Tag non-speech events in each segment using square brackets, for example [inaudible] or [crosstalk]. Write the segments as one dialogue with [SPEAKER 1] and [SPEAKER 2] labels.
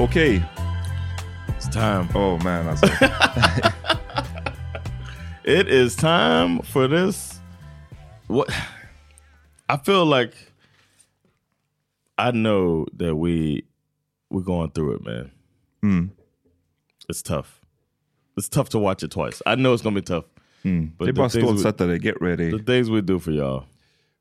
[SPEAKER 1] Okej,
[SPEAKER 2] It's time.
[SPEAKER 1] Oh man alltså.
[SPEAKER 2] [laughs] It is time for this. What I feel like I know that we we're going through it, man.
[SPEAKER 1] Hmm.
[SPEAKER 2] It's tough. It's tough to watch it twice. I know it's gonna be tough. But
[SPEAKER 1] det är bara
[SPEAKER 2] the, things we,
[SPEAKER 1] stålsättare, get ready.
[SPEAKER 2] the things we do for y'all,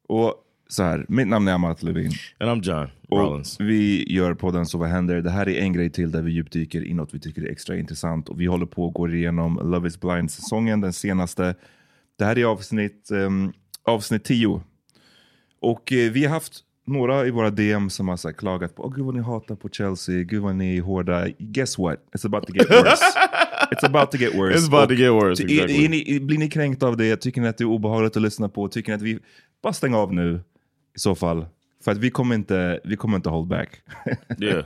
[SPEAKER 1] Och så här, mitt namn är Amat Levin.
[SPEAKER 2] and I'm John
[SPEAKER 1] Och
[SPEAKER 2] Rollins.
[SPEAKER 1] vi gör podden Så vad händer? Det här är en grej till där vi djupdyker i något vi tycker är extra intressant. Och vi håller på att gå igenom Love is blind-säsongen, den senaste. Det här är avsnitt, ehm, avsnitt 10. Och eh, vi har haft några i våra DM som har så här, klagat på oh, gud vad ni hatar på Chelsea, gud vad ni är hårda. Guess what? It's about to
[SPEAKER 2] [laughs]
[SPEAKER 1] get worse. It's about to get worse.
[SPEAKER 2] It's about to
[SPEAKER 1] Och
[SPEAKER 2] get worse,
[SPEAKER 1] ty- är-
[SPEAKER 2] exactly.
[SPEAKER 1] är ni, blir ni kränkt av det? Tycker ni att det är obehagligt att lyssna på? Tycker ni att vi... Bara stäng av nu i så fall. För att vi kommer inte, vi kommer inte hold back.
[SPEAKER 2] [laughs] Yeah.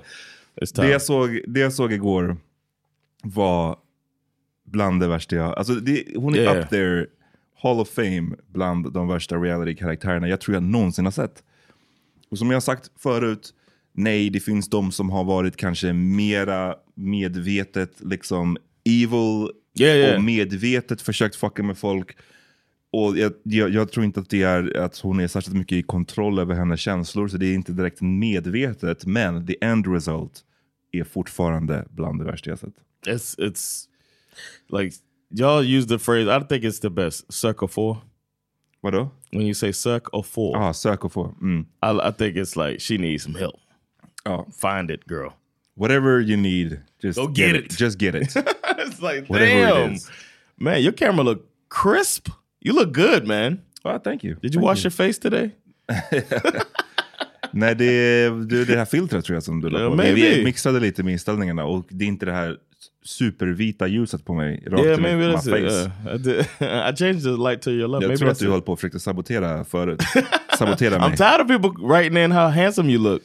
[SPEAKER 1] Det
[SPEAKER 2] It's time.
[SPEAKER 1] jag, såg, det jag såg igår var bland det värsta jag... Alltså det, hon är
[SPEAKER 2] Yeah.
[SPEAKER 1] up there, Hall of Fame, bland de värsta reality-karaktärerna jag tror jag någonsin har sett. Och som jag har sagt förut, nej det finns de som har varit kanske mera medvetet liksom evil
[SPEAKER 2] Yeah, yeah.
[SPEAKER 1] och medvetet försökt fucka med folk. Och jag, jag, jag tror inte att det är att hon är särskilt mycket i kontroll över hennes känslor, så det är inte direkt medvetet. Men the end result är fortfarande bland det värsta jag sett.
[SPEAKER 2] It's it's like y'all use the phrase. I think it's the best. Suck or four.
[SPEAKER 1] Vadå?
[SPEAKER 2] When you say suck or four,
[SPEAKER 1] Ja, sök och få. Mm.
[SPEAKER 2] I, I think it's like she needs some help.
[SPEAKER 1] Ja.
[SPEAKER 2] Find it, girl.
[SPEAKER 1] Whatever you need, just
[SPEAKER 2] Go
[SPEAKER 1] get,
[SPEAKER 2] get
[SPEAKER 1] it.
[SPEAKER 2] it.
[SPEAKER 1] Just get
[SPEAKER 2] [laughs]
[SPEAKER 1] it.
[SPEAKER 2] it's like
[SPEAKER 1] Whatever it
[SPEAKER 2] damn,
[SPEAKER 1] is.
[SPEAKER 2] man. Your camera look crisp. You look good, man.
[SPEAKER 1] well, Oh, thank you.
[SPEAKER 2] Did you wash your face today?
[SPEAKER 1] Nej, det är det, är det här filtret tror jag som du la
[SPEAKER 2] Yeah,
[SPEAKER 1] på. Vi- Vi
[SPEAKER 2] maybe.
[SPEAKER 1] mixade lite med inställningarna och det är inte det här supervita ljuset på mig rakt
[SPEAKER 2] Yeah,
[SPEAKER 1] i mitt-
[SPEAKER 2] maybe
[SPEAKER 1] my
[SPEAKER 2] that's
[SPEAKER 1] face.
[SPEAKER 2] it. Yeah. I, did, [laughs] I changed the light to your left.
[SPEAKER 1] Jag
[SPEAKER 2] maybe
[SPEAKER 1] tror att
[SPEAKER 2] that's
[SPEAKER 1] du
[SPEAKER 2] it.
[SPEAKER 1] höll på och försökte sabotera förut. Sabotera mig.
[SPEAKER 2] [laughs] I'm tired of people writing in how handsome you look.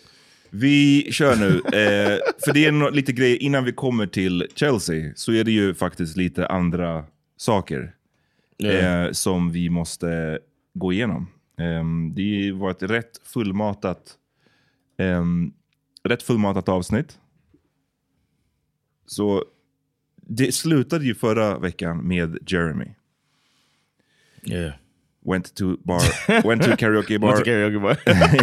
[SPEAKER 1] Vi kör nu. Eh, för det är nå- lite grejer, innan vi kommer till Chelsea så är det ju faktiskt lite andra saker eh, som vi måste gå igenom. Ehm, det var ett rätt fullmatat, ehm, rätt fullmatat avsnitt. Så det slutade ju förra veckan med Jeremy.
[SPEAKER 2] Yeah.
[SPEAKER 1] Went to bar, went to karaoke bar.
[SPEAKER 2] [laughs] Went to karaoke bar.
[SPEAKER 1] [laughs]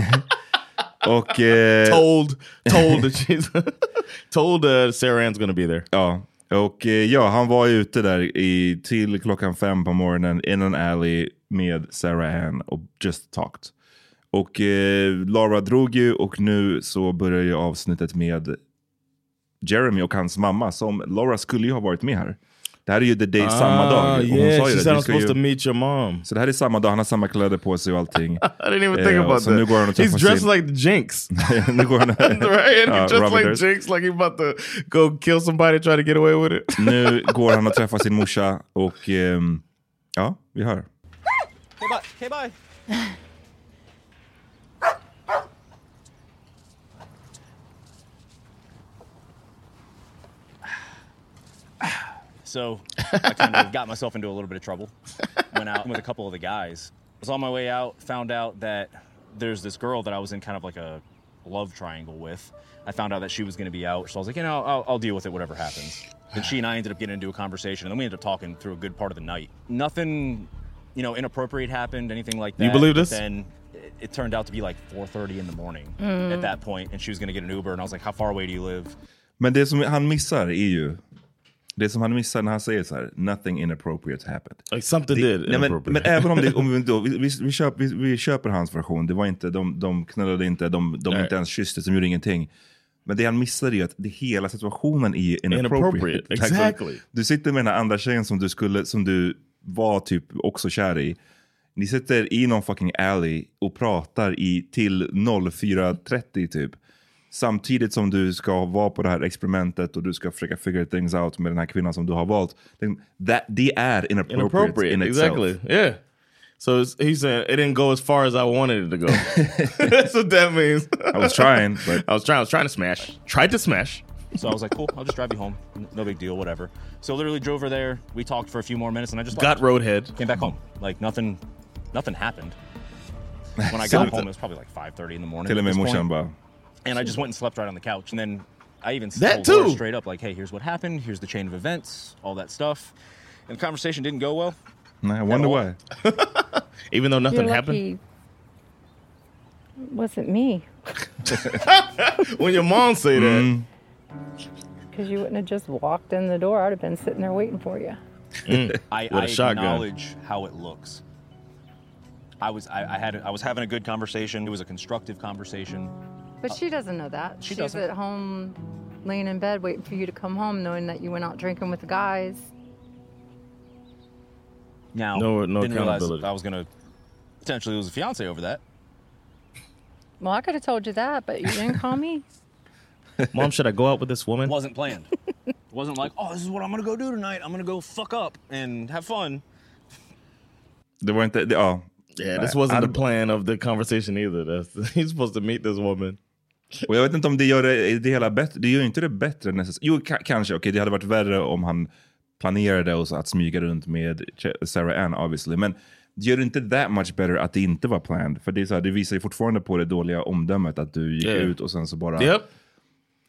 [SPEAKER 1] Och, eh,
[SPEAKER 2] told, told that she's, [laughs] told uh, Sarah Ann's gonna be there.
[SPEAKER 1] Ja, och eh, ja, han var ute där i, till klockan fem på morgonen in an alley med Sarah Ann och just talked. Och eh, Laura drog ju och nu så börjar ju avsnittet med Jeremy och hans mamma som Laura skulle ju ha varit med här. Det här är ju the day samma dag. Och hon
[SPEAKER 2] Ah, yeah,
[SPEAKER 1] sa ju
[SPEAKER 2] she
[SPEAKER 1] det.
[SPEAKER 2] said
[SPEAKER 1] du
[SPEAKER 2] I'm
[SPEAKER 1] ska
[SPEAKER 2] supposed to
[SPEAKER 1] ju,
[SPEAKER 2] meet your mom.
[SPEAKER 1] så det här är samma dag, han har samma kläder på sig och allting.
[SPEAKER 2] [laughs] I didn't even
[SPEAKER 1] Yeah,
[SPEAKER 2] think about
[SPEAKER 1] so nu går han och
[SPEAKER 2] that. He's
[SPEAKER 1] träffar
[SPEAKER 2] dressed
[SPEAKER 1] sin-
[SPEAKER 2] like the
[SPEAKER 1] [laughs]
[SPEAKER 2] Jinx,
[SPEAKER 1] nu går han,
[SPEAKER 2] [laughs] right?
[SPEAKER 1] Ja,
[SPEAKER 2] He's dressed
[SPEAKER 1] Uh, Robert
[SPEAKER 2] like
[SPEAKER 1] Durst.
[SPEAKER 2] Jinx, like he about to go kill somebody, try to get away with it. [laughs]
[SPEAKER 1] nu går han och träffar sin morsa och ehm, ja, vi hör.
[SPEAKER 3] K-bye. K-bye. So I kind of [laughs] got myself into a little bit of trouble. Went out with a couple of the guys. I was on my way out, found out that there's this girl that I was in kind of like a love triangle with. I found out that she was going to be out, so I was like, you know, I'll, I'll deal with it, whatever happens. Then she and I ended up getting into a conversation, and then we ended up talking through a good part of the night. Nothing, you know, inappropriate happened, anything like that.
[SPEAKER 2] You believe
[SPEAKER 3] but
[SPEAKER 2] this?
[SPEAKER 3] Then it, it turned out to be like 4:30 in the morning at that point, and she was going to get an Uber, and I was like, how far away do you live?
[SPEAKER 1] Men det som han missar är ju, det som han missar när han säger så här, nothing inappropriate happened.
[SPEAKER 2] Like something
[SPEAKER 1] Det,
[SPEAKER 2] did.
[SPEAKER 1] nej, men,
[SPEAKER 2] inappropriate.
[SPEAKER 1] men även om,
[SPEAKER 2] [laughs]
[SPEAKER 1] det, [laughs] om vi, då, vi, vi, vi, köp, vi, vi köper hans version, det var inte, de, de knullade inte, de, de
[SPEAKER 2] Nej.
[SPEAKER 1] inte ens kysstes, de gjorde ingenting. Men det han missar är ju att det, hela situationen är ju inappropriate.
[SPEAKER 2] Inappropriate,
[SPEAKER 1] Liksom,
[SPEAKER 2] exactly.
[SPEAKER 1] Du sitter med den här andra tjejen som du, skulle, som du var typ också kär i. Ni sitter i någon fucking alley och pratar i, till 04.30 typ. Samtidigt som du ska vara på det här experimentet och du ska försöka figure things out med den här kvinnan som du har valt. That, det är inappropriate,
[SPEAKER 2] inappropriate.
[SPEAKER 1] in itself.
[SPEAKER 2] exactly. Yeah. So it's, he said it didn't go as far as I wanted it
[SPEAKER 1] [laughs]
[SPEAKER 2] to go. [laughs] That's what that means.
[SPEAKER 1] I was
[SPEAKER 2] [laughs]
[SPEAKER 1] trying, but
[SPEAKER 2] I was trying. I was trying to smash. Tried to smash.
[SPEAKER 3] So I was like, cool, I'll just drive you home. No big deal, whatever. So literally drove her there. We talked for a few more minutes, and I just
[SPEAKER 2] Got
[SPEAKER 3] left.
[SPEAKER 2] roadhead.
[SPEAKER 3] came back home. Like nothing, nothing happened.
[SPEAKER 2] [laughs]
[SPEAKER 3] When I got home, it was probably like 5:30 in the morning.
[SPEAKER 1] till
[SPEAKER 3] at
[SPEAKER 1] och med
[SPEAKER 3] this point.
[SPEAKER 1] morsan bara,
[SPEAKER 3] And I just went and slept right on the couch. And then I even
[SPEAKER 2] That
[SPEAKER 3] told Laura
[SPEAKER 2] too.
[SPEAKER 3] straight up, like, "Hey, here's what happened. Here's the chain of events, all that stuff." And the conversation didn't go well.
[SPEAKER 1] "Nah, I wonder why.
[SPEAKER 2] Oh. [laughs] Even though nothing
[SPEAKER 4] You're
[SPEAKER 2] happened.
[SPEAKER 4] lucky. Wasn't me,
[SPEAKER 2] [laughs] When your mom say that,
[SPEAKER 4] because you wouldn't have just walked in the door. I'd have been sitting there waiting for you.
[SPEAKER 3] [laughs] I,
[SPEAKER 2] With Mm. a
[SPEAKER 3] I
[SPEAKER 2] shotgun.
[SPEAKER 3] acknowledge how it looks. I was I, I had I was having a good conversation. It was a constructive conversation.
[SPEAKER 4] But she doesn't know that.
[SPEAKER 3] She
[SPEAKER 4] She's
[SPEAKER 3] doesn't.
[SPEAKER 4] at home, laying in bed, waiting for you to come home, knowing that you went out drinking with the guys.
[SPEAKER 3] Now,
[SPEAKER 2] No- no
[SPEAKER 3] didn't realize
[SPEAKER 2] accountability.
[SPEAKER 3] I was gonna potentially lose a fiance over that.
[SPEAKER 4] Well, I could have told you that, but you didn't call me.
[SPEAKER 2] mom, should I go out with this woman?
[SPEAKER 3] wasn't planned. [laughs] It wasn't like, oh, this is what I'm gonna go do tonight. I'm gonna go fuck up and have fun.
[SPEAKER 1] Det var inte, det, ja.
[SPEAKER 2] Yeah, this wasn't the
[SPEAKER 1] I'd-
[SPEAKER 2] plan of the conversation either.
[SPEAKER 1] [laughs]
[SPEAKER 2] That's, [laughs] he's supposed to meet this woman.
[SPEAKER 1] Och jag vet inte om det gör det, det hela bättre, det gör ju inte det bättre nästan. Jo, ka- kanske, okej det hade varit värre om han planerade och så att smyga runt med Ch- Sarah Ann obviously. Men det gör det inte that much better att det inte var planned. För det, är så här, det visar ju fortfarande på det dåliga omdömet att du gick
[SPEAKER 2] Yeah.
[SPEAKER 1] ut och sen så bara
[SPEAKER 2] Yep.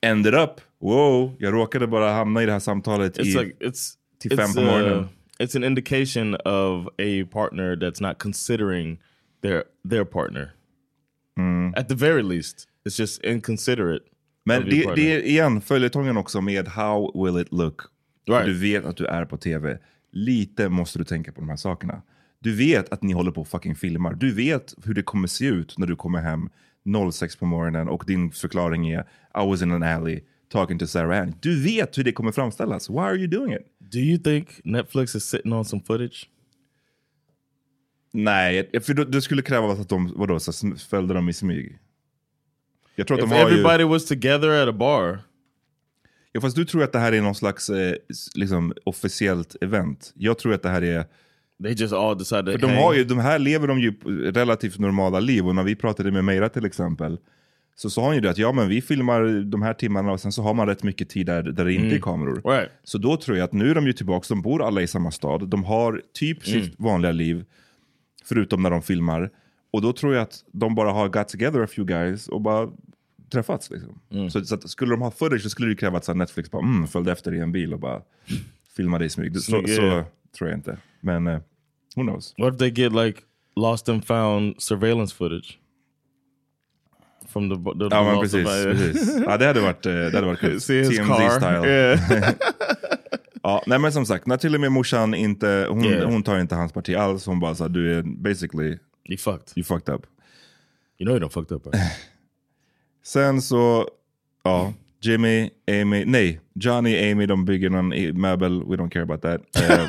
[SPEAKER 1] ended up. Wow, jag råkade bara hamna i det här samtalet
[SPEAKER 2] It's
[SPEAKER 1] i...
[SPEAKER 2] like it's
[SPEAKER 1] Tiffany
[SPEAKER 2] it's, uh,
[SPEAKER 1] Morgan.
[SPEAKER 2] it's an indication of a partner that's not considering their their partner. At the very least, it's just inconsiderate.
[SPEAKER 1] Men
[SPEAKER 2] Of your
[SPEAKER 1] det,
[SPEAKER 2] partner.
[SPEAKER 1] det är igen följetongen också med How will it look? Och
[SPEAKER 2] Right.
[SPEAKER 1] Du vet att du är på tv. Lite måste du tänka på de här sakerna. Du vet att ni håller på och fucking filmar. Du vet hur det kommer se ut när du kommer hem 06 på morgonen och din förklaring är I was in an alley talking to Sarah Ann. Du vet hur det kommer framställas. Why are you doing it?
[SPEAKER 2] Do you think Netflix is sitting on some footage?
[SPEAKER 1] Nej, för då- det skulle krävas att de vadå, så sm- följde dem i smyg. Jag tror att
[SPEAKER 2] If
[SPEAKER 1] de har ju...
[SPEAKER 2] everybody was together at a bar.
[SPEAKER 1] Ja, fast du tror att det här är någon slags eh, s- liksom, officiellt event. Jag tror att det här är...
[SPEAKER 2] They just all decided
[SPEAKER 1] För
[SPEAKER 2] to
[SPEAKER 1] de,
[SPEAKER 2] hang.
[SPEAKER 1] har ju, de här lever de ju relativt normala liv och när vi pratade med Meira till exempel så sa hon ju det att ja men vi filmar de här timmarna och sen så har man rätt mycket tid där, där det inte är kameror.
[SPEAKER 2] Right.
[SPEAKER 1] Så då tror jag att nu är de ju tillbaka, de bor alla i samma stad, de har typ sitt vanliga liv förutom när de filmar. Och då tror jag att de bara har got together a few guys och bara träffats. Liksom. Så, så att, skulle de ha footage så skulle det krävas att Netflix bara mm, följde efter i en bil och bara filmade i smyg. Så,
[SPEAKER 2] Snygg
[SPEAKER 1] så
[SPEAKER 2] idé.
[SPEAKER 1] tror jag inte. Men eh, who knows.
[SPEAKER 2] What if they get like lost and found surveillance footage from the the, the
[SPEAKER 1] Ja men
[SPEAKER 2] lost
[SPEAKER 1] precis.
[SPEAKER 2] and found-
[SPEAKER 1] precis.
[SPEAKER 2] [laughs]
[SPEAKER 1] Ja, det hade
[SPEAKER 2] uh,
[SPEAKER 1] varit, eh, det hade varit kul.
[SPEAKER 2] See his car.
[SPEAKER 1] TMZ-style.
[SPEAKER 2] Yeah. [laughs]
[SPEAKER 1] [laughs] Ja, nej men som sagt, när till och med morsan inte, hon,
[SPEAKER 2] Yeah.
[SPEAKER 1] hon tar inte hans parti alls. Hon bara sa du är basically,
[SPEAKER 2] you fucked.
[SPEAKER 1] you fucked up.
[SPEAKER 2] You know you don't fucked up. Right?
[SPEAKER 1] [sighs] Sen så, ja, Jimmy, Amy, nej, Johnny, Amy, de bygger någon i- möbel, we don't care about that. Eh,
[SPEAKER 2] [laughs]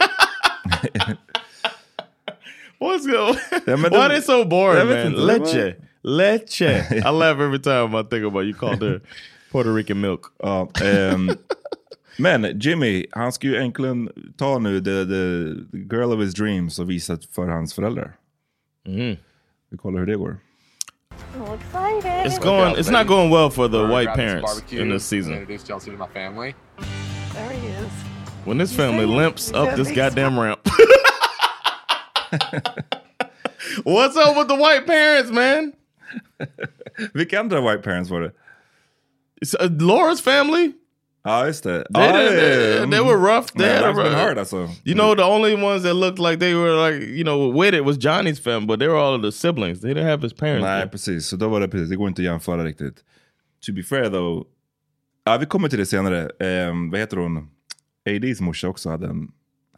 [SPEAKER 1] [laughs]
[SPEAKER 2] What's going?
[SPEAKER 1] Ja, men
[SPEAKER 2] Why
[SPEAKER 1] de-
[SPEAKER 2] they so boring,
[SPEAKER 1] Jag vet
[SPEAKER 2] man?
[SPEAKER 1] inte,
[SPEAKER 2] Leche, [laughs] leche. I laugh every time I think about you called her Puerto Rican milk.
[SPEAKER 1] ja, [laughs] ehm, men Jimmy, han ska ju egentligen ta nu the, the, the girl of his dreams och visa för hans föräldrar. Mm. Vi kollar hur det går.
[SPEAKER 5] So excited.
[SPEAKER 2] It's going. It's not going well for the
[SPEAKER 6] We're
[SPEAKER 2] white
[SPEAKER 6] grabbing some
[SPEAKER 2] parents
[SPEAKER 6] barbecue
[SPEAKER 2] in this
[SPEAKER 6] and
[SPEAKER 2] season.
[SPEAKER 6] Introduce Chelsea to my family.
[SPEAKER 5] There he is.
[SPEAKER 2] When this family limps up this goddamn ramp. [laughs] What's up with the white parents, man?
[SPEAKER 1] [laughs] Vilka andra white parents var det?
[SPEAKER 2] It's, uh, Laura's family.
[SPEAKER 1] Ja, just det.
[SPEAKER 2] They,
[SPEAKER 1] ja,
[SPEAKER 2] they-
[SPEAKER 1] ja, ja,
[SPEAKER 2] they-
[SPEAKER 1] ja.
[SPEAKER 2] they were rough. They
[SPEAKER 1] Nej,
[SPEAKER 2] had a
[SPEAKER 1] Lars
[SPEAKER 2] rough-
[SPEAKER 1] mm-hmm. been hard alltså.
[SPEAKER 2] You know, the only ones that looked like they were like, you know, with it was Johnny's family, but they were all of the siblings. They didn't have his parents.
[SPEAKER 1] Nej,
[SPEAKER 2] there.
[SPEAKER 1] precis. Så då var det precis. Det går inte att jämföra riktigt. To be fair though. Ja, vi kommer till det senare. Ehm, vad heter hon? ADs morsa också hade en...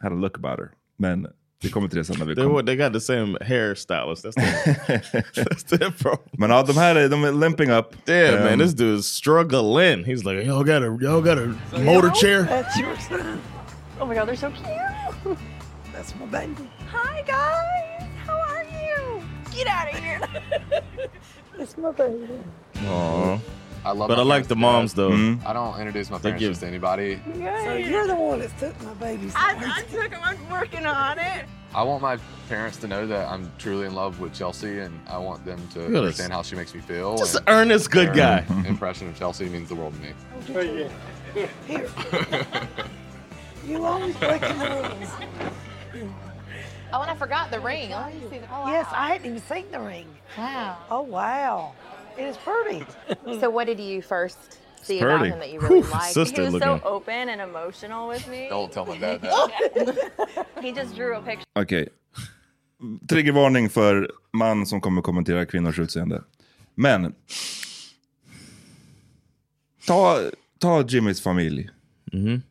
[SPEAKER 1] Had a look about her. Men vi kommer till det sen när vi
[SPEAKER 2] They were,
[SPEAKER 1] kommer.
[SPEAKER 2] they got the same hairstylist.
[SPEAKER 1] [laughs]
[SPEAKER 2] That's the [laughs] that's the problem.
[SPEAKER 1] Men ja, de här är- de är limping up.
[SPEAKER 2] Damn, man,
[SPEAKER 1] Ehm,
[SPEAKER 2] this dude's struggling. He's like, [laughs] y'all got a y'all got a motor chair.
[SPEAKER 5] That's your son. Oh my god, they're so cute. That's my baby. Hi guys, how are you? Get out of [laughs] here. That's my baby.
[SPEAKER 2] Aw.
[SPEAKER 6] I love.
[SPEAKER 2] But
[SPEAKER 6] my
[SPEAKER 2] I like
[SPEAKER 6] parents
[SPEAKER 2] the
[SPEAKER 6] to
[SPEAKER 2] moms
[SPEAKER 6] death.
[SPEAKER 2] though.
[SPEAKER 6] I don't introduce my parents
[SPEAKER 2] give-
[SPEAKER 6] just to anybody.
[SPEAKER 5] So you're the one that took my baby. I, I took him. I'm working on it.
[SPEAKER 6] I want my parents to know that I'm truly in love with Chelsea, and I want them to
[SPEAKER 2] this.
[SPEAKER 6] understand how she makes me feel.
[SPEAKER 2] Just
[SPEAKER 6] and
[SPEAKER 2] earnest good
[SPEAKER 6] their
[SPEAKER 2] guy.
[SPEAKER 6] Impression of Chelsea means the world to me.
[SPEAKER 5] Here. you always break the rules.
[SPEAKER 7] Oh, and I forgot the ring. Oh, you see the- oh,
[SPEAKER 5] Yes,
[SPEAKER 7] wow.
[SPEAKER 5] I hadn't even seen the ring.
[SPEAKER 7] Wow.
[SPEAKER 5] Oh wow, it is pretty.
[SPEAKER 7] So, what did you first see
[SPEAKER 2] It's
[SPEAKER 7] about
[SPEAKER 2] pretty.
[SPEAKER 7] him that you really
[SPEAKER 2] Whew,
[SPEAKER 7] liked?
[SPEAKER 2] sister
[SPEAKER 7] he was
[SPEAKER 2] looking.
[SPEAKER 7] so open and emotional with me.
[SPEAKER 6] Don't tell my dad that.
[SPEAKER 8] [laughs]
[SPEAKER 7] He just drew a picture
[SPEAKER 1] Okej. Triggervarning för man som kommer kommentera kvinnors utseende. Men. Ta, ta Jimmys familj.
[SPEAKER 2] Mhm.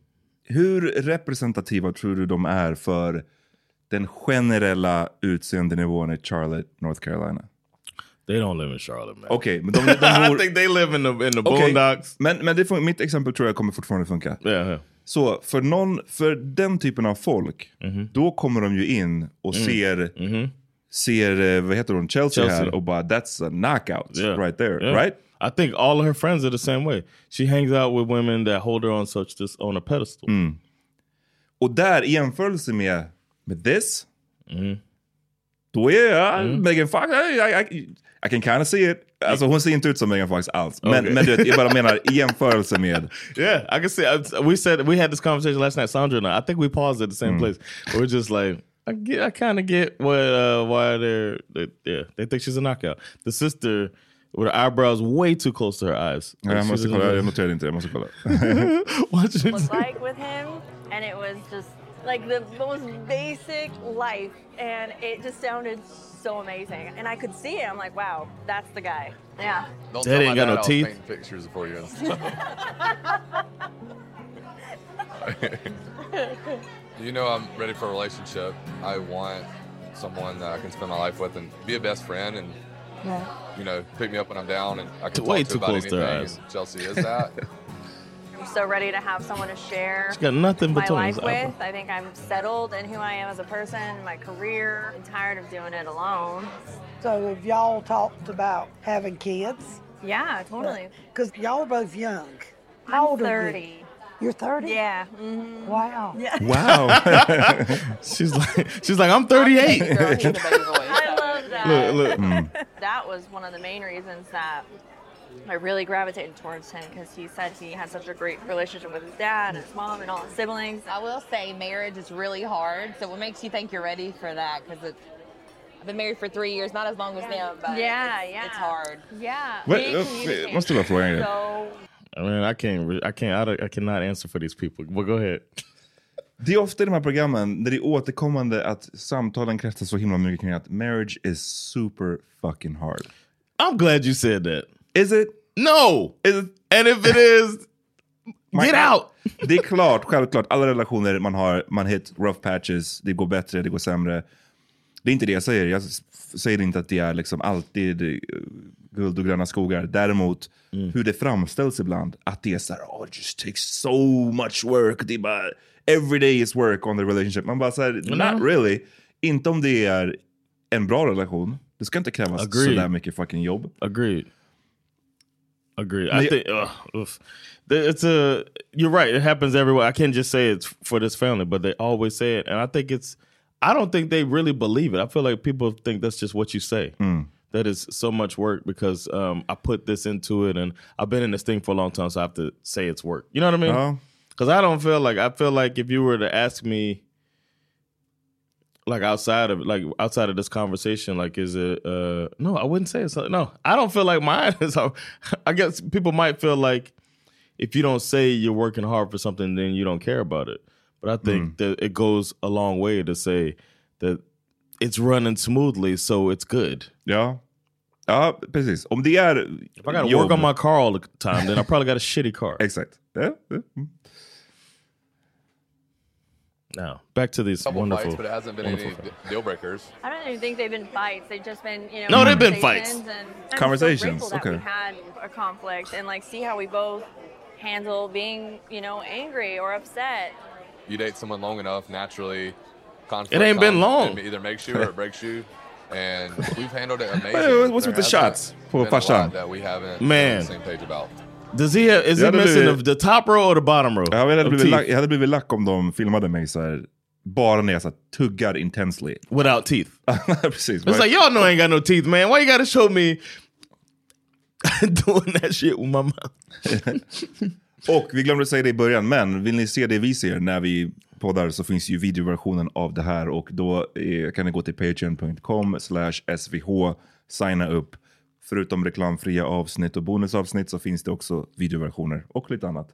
[SPEAKER 1] Hur representativa tror du de är för den generella utseendenivån i Charlotte, North Carolina?
[SPEAKER 2] They don't live in Charlotte, man.
[SPEAKER 1] Okej, men de, de
[SPEAKER 2] I
[SPEAKER 1] bor...
[SPEAKER 2] think [laughs] they live in the in the
[SPEAKER 1] Okej,
[SPEAKER 2] boondocks.
[SPEAKER 1] Men, men det fun- mitt exempel tror jag kommer fortfarande funka.
[SPEAKER 2] Yeah, yeah.
[SPEAKER 1] Så för, någon, för den typen av folk,
[SPEAKER 2] Mhm.
[SPEAKER 1] då kommer de ju in och
[SPEAKER 2] Mm,
[SPEAKER 1] ser, ser eh, vad heter hon, Chelsea,
[SPEAKER 2] mm-hmm. Chelsea.
[SPEAKER 1] här och bara that's a knockout
[SPEAKER 2] Yeah.
[SPEAKER 1] right there.
[SPEAKER 2] Yeah.
[SPEAKER 1] Right?
[SPEAKER 2] I think all of her friends are the same way. She hangs out with women that hold her on such this on a pedestal.
[SPEAKER 1] Mm. Och där i jämförelse med, med this,
[SPEAKER 2] Mm.
[SPEAKER 1] då är jag Megan Fox, I, I, I, I can kind of see it. Alltså hon ser inte ut som Megan Fox alls. Men,
[SPEAKER 2] Okej.
[SPEAKER 1] men du vet, jag bara menar i jämförelse med,
[SPEAKER 2] [laughs] Yeah, I can see. I, we said we had this conversation last night, Sandra and I. I think we paused at the
[SPEAKER 1] Mm.
[SPEAKER 2] same place. We We're just like, I get, I kind of get what uh, why they're they, yeah they think she's a knockout. The sister with her eyebrows way too close to her eyes.
[SPEAKER 1] Nej, jag
[SPEAKER 2] She's
[SPEAKER 1] måste
[SPEAKER 2] just
[SPEAKER 1] kolla, jag
[SPEAKER 2] [laughs]
[SPEAKER 6] [laughs]
[SPEAKER 2] like-
[SPEAKER 1] noterade inte, jag måste kolla.
[SPEAKER 2] Watch it.
[SPEAKER 7] was like with him, and it was just
[SPEAKER 8] like the most basic life, and it just sounded so amazing. And I could see it. I'm like, wow, that's the guy.
[SPEAKER 6] [laughs]
[SPEAKER 8] Yeah.
[SPEAKER 9] Don't
[SPEAKER 2] That
[SPEAKER 9] tell
[SPEAKER 2] ain't
[SPEAKER 9] my dad
[SPEAKER 2] got no
[SPEAKER 9] I was
[SPEAKER 2] teeth.
[SPEAKER 9] painting pictures for you.
[SPEAKER 2] [laughs]
[SPEAKER 7] [laughs]
[SPEAKER 9] you know, I'm ready for a relationship. I want someone that I can spend my life with and be a best friend and, you know, pick me up when I'm down and I can
[SPEAKER 2] Way
[SPEAKER 9] talk to
[SPEAKER 2] too
[SPEAKER 9] about
[SPEAKER 2] close to
[SPEAKER 9] anything.
[SPEAKER 2] her eyes.
[SPEAKER 9] and Chelsea is
[SPEAKER 2] [laughs]
[SPEAKER 9] that.
[SPEAKER 8] I'm so ready to have someone to share
[SPEAKER 2] She's got nothing
[SPEAKER 8] my
[SPEAKER 2] between
[SPEAKER 8] life
[SPEAKER 2] us, Alpha.
[SPEAKER 8] with. I think I'm settled in who I am as a person, my career. I'm tired of doing it alone.
[SPEAKER 5] So have y'all talked about having kids?
[SPEAKER 8] Yeah, totally.
[SPEAKER 5] Because y'all are both young.
[SPEAKER 8] I'm
[SPEAKER 5] How old are you?
[SPEAKER 8] 30.
[SPEAKER 5] You're 30?
[SPEAKER 8] Yeah. mhm.
[SPEAKER 5] Wow.
[SPEAKER 8] Yeah.
[SPEAKER 2] [laughs] Wow. [laughs] she's like she's like I'm 38. [laughs]
[SPEAKER 8] I love that.
[SPEAKER 2] Look, look. Mm.
[SPEAKER 8] That was one of the main reasons that I really gravitated towards him because he said he had such a great relationship with his dad and his mom and all his siblings.
[SPEAKER 10] I will say marriage is really hard. So what makes you think you're ready for that? Because I've been married for three years, not as long as them, but
[SPEAKER 8] Yeah,
[SPEAKER 10] it's,
[SPEAKER 8] yeah.
[SPEAKER 10] it's hard.
[SPEAKER 8] Yeah.
[SPEAKER 2] What- We what- communicate what's the left one here?
[SPEAKER 8] So
[SPEAKER 2] I mean, I can't re- I can't I, don't- I cannot answer for these people. But go ahead.
[SPEAKER 1] Det är ofta i de här programmen där det är återkommande att samtalen kretsar så himla mycket kring att marriage is super fucking hard.
[SPEAKER 2] I'm glad you said that.
[SPEAKER 1] Is it?
[SPEAKER 2] No!
[SPEAKER 1] Is it?
[SPEAKER 2] And if it is,
[SPEAKER 1] get out! Det är klart, självklart. Alla relationer man har, man hit rough patches, det går bättre, det går sämre. Det är inte det jag säger. Jag s- säger inte att det är liksom alltid eh, guld och gröna skogar. Däremot
[SPEAKER 2] Mm.
[SPEAKER 1] hur det framställs ibland, att det är så här, oh, it just takes so much work. Det är bara, every day is work on the relationship. Man bara så här,
[SPEAKER 2] Mm.
[SPEAKER 1] not really. Inte om det är en bra relation. Det ska inte krävas
[SPEAKER 2] Agreed.
[SPEAKER 1] sådär mycket fucking jobb.
[SPEAKER 2] Agreed. Agreed.
[SPEAKER 1] Men
[SPEAKER 2] I
[SPEAKER 1] jag-
[SPEAKER 2] think ugh, oof. There- it's a you're right. It happens everywhere. I can't just say it's for this family, but they always say it, and I think it's. I don't think they really believe it. I feel like people think that's just what you say. That is so much work because um, I put this into it, and I've been in this thing for a long time, so I have to say it's work. You know what I
[SPEAKER 1] Ja.
[SPEAKER 2] mean? Because I don't feel like I feel like if you were to ask me like outside of like outside of this conversation, like is it uh no, I wouldn't say it's no. I don't feel like mine [laughs] is how- I guess people might feel like if you don't say you're working hard for something, then you don't care about it. But I think that it goes a long way to say that it's running smoothly, so it's good.
[SPEAKER 1] Ja. Ja, precis. Om det är If
[SPEAKER 2] I gotta
[SPEAKER 1] jobb-
[SPEAKER 2] work on my car all the time, then I probably got a shitty car.
[SPEAKER 1] Exakt. Ja, ja.
[SPEAKER 2] Now back to these
[SPEAKER 9] couple
[SPEAKER 2] wonderful.
[SPEAKER 9] fights, but it hasn't been any
[SPEAKER 2] wonderful-
[SPEAKER 9] d- deal breakers.
[SPEAKER 8] I don't even think they've been fights. They've just been, you know,
[SPEAKER 2] No, they've been
[SPEAKER 8] conversations
[SPEAKER 2] fights.
[SPEAKER 8] And I'm so
[SPEAKER 2] Conversations,
[SPEAKER 8] grateful that
[SPEAKER 2] okay.
[SPEAKER 8] We had a conflict and like see how we both handle being, you know, angry or upset.
[SPEAKER 9] You date someone long enough, naturally, conflict
[SPEAKER 2] It ain't been
[SPEAKER 9] comes,
[SPEAKER 2] long.
[SPEAKER 9] It either makes you or
[SPEAKER 2] [laughs]
[SPEAKER 9] it breaks you. And we've handled it
[SPEAKER 2] Hey,
[SPEAKER 9] amazing.
[SPEAKER 2] what's with
[SPEAKER 9] There
[SPEAKER 2] the
[SPEAKER 9] hasn't
[SPEAKER 2] shots for
[SPEAKER 9] been a lot
[SPEAKER 2] Fashan?
[SPEAKER 9] That we haven't
[SPEAKER 2] Man.
[SPEAKER 9] been on the same page about.
[SPEAKER 2] Does he have, is
[SPEAKER 1] Ja,
[SPEAKER 2] he
[SPEAKER 1] det
[SPEAKER 2] missing
[SPEAKER 1] blir-
[SPEAKER 2] the, the top row or the bottom row?
[SPEAKER 1] Jag hade,
[SPEAKER 2] of
[SPEAKER 1] blivit
[SPEAKER 2] teeth?
[SPEAKER 1] lack, jag hade blivit lack om de filmade mig så här, bara när jag så här, tuggar intensely. [laughs]
[SPEAKER 2] Without teeth.
[SPEAKER 1] Precis.
[SPEAKER 2] It's like y'all know I ain't got no teeth, man. Why you gotta show me [laughs] doing that shit with my mouth? [laughs]
[SPEAKER 1] [laughs] Och vi glömde säga det i början, men vill ni se det vi ser när vi poddar så finns ju videoversionen av det här och då eh, kan ni gå till patreon.com slash svh, signa upp. Förutom reklamfria avsnitt och bonusavsnitt så finns det också videoversioner och lite annat.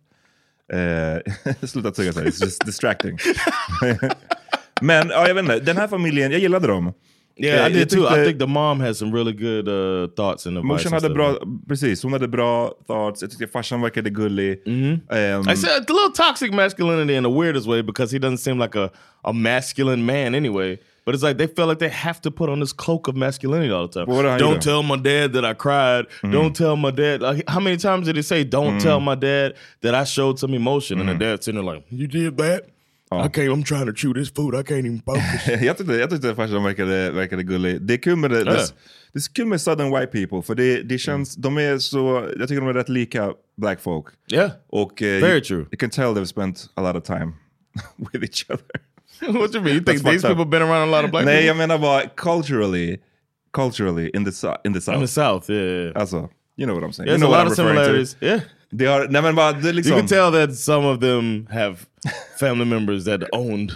[SPEAKER 1] Eh, [laughs] sluta tugga så här, it's just distracting. [laughs] men ja, jag vet inte, den här familjen, jag gillade dem.
[SPEAKER 2] Yeah, I
[SPEAKER 1] Eh, jag
[SPEAKER 2] did too. I
[SPEAKER 1] tyckte-
[SPEAKER 2] think the mom has some really good uh, thoughts and advice.
[SPEAKER 1] Morsan
[SPEAKER 2] and
[SPEAKER 1] hade
[SPEAKER 2] stuff.
[SPEAKER 1] bra, precis, hon hade bra thoughts. Jag tyckte farsan verkade gullig. Ehm,
[SPEAKER 2] Mm-hmm. I said a little toxic masculinity in the weirdest way because he doesn't seem like a, a masculine man anyway. But it's like they feel like they have to put on this cloak of masculinity all the time.
[SPEAKER 1] What are you Mm-hmm.
[SPEAKER 2] don't
[SPEAKER 1] doing?
[SPEAKER 2] tell my dad that I cried. Don't tell my dad. Like, how many times did he say, "Don't
[SPEAKER 1] Mm.
[SPEAKER 2] tell my dad that I showed some emotion"?
[SPEAKER 1] Mm-hmm.
[SPEAKER 2] And the dad's sitting there like, "You did that." I can't. I'm trying to chew this food. I can't even
[SPEAKER 1] [laughs]
[SPEAKER 2] focus.
[SPEAKER 1] jag, tyckte, jag tyckte farsan verkade, verkade gullig. Det är kul med, det,
[SPEAKER 2] Ja.
[SPEAKER 1] det, det är kul med southern white people, för det, det känns,
[SPEAKER 2] Mm.
[SPEAKER 1] de är så, jag tycker de är rätt lika black folk.
[SPEAKER 2] Yeah.
[SPEAKER 1] Och, eh,
[SPEAKER 2] Very
[SPEAKER 1] you,
[SPEAKER 2] true.
[SPEAKER 1] You can tell they've spent a lot of time [laughs] with each other.
[SPEAKER 2] [laughs] [laughs] what you mean? You think
[SPEAKER 1] That's
[SPEAKER 2] these
[SPEAKER 1] fucked up.
[SPEAKER 2] people been around a lot of black
[SPEAKER 1] Nej,
[SPEAKER 2] people?
[SPEAKER 1] jag menar bara culturally, culturally in the, so- in the south.
[SPEAKER 2] In the south, yeah.
[SPEAKER 1] Alltså, you know what I'm saying. you
[SPEAKER 2] There's
[SPEAKER 1] know
[SPEAKER 2] a
[SPEAKER 1] what
[SPEAKER 2] lot
[SPEAKER 1] I'm
[SPEAKER 2] of
[SPEAKER 1] referring to.
[SPEAKER 2] similarities. Yeah.
[SPEAKER 1] They are, nej, men bara, det är liksom,
[SPEAKER 2] You can tell that some of them have family members that owned.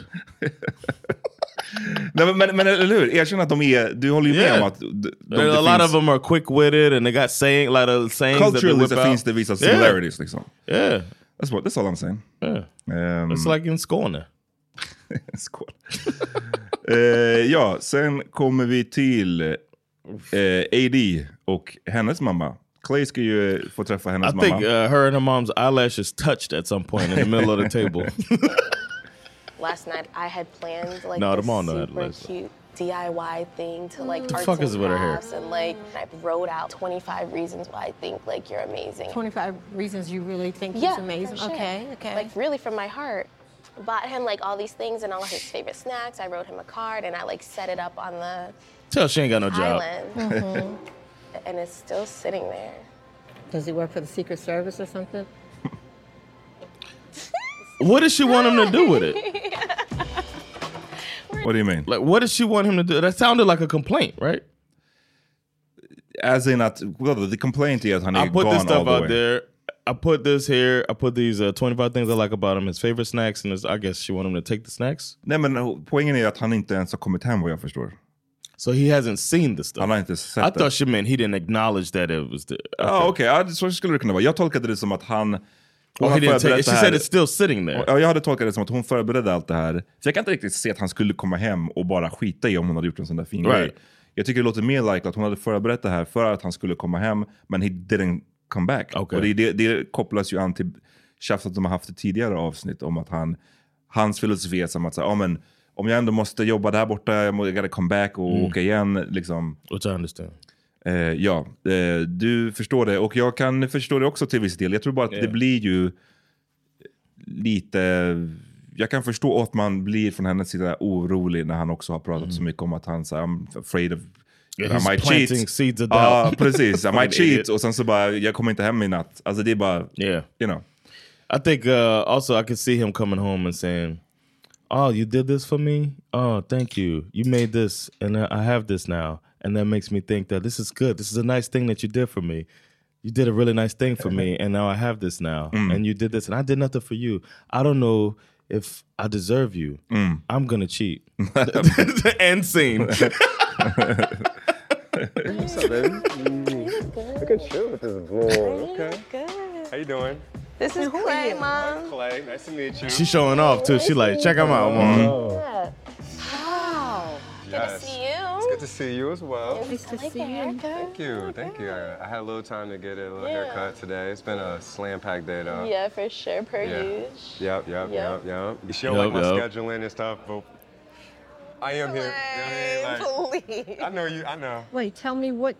[SPEAKER 1] Nej, men, men, men eller hur, erkänn att de är, du håller ju med
[SPEAKER 2] Yeah.
[SPEAKER 1] om att d- de,
[SPEAKER 2] a
[SPEAKER 1] det
[SPEAKER 2] lot
[SPEAKER 1] finns-
[SPEAKER 2] of them are quick witted and they got saying, a lot of sayings that they
[SPEAKER 1] culturally
[SPEAKER 2] whip
[SPEAKER 1] så
[SPEAKER 2] out.
[SPEAKER 1] finns det vissa
[SPEAKER 2] Yeah.
[SPEAKER 1] similarities liksom.
[SPEAKER 2] Yeah.
[SPEAKER 1] That's, what, that's all I'm saying.
[SPEAKER 2] Yeah.
[SPEAKER 1] Um, [laughs]
[SPEAKER 2] It's like in Skåne.
[SPEAKER 1] Skål. [laughs] eh, ja, sen kommer vi till eh, AD och hennes mamma. Clay ska ju eh, få träffa hennes
[SPEAKER 2] I
[SPEAKER 1] mamma.
[SPEAKER 2] think uh, her and her mom's eyelashes touched at some point in the middle of the
[SPEAKER 1] [laughs]
[SPEAKER 2] table.
[SPEAKER 11] Last night I had planned like
[SPEAKER 2] No,
[SPEAKER 11] this
[SPEAKER 2] them all know how to
[SPEAKER 11] super
[SPEAKER 2] listen.
[SPEAKER 11] cute DIY thing to like
[SPEAKER 2] The
[SPEAKER 11] arts
[SPEAKER 2] fuck
[SPEAKER 11] and
[SPEAKER 2] is with her hair?
[SPEAKER 11] crafts and like I wrote out 25 reasons why I think like you're amazing.
[SPEAKER 12] 25 reasons you really think
[SPEAKER 11] yeah,
[SPEAKER 12] he's amazing.
[SPEAKER 11] for sure.
[SPEAKER 12] Okay, okay.
[SPEAKER 11] Like really from my heart. Bought him like all these things and all of his favorite snacks. I wrote him a card and I like set it up on the
[SPEAKER 2] Tell she ain't got no job.
[SPEAKER 11] island,
[SPEAKER 12] Mhm.
[SPEAKER 2] Mm-hmm.
[SPEAKER 11] [laughs] and it's still sitting there.
[SPEAKER 12] Does he work for the Secret Service or something?
[SPEAKER 2] What does she want him to do with it?
[SPEAKER 11] [laughs]
[SPEAKER 1] What do you mean?
[SPEAKER 2] Like, what does she want him to do? That sounded like a complaint, right?
[SPEAKER 1] As in att, well, the complaint är att han är
[SPEAKER 2] I put
[SPEAKER 1] gone
[SPEAKER 2] this stuff
[SPEAKER 1] all the
[SPEAKER 2] out
[SPEAKER 1] way.
[SPEAKER 2] there. I put this here. I put these uh, 25 things I like about him, his favorite snacks, and his, I guess she want him to take the snacks.
[SPEAKER 1] Nej, men poängen är att han inte ens har kommit hem vad jag förstår.
[SPEAKER 2] So he hasn't seen the stuff.
[SPEAKER 1] Han har inte sett
[SPEAKER 2] I
[SPEAKER 1] det.
[SPEAKER 2] thought she meant he didn't acknowledge that it was there.
[SPEAKER 1] Ja, okej. Ja, så skulle det kunna vara. Jag tolkade det som att han...
[SPEAKER 2] he
[SPEAKER 1] han
[SPEAKER 2] didn't take
[SPEAKER 1] förberedde
[SPEAKER 2] it. She
[SPEAKER 1] det
[SPEAKER 2] said it's still sitting there.
[SPEAKER 1] Ja, jag hade tolkat det som att hon förberedde allt det här. För jag kan inte riktigt se att han skulle komma hem och bara skita i om hon hade gjort en sån där fin grej.
[SPEAKER 2] Right.
[SPEAKER 1] Jag tycker det låter mer likely att hon hade förberett det här för att han skulle komma hem, men he didn't come back. Och det, är det, det kopplas ju an till tjafset de har haft i tidigare avsnitt om att han, hans filosofi är som att säga, ah, men om jag ändå måste jobba där borta, jag må- jag gotta come back och
[SPEAKER 2] Mm.
[SPEAKER 1] åka igen. Liksom.
[SPEAKER 2] Which I understand.
[SPEAKER 1] Eh, ja, eh, du förstår det. Och jag kan förstå det också till viss del. Jag tror bara att det
[SPEAKER 2] Yeah.
[SPEAKER 1] blir ju lite... Jag kan förstå att man blir från hennes sida orolig när han också har pratat så mycket om att han säger I'm afraid of...
[SPEAKER 2] Mm. Yeah,
[SPEAKER 1] I
[SPEAKER 2] he's
[SPEAKER 1] might
[SPEAKER 2] planting
[SPEAKER 1] cheat.
[SPEAKER 2] seeds of
[SPEAKER 1] Ja, [laughs]
[SPEAKER 2] doubt. [laughs]
[SPEAKER 1] precis. I
[SPEAKER 2] Fucking
[SPEAKER 1] might cheat.
[SPEAKER 2] idiot.
[SPEAKER 1] Och sen så bara, jag kommer inte hem i natt. Alltså det är bara...
[SPEAKER 2] Yeah.
[SPEAKER 1] You know.
[SPEAKER 2] I think uh, also I could see him coming home and saying, "Oh, you did this for me. Oh, thank you. You made this, and I I have this now, and that makes me think that this is good. This is a nice thing that you did for me. You did a really nice thing for me, and now I have this now.
[SPEAKER 3] Mm.
[SPEAKER 2] And you did this, and I did nothing for you. I don't know if I deserve you. I'm gonna cheat. [laughs] End scene.
[SPEAKER 13] What's up,
[SPEAKER 11] [laughs]
[SPEAKER 13] baby? Look at you with this vlog. Okay. Good. How you doing?
[SPEAKER 11] This is Clay, mom.
[SPEAKER 13] Clay, nice to meet you.
[SPEAKER 2] She's showing off too. She like, check him out, mom.
[SPEAKER 11] Yeah. Wow.
[SPEAKER 13] Yes.
[SPEAKER 11] Good to see you. Oh,
[SPEAKER 13] It's good to see you as well.
[SPEAKER 11] Nice to see you.
[SPEAKER 13] Thank you, thank you. I, I had a little time to get a little haircut today. It's been a slam packed day though.
[SPEAKER 11] Yeah, for sure. Per
[SPEAKER 13] Yeah.
[SPEAKER 11] usual.
[SPEAKER 13] Yep, yep,
[SPEAKER 11] Yep.
[SPEAKER 13] yep, yep. You sure
[SPEAKER 2] Yep,
[SPEAKER 13] like my
[SPEAKER 2] yep.
[SPEAKER 13] scheduling and stuff, but I am here. You know what I mean? Like, I know you. I know.
[SPEAKER 12] Wait, tell me what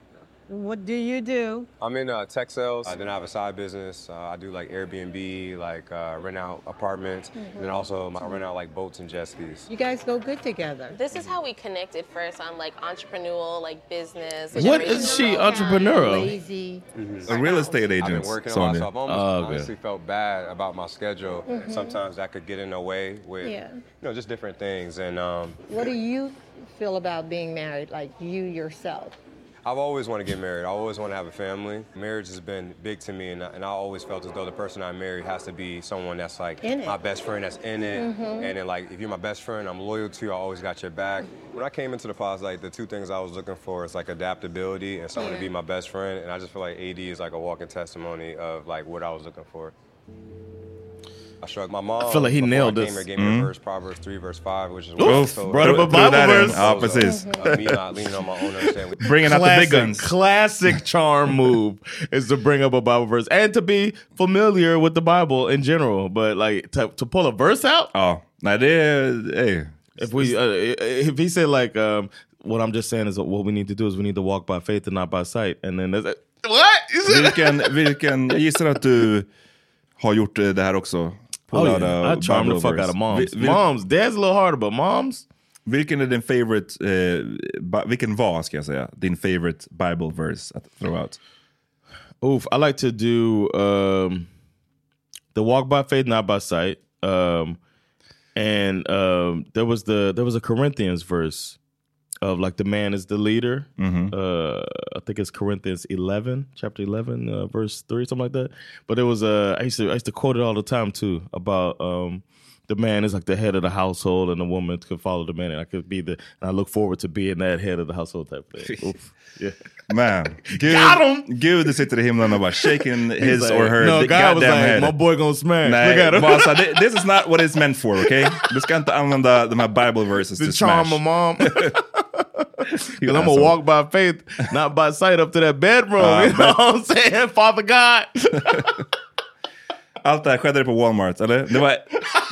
[SPEAKER 12] what do you do?
[SPEAKER 13] I'm in uh, tech sales. Uh, then I have a side business. Uh, I do like Airbnb, like uh, rent out apartments,
[SPEAKER 11] Mm-hmm.
[SPEAKER 13] and then
[SPEAKER 12] Mhm.
[SPEAKER 13] also I rent out like boats and jet skis.
[SPEAKER 12] You guys go good together.
[SPEAKER 11] This is how we connected first on like entrepreneurial, like business.
[SPEAKER 2] What is she entrepreneurial?
[SPEAKER 12] Lazy.
[SPEAKER 1] A real estate
[SPEAKER 13] I've been
[SPEAKER 1] agent,
[SPEAKER 13] working a lot,
[SPEAKER 1] Sonia.
[SPEAKER 13] so I've almost
[SPEAKER 1] Ah, okay.
[SPEAKER 13] honestly felt bad about my schedule.
[SPEAKER 12] Mhm.
[SPEAKER 13] Sometimes that could get in the way with,
[SPEAKER 12] Yeah.
[SPEAKER 13] you know, just different things. And um,
[SPEAKER 12] What do you feel about being married? Like you yourself?
[SPEAKER 13] I've always wanted to get married. I always want to have a family. Marriage has been big to me, and I, and I always felt as though the person I marry has to be someone that's like
[SPEAKER 12] In it.
[SPEAKER 13] my best friend that's in it.
[SPEAKER 12] Mhm.
[SPEAKER 13] And then, like, if you're my best friend, I'm loyal to you. I always got your back. When I came into the pods, like, the two things I was looking for is like adaptability and someone to be my best friend. And I just feel like AD is like a walking testimony of like what I was looking for. I shrugged my mom.
[SPEAKER 2] feel like he
[SPEAKER 13] before I
[SPEAKER 2] nailed
[SPEAKER 13] came
[SPEAKER 2] this.
[SPEAKER 13] here, gave me a
[SPEAKER 2] Mhm.
[SPEAKER 13] verse, Proverbs 3, verse 5, which is
[SPEAKER 2] Oof, brought up a Threw- threw Bible that in. verse.
[SPEAKER 13] I was,
[SPEAKER 2] Ah, precis.
[SPEAKER 13] uh, uh, me not leaning on my own
[SPEAKER 1] [laughs]
[SPEAKER 13] understanding.
[SPEAKER 2] Classic- Classic charm move is to bring up a Bible verse and to be familiar with the Bible in general. But like to, to pull a verse out,
[SPEAKER 1] oh, now there, hey.
[SPEAKER 2] If we, uh, if he said like, um, what I'm just saying is what we need to do is we need to walk by faith and not by sight, and then that's it. What? [laughs]
[SPEAKER 1] Vilken, vilken, jag gissar att du har gjort eh, det här också. På
[SPEAKER 2] Oh, yeah.
[SPEAKER 1] lördag,
[SPEAKER 2] I charmed
[SPEAKER 1] Bible
[SPEAKER 2] the fuck
[SPEAKER 1] verse.
[SPEAKER 2] out of moms.
[SPEAKER 1] Vi- vi-
[SPEAKER 2] Moms, dad's a little hard but moms.
[SPEAKER 1] Vilken är din favorite, eh, ba- vilken var ska jag säga, din favorite Bible verse att throw out?
[SPEAKER 2] Oof, I like to do um, the walk by faith, not by sight. Um, and um, there was the there was a Corinthians verse of like the man is the leader.
[SPEAKER 1] Mhm.
[SPEAKER 2] Uh, I think it's Corinthians eleven, chapter eleven, uh, verse three, something like that. But it was uh, I used to I used to quote it all the time too about um, the man is like the head of the household and the woman could follow the man and I could be the and I look forward to being that head of the household type of thing. Oof. Yeah.
[SPEAKER 1] Man, Gud, Gud sitter i himlen och bara shaking
[SPEAKER 2] [laughs] He's
[SPEAKER 1] his
[SPEAKER 2] like,
[SPEAKER 1] or her
[SPEAKER 2] no,
[SPEAKER 1] di-
[SPEAKER 2] God was
[SPEAKER 1] goddamn
[SPEAKER 2] like,
[SPEAKER 1] head.
[SPEAKER 2] my boy gonna smash.
[SPEAKER 1] Nej,
[SPEAKER 2] Look at him.
[SPEAKER 1] bara så här, "Thi-
[SPEAKER 2] [laughs]
[SPEAKER 1] this is not what it's meant for, okay? Du ska inte använda de här bible verses
[SPEAKER 2] The
[SPEAKER 1] to
[SPEAKER 2] charm
[SPEAKER 1] smash. [laughs]
[SPEAKER 2] of mom. Because I'm gonna
[SPEAKER 1] asshole.
[SPEAKER 2] Um, walk by
[SPEAKER 1] [laughs]
[SPEAKER 2] faith, not by sight, up to that bedroom.
[SPEAKER 1] Ah,
[SPEAKER 2] you know
[SPEAKER 1] bet.
[SPEAKER 2] what I'm saying, [laughs]
[SPEAKER 1] [laughs]
[SPEAKER 2] Father God?
[SPEAKER 1] Allt det här skedde på Walmart, eller? Det var,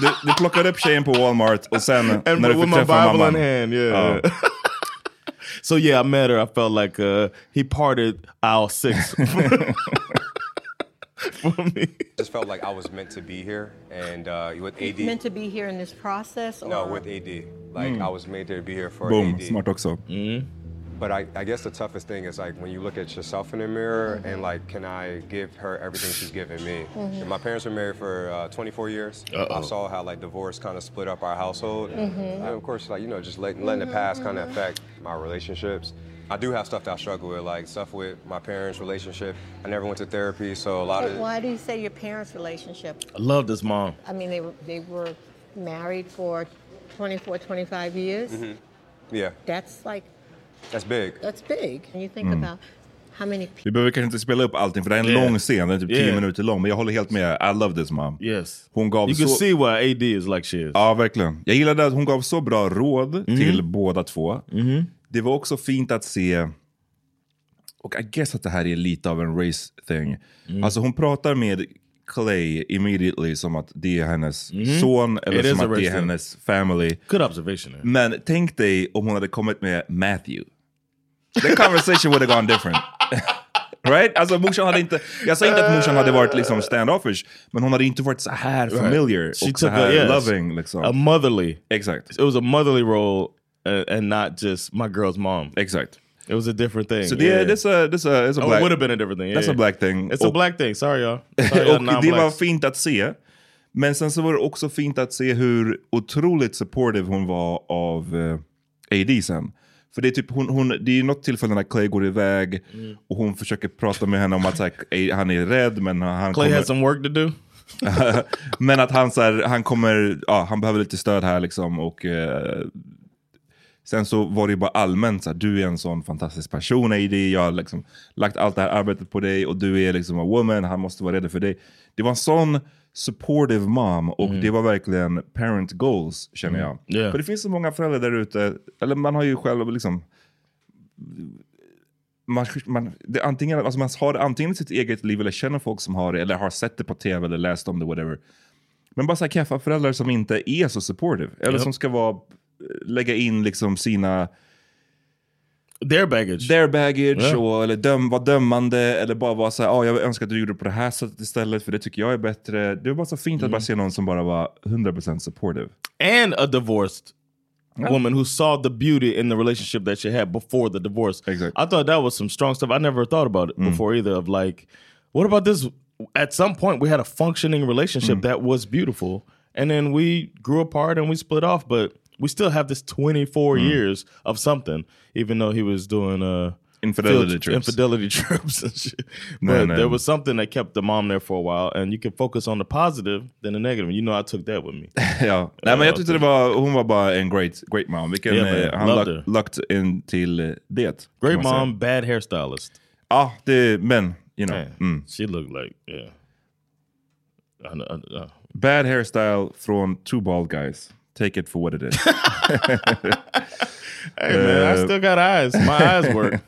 [SPEAKER 1] du, du plockade upp tjejen på Walmart och sen när du
[SPEAKER 2] with
[SPEAKER 1] fick
[SPEAKER 2] my
[SPEAKER 1] träffa
[SPEAKER 2] Bible
[SPEAKER 1] mamman.
[SPEAKER 2] in hand, yeah.
[SPEAKER 1] Oh.
[SPEAKER 2] [laughs] so yeah, I met her. I felt like uh, he parted
[SPEAKER 1] [laughs]
[SPEAKER 2] aisle six. [laughs]
[SPEAKER 13] just felt like I was meant to be here, and uh, with AD,
[SPEAKER 12] Meant to be here in this process? Or?
[SPEAKER 13] no, with AD, like
[SPEAKER 12] Hmm.
[SPEAKER 13] I was made to be here for
[SPEAKER 1] Boom,
[SPEAKER 13] AD.
[SPEAKER 1] smart också.
[SPEAKER 2] Mm.
[SPEAKER 13] But I, I guess the toughest thing is like when you look at yourself in the mirror and like, can I give her everything she's given me?
[SPEAKER 12] Mhm.
[SPEAKER 13] And my parents were married for uh, 24 years. I saw how like divorce kind of split up our household.
[SPEAKER 12] Mhm.
[SPEAKER 13] And of course, like you know, just letting, letting the past kind of affect my relationships. I do have stuff that I struggle with, like stuff with my parents' relationship. I never went to therapy, so a lot
[SPEAKER 12] But
[SPEAKER 13] of.
[SPEAKER 12] why do you say your parents' relationship?
[SPEAKER 2] I love this mom.
[SPEAKER 12] I mean, they were, they were married for 24, 25 years.
[SPEAKER 13] Mhm. Yeah,
[SPEAKER 12] That's like,
[SPEAKER 13] that's big.
[SPEAKER 12] that's big. And you think
[SPEAKER 1] Mm.
[SPEAKER 12] about how many people.
[SPEAKER 1] Vi behöver kanske inte spela upp allting för det är en
[SPEAKER 2] Yeah.
[SPEAKER 1] lång scen, den är typ 10
[SPEAKER 2] Yeah.
[SPEAKER 1] minuter lång. Men jag håller helt med, I love this mom.
[SPEAKER 2] Yes.
[SPEAKER 1] Hon gav
[SPEAKER 2] You can
[SPEAKER 1] så...
[SPEAKER 2] see why AD is like she is.
[SPEAKER 1] Ja, verkligen. Jag gillade att hon gav så bra råd
[SPEAKER 2] Mhm.
[SPEAKER 1] till båda två. Det var också fint att se, och I guess att det här är lite av en race thing.
[SPEAKER 2] Mm.
[SPEAKER 1] Alltså hon pratar med Clay immediately som att det är hennes son eller
[SPEAKER 2] Mhm. It is
[SPEAKER 1] som
[SPEAKER 2] a
[SPEAKER 1] att det
[SPEAKER 2] race
[SPEAKER 1] är
[SPEAKER 2] thing.
[SPEAKER 1] hennes family.
[SPEAKER 2] Good observation. there.
[SPEAKER 1] Men tänk dig om hon hade kommit med Matthew. The conversation would have gone different. [laughs] right? Alltså morsan hade inte, jag sa inte att morsan hade varit liksom standoffish, men hon hade inte varit så här
[SPEAKER 2] Right.
[SPEAKER 1] familiar
[SPEAKER 2] She
[SPEAKER 1] och så
[SPEAKER 2] took a-
[SPEAKER 1] här
[SPEAKER 2] yes.
[SPEAKER 1] loving. Liksom.
[SPEAKER 2] A motherly.
[SPEAKER 1] Exact.
[SPEAKER 2] It was a motherly role uh, and not just my girl's mom.
[SPEAKER 1] Exact.
[SPEAKER 2] It was a different thing.
[SPEAKER 1] Så det är- det är- det är- det är
[SPEAKER 2] Oh,
[SPEAKER 1] black-
[SPEAKER 2] it would have been a different thing.
[SPEAKER 1] That's
[SPEAKER 2] yeah.
[SPEAKER 1] a black thing. Oh.
[SPEAKER 2] It's a
[SPEAKER 1] Och-
[SPEAKER 2] black thing. Sorry
[SPEAKER 1] [laughs]
[SPEAKER 2] y'all. Sorry, y'all
[SPEAKER 1] och det var
[SPEAKER 2] non-blacks.
[SPEAKER 1] fint att se. Men sen så var det också fint att se hur otroligt supportive hon var av eh, AD sen. För det är typ hon, hon, det är ju något tillfälle när Clay går iväg
[SPEAKER 2] Mm.
[SPEAKER 1] och hon försöker prata med henne om att så här, eh, han är rädd men han
[SPEAKER 2] Clay
[SPEAKER 1] kommer...
[SPEAKER 2] has some work to do.
[SPEAKER 1] men att han, så här, han kommer, ja, han behöver lite stöd här liksom. Och, eh, sen så var det ju bara allmänt så här, du är en sån fantastisk person AD. Jag har liksom lagt allt det här arbetet på dig och du är liksom a woman, han måste vara redo för dig. Det var en sån supportive mom och det var verkligen parent goals känner jag.
[SPEAKER 2] Mm. Yeah.
[SPEAKER 1] För det finns så många föräldrar där ute, eller man har ju själv liksom man, man, det, är antingen, alltså man har det antingen i sitt eget liv eller känner folk som har det eller har sett det på tv eller läst om det, whatever. Men bara så här, kaffa föräldrar som inte är så supportive. Eller
[SPEAKER 2] Yep.
[SPEAKER 1] som ska vara, lägga in liksom sina...
[SPEAKER 2] Their baggage.
[SPEAKER 1] Their baggage,
[SPEAKER 2] Yeah.
[SPEAKER 1] och, eller döm, vara dömande, eller bara vara så här, ah, jag önskar att du gjorde det på det här sättet istället, för det tycker jag är bättre. Det var bara så fint att
[SPEAKER 2] Mm.
[SPEAKER 1] bara se någon som bara var 100% supportive.
[SPEAKER 2] and a divorced
[SPEAKER 1] Yeah.
[SPEAKER 2] woman who saw the beauty in the relationship that she had before the divorce. Exactly. I thought that was some strong stuff. I never thought about
[SPEAKER 1] Mm.
[SPEAKER 2] it before either. Of like, what about this? At some point, we had a functioning
[SPEAKER 1] Mm.
[SPEAKER 2] relationship that was beautiful, and then we grew apart and we split off. But we still have this twenty
[SPEAKER 1] Mm.
[SPEAKER 2] four years of something, even though he was doing uh
[SPEAKER 1] Infidelity
[SPEAKER 2] field-
[SPEAKER 1] trips.
[SPEAKER 2] infidelity [laughs] trips and shit.
[SPEAKER 1] No,
[SPEAKER 2] But
[SPEAKER 1] no.
[SPEAKER 2] there was something that kept the mom there for a while, and you could focus on the positive than the negative. You know, I took that [laughs] with me.
[SPEAKER 1] [laughs] ja. Nej, men jag tyckte det var, hon var bara en great, great mom. Vilken,
[SPEAKER 2] Yeah, man.
[SPEAKER 1] eh, han
[SPEAKER 2] Loved
[SPEAKER 1] luck- lucked in till eh, det. kan
[SPEAKER 2] Great
[SPEAKER 1] man säga.
[SPEAKER 2] mom, bad hairstylist.
[SPEAKER 1] Ja,
[SPEAKER 2] Ah,
[SPEAKER 1] det, men you know.
[SPEAKER 2] Yeah.
[SPEAKER 1] Mm.
[SPEAKER 2] She looked like, yeah. I know, I uh. know.
[SPEAKER 1] Bad hairstyle från two bald guys. Take it for what
[SPEAKER 2] [laughs]
[SPEAKER 1] it is.
[SPEAKER 2] Hey man, [laughs] I
[SPEAKER 1] Eh,
[SPEAKER 2] still got eyes. My eyes
[SPEAKER 1] [laughs]
[SPEAKER 2] work.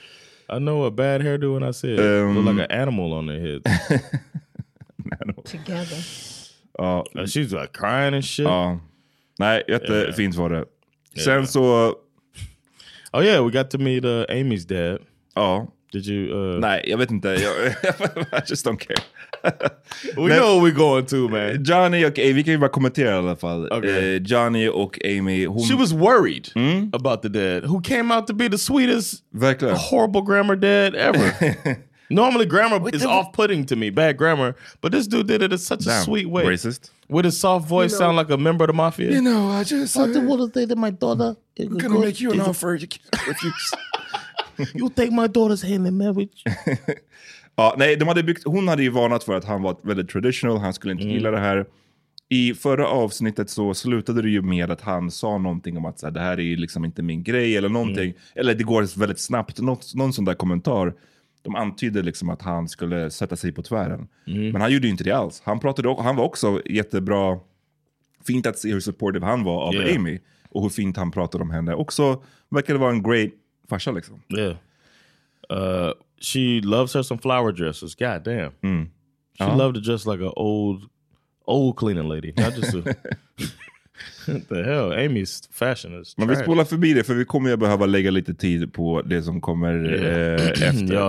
[SPEAKER 2] [laughs] I know a bad hairdo when I see it.
[SPEAKER 1] Um,
[SPEAKER 2] look like an animal on their head. [laughs]
[SPEAKER 12] Together.
[SPEAKER 2] Uh,
[SPEAKER 1] Ja.
[SPEAKER 2] Oh, she's like crying and shit.
[SPEAKER 1] Ja. Nej, jättefint var det. Sen så...
[SPEAKER 2] Oh yeah, we got to meet uh, Amy's dad.
[SPEAKER 1] Ja.
[SPEAKER 2] Did you... Uh,
[SPEAKER 1] Nej, jag
[SPEAKER 2] [laughs]
[SPEAKER 1] vet inte. Jag, [laughs] I just don't care.
[SPEAKER 2] We know where we're going to man.
[SPEAKER 1] Johnny och Amy, vi kan ju bara kommentera i alla fall.
[SPEAKER 2] Okay.
[SPEAKER 1] Eh, Johnny och Amy. Hon,
[SPEAKER 2] She was worried about the dad, who came out to be the sweetest, horrible grammar dad [laughs] ever. Normally, grammar is off-putting to me, bad grammar, but this dude did it in such a
[SPEAKER 1] Damn,
[SPEAKER 2] sweet way.
[SPEAKER 1] racist.
[SPEAKER 2] With his soft voice,
[SPEAKER 14] You know-
[SPEAKER 2] sound like a member of the mafia.
[SPEAKER 14] You know, I just I just want to say that my daughter is
[SPEAKER 2] uh, gonna make you an offer
[SPEAKER 14] You take my daughter's hand in marriage.
[SPEAKER 1] Ja, nej, de hade byggt, hon hade ju varnat för att han var väldigt traditional, han skulle inte gilla det här. I förra avsnittet så slutade det ju med att han sa någonting om att så här, det här är ju liksom inte min grej eller någonting. Eller det går väldigt snabbt, något, någon sån där kommentar. De antydde liksom att han skulle sätta sig på tvären. Men han gjorde ju inte det alls. Han, pratade, o- han var också jättebra, fint att se hur supportive han var av
[SPEAKER 2] Yeah.
[SPEAKER 1] Amy. Och hur fint han pratade om henne. Också verkade vara en great farsa liksom.
[SPEAKER 2] Yeah. Uh, she loves her some flower dresses. God damn. She
[SPEAKER 1] Uh-huh.
[SPEAKER 2] loved to dress like an old, old cleaning lady. Not
[SPEAKER 1] [laughs]
[SPEAKER 2] just a. What the hell? Amy's fashion is.
[SPEAKER 1] Men vi
[SPEAKER 2] trash.
[SPEAKER 1] spolar förbi det för vi kommer ju behöva lägga lite tid på det som kommer
[SPEAKER 15] [clears throat]
[SPEAKER 1] [clears throat] eh, efter.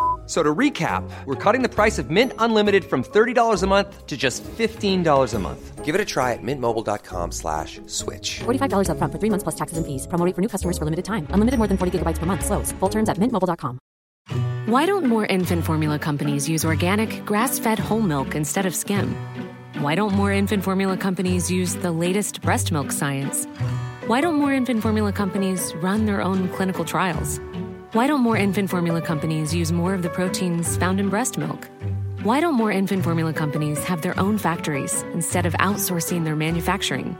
[SPEAKER 15] a-" So to recap, we're cutting the price of Mint Unlimited from $30 a month to just $15 a month. Give it a try at mintmobile.com slash switch.
[SPEAKER 16] $45 upfront for three months plus taxes and fees. Promoting for new customers for limited time. Unlimited more than 40 gigabytes per month. Slows. Full terms at mintmobile.com.
[SPEAKER 17] Why don't more infant formula companies use organic, grass fed whole milk instead of skim? Why don't more infant formula companies use the latest breast milk science? Why don't more infant formula companies run their own clinical trials? Why don't more infant formula companies use more of the proteins found in breast milk? Why don't more infant formula companies have their own factories instead of outsourcing their manufacturing?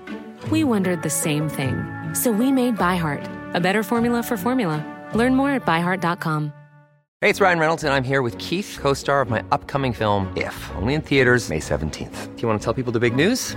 [SPEAKER 17] We wondered the same thing. So we made ByHeart, a better formula for formula. Learn more at byheart.com.
[SPEAKER 15] Hey, it's Ryan Reynolds, and I'm here with Keith, co star of my upcoming film, If, only in theaters, May 17th. Do you want to tell people the big news?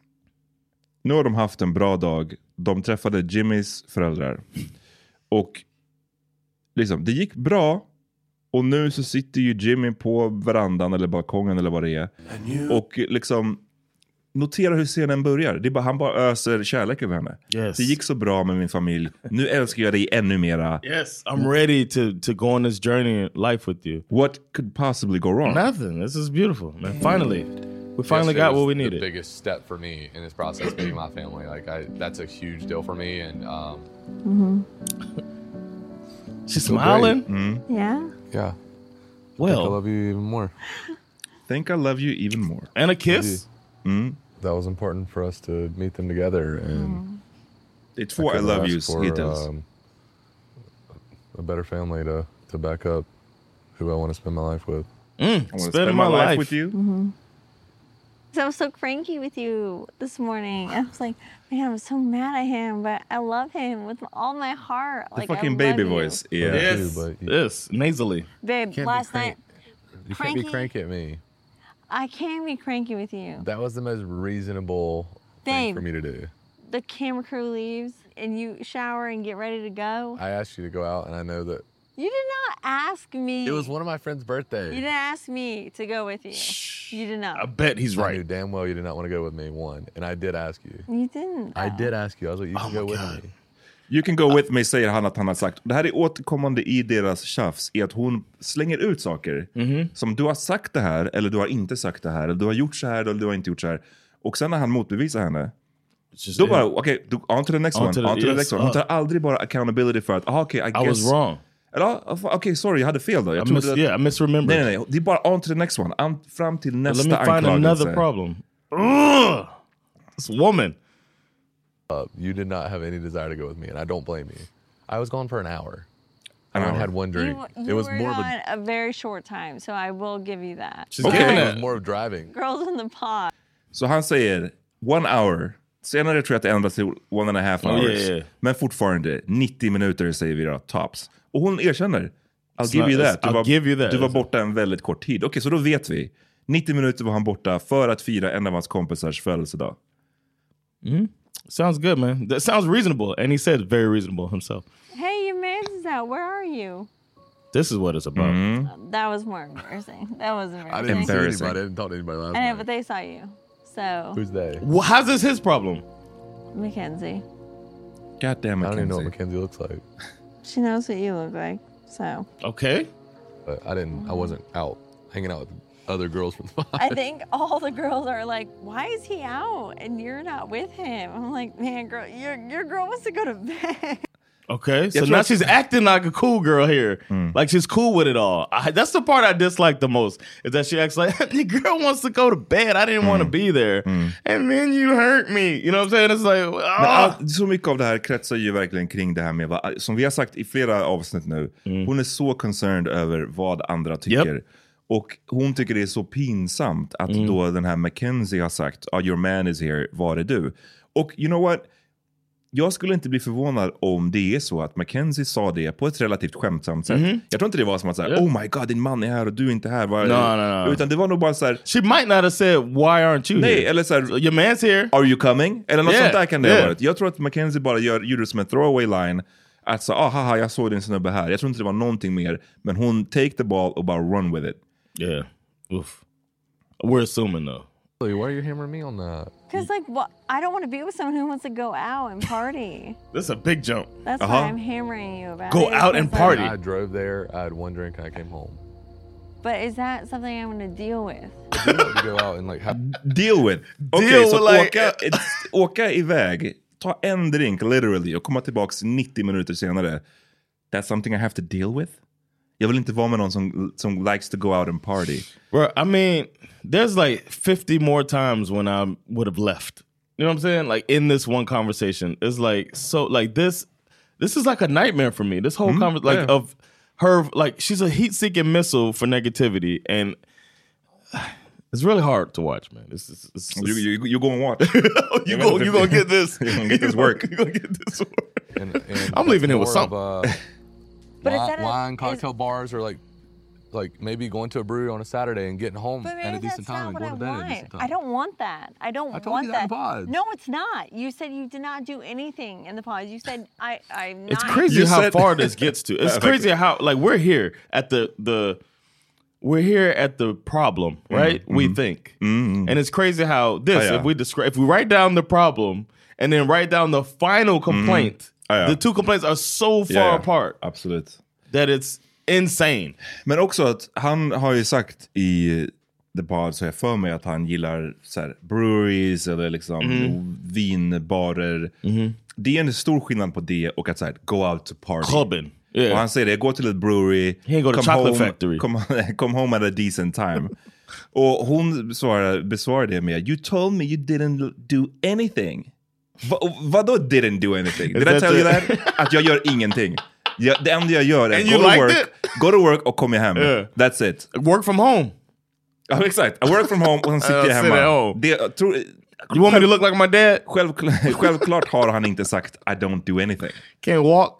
[SPEAKER 1] Nu har de haft en bra dag. De träffade Jimmys föräldrar. Och liksom, det gick bra. Och nu så sitter ju Jimmy på verandan eller balkongen eller vad det är. Och liksom, notera hur scenen börjar. Det är bara, han bara öser kärlek över henne.
[SPEAKER 2] Yes.
[SPEAKER 1] Det gick så bra med min familj. Nu älskar jag dig ännu mera.
[SPEAKER 2] Yes, I'm ready to to go on this journey in life with you.
[SPEAKER 1] What could possibly go wrong?
[SPEAKER 2] Nothing. This is beautiful, man. Finally, we finally
[SPEAKER 6] Yesterday
[SPEAKER 2] got
[SPEAKER 6] was
[SPEAKER 2] what we
[SPEAKER 6] The
[SPEAKER 2] needed.
[SPEAKER 6] biggest step for me in this process being my family. Like I, that's a huge deal for me, and um,
[SPEAKER 1] Mm-hmm.
[SPEAKER 2] She's
[SPEAKER 6] feel great.
[SPEAKER 2] smiling.
[SPEAKER 1] Mm-hmm.
[SPEAKER 8] Yeah.
[SPEAKER 6] Yeah.
[SPEAKER 2] Well,
[SPEAKER 6] I love you even more.
[SPEAKER 1] Think I love you even more. Mm-hmm.
[SPEAKER 2] And a kiss.
[SPEAKER 6] That was important for us to meet them together, and
[SPEAKER 1] it's for I love yous hittills.
[SPEAKER 6] um, a better family to to back up who I want to spend my life with.
[SPEAKER 2] Mm,
[SPEAKER 6] I
[SPEAKER 2] spend spend my my life life. with
[SPEAKER 1] you.
[SPEAKER 8] So I was so cranky with you this morning. I was like, man, I'm so mad at him, but I love him with all my heart.
[SPEAKER 2] The
[SPEAKER 8] like I
[SPEAKER 2] fucking
[SPEAKER 8] love
[SPEAKER 2] baby
[SPEAKER 8] you.
[SPEAKER 2] voice.
[SPEAKER 6] Yeah.
[SPEAKER 2] Yes. Yes. Nasally.
[SPEAKER 8] Babe, last night
[SPEAKER 6] You
[SPEAKER 8] Cranky.
[SPEAKER 6] can't be cranky at me.
[SPEAKER 8] I can be cranky with you.
[SPEAKER 6] That was the most reasonable thing
[SPEAKER 8] Babe,
[SPEAKER 6] for me to do.
[SPEAKER 8] the camera crew leaves and you shower and get ready to go.
[SPEAKER 6] I asked you to go out, and I know that
[SPEAKER 8] You did not ask me.
[SPEAKER 6] it was one of my friend's
[SPEAKER 8] You
[SPEAKER 6] birthdays.
[SPEAKER 8] didn't ask me to go with you. You did not.
[SPEAKER 2] bet he's
[SPEAKER 6] right. I knew damn well you did not want to go with me. One, and I did ask you.
[SPEAKER 8] You didn't.
[SPEAKER 6] I did ask you. I was like, you
[SPEAKER 2] Oh
[SPEAKER 6] can go with me.
[SPEAKER 1] You can go with me säger han att han har sagt. Det här är återkommande i deras tjafs. Är att hon slänger ut saker.
[SPEAKER 2] Mm-hmm.
[SPEAKER 1] Som du har sagt det här eller du har inte sagt det här. Eller du har gjort så här eller du har inte gjort så här. Och sen när han motbevisar henne. Då bara okej, okay, on to the next
[SPEAKER 2] On
[SPEAKER 1] one.
[SPEAKER 2] to the-
[SPEAKER 1] on to the
[SPEAKER 2] yes,
[SPEAKER 1] next one. Hon
[SPEAKER 2] uh.
[SPEAKER 1] tar aldrig bara accountability för att ah, okej, I
[SPEAKER 2] I
[SPEAKER 1] guess.
[SPEAKER 2] was wrong.
[SPEAKER 1] Eller ah, okej, sorry jag hade fel då. Jag
[SPEAKER 2] I
[SPEAKER 1] trodde
[SPEAKER 2] mis-
[SPEAKER 1] att-
[SPEAKER 2] yeah, I misremembered.
[SPEAKER 1] Nej, nej, nej. Det är bara on to the next one. An- fram till
[SPEAKER 2] Now
[SPEAKER 1] nästa
[SPEAKER 2] let me find
[SPEAKER 1] anklagelse.
[SPEAKER 2] another problem. Ugh! This woman.
[SPEAKER 6] Uh, you did not have any desire to go with me, and I don't blame you. I was gone for an hour. I
[SPEAKER 1] An
[SPEAKER 6] only
[SPEAKER 1] hour.
[SPEAKER 6] had one drink.
[SPEAKER 8] You, you
[SPEAKER 6] it was
[SPEAKER 8] were
[SPEAKER 6] more of a,
[SPEAKER 8] gone a very short time, so I will give you that.
[SPEAKER 6] it was more of driving.
[SPEAKER 8] Girls in the pod.
[SPEAKER 1] Så han säger one hour. Senare tror jag att det ändras till one and a half
[SPEAKER 2] Oh,
[SPEAKER 1] hours.
[SPEAKER 2] yeah, yeah.
[SPEAKER 1] Men fortfarande 90 minuter säger vi då, tops. Och hon erkänner. I'll
[SPEAKER 2] It's
[SPEAKER 1] give,
[SPEAKER 2] not-
[SPEAKER 1] you that.
[SPEAKER 2] it's- I'll give you that.
[SPEAKER 1] du var borta en väldigt kort tid. Okej, så då vet vi. 90 minuter var han borta för att fira en av hans kompisars födelsedag.
[SPEAKER 2] Mhm. Sounds good, man. That sounds reasonable. And he said very reasonable himself.
[SPEAKER 8] Hey, your man's is out. Where are you?
[SPEAKER 2] This is what it's about.
[SPEAKER 1] Mm-hmm.
[SPEAKER 8] That was more embarrassing. That was embarrassing.
[SPEAKER 6] I didn't see anybody. I didn't talk to anybody last
[SPEAKER 8] I know,
[SPEAKER 6] night.
[SPEAKER 8] but they saw you. So
[SPEAKER 2] Who's they? Well, how's this his problem?
[SPEAKER 8] Mackenzie,
[SPEAKER 1] God damn it.
[SPEAKER 2] I don't even know what
[SPEAKER 18] Mackenzie looks like.
[SPEAKER 8] she knows what you look like.
[SPEAKER 18] [laughs]
[SPEAKER 8] So
[SPEAKER 2] Okay.
[SPEAKER 18] But I didn't. I wasn't out hanging out with other girls from [laughs] the
[SPEAKER 8] I think all the girls are like, "Why is he out and you're not with him?" I'm like, "Man, girl, your your girl wants to go to bed." [laughs]
[SPEAKER 2] Okay, so
[SPEAKER 8] That's
[SPEAKER 2] now
[SPEAKER 8] what-
[SPEAKER 2] she's acting like a cool girl here, like she's cool with it all. I, that's the part I dislike the most is that she acts like [laughs] the girl wants to go to bed. I didn't want to be there, and then you hurt me. You know what I'm saying? It's like,
[SPEAKER 1] Men
[SPEAKER 2] ah.
[SPEAKER 1] all, så mycket av det här kretsar ju verkligen kring det här med, vad- som vi har sagt i flera avsnitt nu, hon är så concerned över vad andra tycker. Och hon tycker det är så pinsamt att då den här Mackenzie har sagt, ah, your man is here, var är du? Och you know what? Jag skulle inte bli förvånad om det är så att Mackenzie sa det på ett relativt skämtsamt sätt.
[SPEAKER 2] Mhm.
[SPEAKER 1] Jag tror inte det var som att säga,
[SPEAKER 2] Yeah.
[SPEAKER 1] oh my god, din man är här och du är inte här. Var är
[SPEAKER 2] No,
[SPEAKER 1] du?"
[SPEAKER 2] no, no.
[SPEAKER 1] Utan det var nog bara så här,
[SPEAKER 2] She might not have said why aren't you
[SPEAKER 1] Nej,
[SPEAKER 2] here?
[SPEAKER 1] eller så här,
[SPEAKER 2] your man's here.
[SPEAKER 1] Are you coming? Eller något
[SPEAKER 2] Yeah,
[SPEAKER 1] sånt där kan det ha
[SPEAKER 2] yeah.
[SPEAKER 1] varit. Jag tror att Mackenzie bara gör, gjorde det som en throwaway line. Att så, ah, haha, jag såg din snubbe här. Jag tror inte det var någonting mer. Men hon take the ball och bara run with it.
[SPEAKER 2] Yeah. Oof. We're assuming though.
[SPEAKER 18] Why are you hammering me on that?
[SPEAKER 8] Because like, what? I don't want to be with someone who wants to go out and party.
[SPEAKER 2] That's a big jump.
[SPEAKER 8] That's
[SPEAKER 18] Uh-huh.
[SPEAKER 8] what I'm hammering you about. it, because,
[SPEAKER 18] I
[SPEAKER 8] like,
[SPEAKER 18] drove there. I had one drink and I came home. [laughs]
[SPEAKER 8] But is that something I'm going to deal with?
[SPEAKER 18] I like to go out and like have [laughs]
[SPEAKER 1] Deal with. Okej,
[SPEAKER 18] Deal
[SPEAKER 1] så
[SPEAKER 18] with, like-
[SPEAKER 1] åka, it's- åka iväg, ta en drink literally och komma tillbaks 90 minuter senare. That's something I have to deal with? Jag vill inte vara med någon som, som likes to go out and party.
[SPEAKER 2] Bro, I mean, there's like 50 more times when I would have left. You know what I'm saying? Like in this one conversation, it's like so like this. This is like a nightmare for me. This whole
[SPEAKER 18] Mhm,
[SPEAKER 1] Mm-hmm.
[SPEAKER 2] conversation, like
[SPEAKER 18] yeah.
[SPEAKER 2] of her, like she's a heat-seeking missile for negativity, and [sighs] it's really hard to watch, man. It's, it's, it's,
[SPEAKER 1] You- you- you gonna watch?
[SPEAKER 2] [laughs] you go, you gonna
[SPEAKER 1] [laughs]
[SPEAKER 2] get this.
[SPEAKER 1] You're gonna get this work.
[SPEAKER 2] [laughs] You gonna get this work.
[SPEAKER 1] [laughs]
[SPEAKER 18] And, and
[SPEAKER 2] I'm leaving
[SPEAKER 18] that's
[SPEAKER 2] it with
[SPEAKER 18] more of,
[SPEAKER 2] something.
[SPEAKER 18] uh,
[SPEAKER 2] [laughs]
[SPEAKER 8] But is
[SPEAKER 18] wi-
[SPEAKER 8] that a-
[SPEAKER 18] wine cocktail bars or like, like maybe going to a brewery on a Saturday and getting home
[SPEAKER 8] But
[SPEAKER 18] at
[SPEAKER 8] maybe
[SPEAKER 18] a decent
[SPEAKER 8] that's not
[SPEAKER 18] time and
[SPEAKER 8] what I
[SPEAKER 18] going to bed at a
[SPEAKER 8] want.
[SPEAKER 18] decent time.
[SPEAKER 8] I don't want that. I don't
[SPEAKER 18] I told
[SPEAKER 8] want
[SPEAKER 18] you that in pods.
[SPEAKER 8] No, it's not. You said you did not do anything in the pods. You said I. I'm not.
[SPEAKER 2] It's crazy
[SPEAKER 1] You
[SPEAKER 2] how
[SPEAKER 1] said-
[SPEAKER 2] far this gets to.
[SPEAKER 1] [laughs]
[SPEAKER 2] It's
[SPEAKER 1] Like-
[SPEAKER 2] crazy how like we're here at the the we're here at the problem, right? We think, and it's crazy how this
[SPEAKER 1] Mm-hmm. Oh, yeah.
[SPEAKER 2] if we describe if we write down the problem and then write down the final complaint,
[SPEAKER 1] Oh, yeah.
[SPEAKER 2] the two complaints are so far
[SPEAKER 1] Yeah, yeah.
[SPEAKER 2] apart.
[SPEAKER 1] Absolut.
[SPEAKER 2] That it's insane.
[SPEAKER 1] Men också att han har ju sagt i The Bard, så jag för mig att han gillar så här, breweries eller liksom
[SPEAKER 2] Mhm.
[SPEAKER 1] vinbarer. Det är en stor skillnad på det och att så här, go out to party.
[SPEAKER 2] Clubbing. Yeah.
[SPEAKER 1] Och han säger det, gå till ett brewery,
[SPEAKER 2] He ain't go to chocolate factory.
[SPEAKER 1] Come, [laughs] come home at a decent time. och hon svarar, besvarar det med, you told me you didn't do anything. Va, vadå didn't do anything? Did
[SPEAKER 2] Is
[SPEAKER 1] I
[SPEAKER 2] that
[SPEAKER 1] tell you
[SPEAKER 2] [laughs] the-
[SPEAKER 1] that? Att jag gör ingenting. Jag, det enda jag gör är
[SPEAKER 2] And
[SPEAKER 1] gå
[SPEAKER 2] you
[SPEAKER 1] to,
[SPEAKER 2] liked
[SPEAKER 1] work,
[SPEAKER 2] it?
[SPEAKER 1] go to work och kom hem.
[SPEAKER 2] Yeah.
[SPEAKER 1] That's it.
[SPEAKER 2] Work from home.
[SPEAKER 1] Ja, exakt. I work from home och sen sitter
[SPEAKER 2] [laughs] Uh,
[SPEAKER 1] jag
[SPEAKER 2] sit at
[SPEAKER 1] hemma.
[SPEAKER 2] home.
[SPEAKER 1] Det, jag tror,
[SPEAKER 2] You want me to look like my dad?
[SPEAKER 1] Självkl- [laughs] självklart har han inte sagt I don't do anything.
[SPEAKER 2] Can't walk.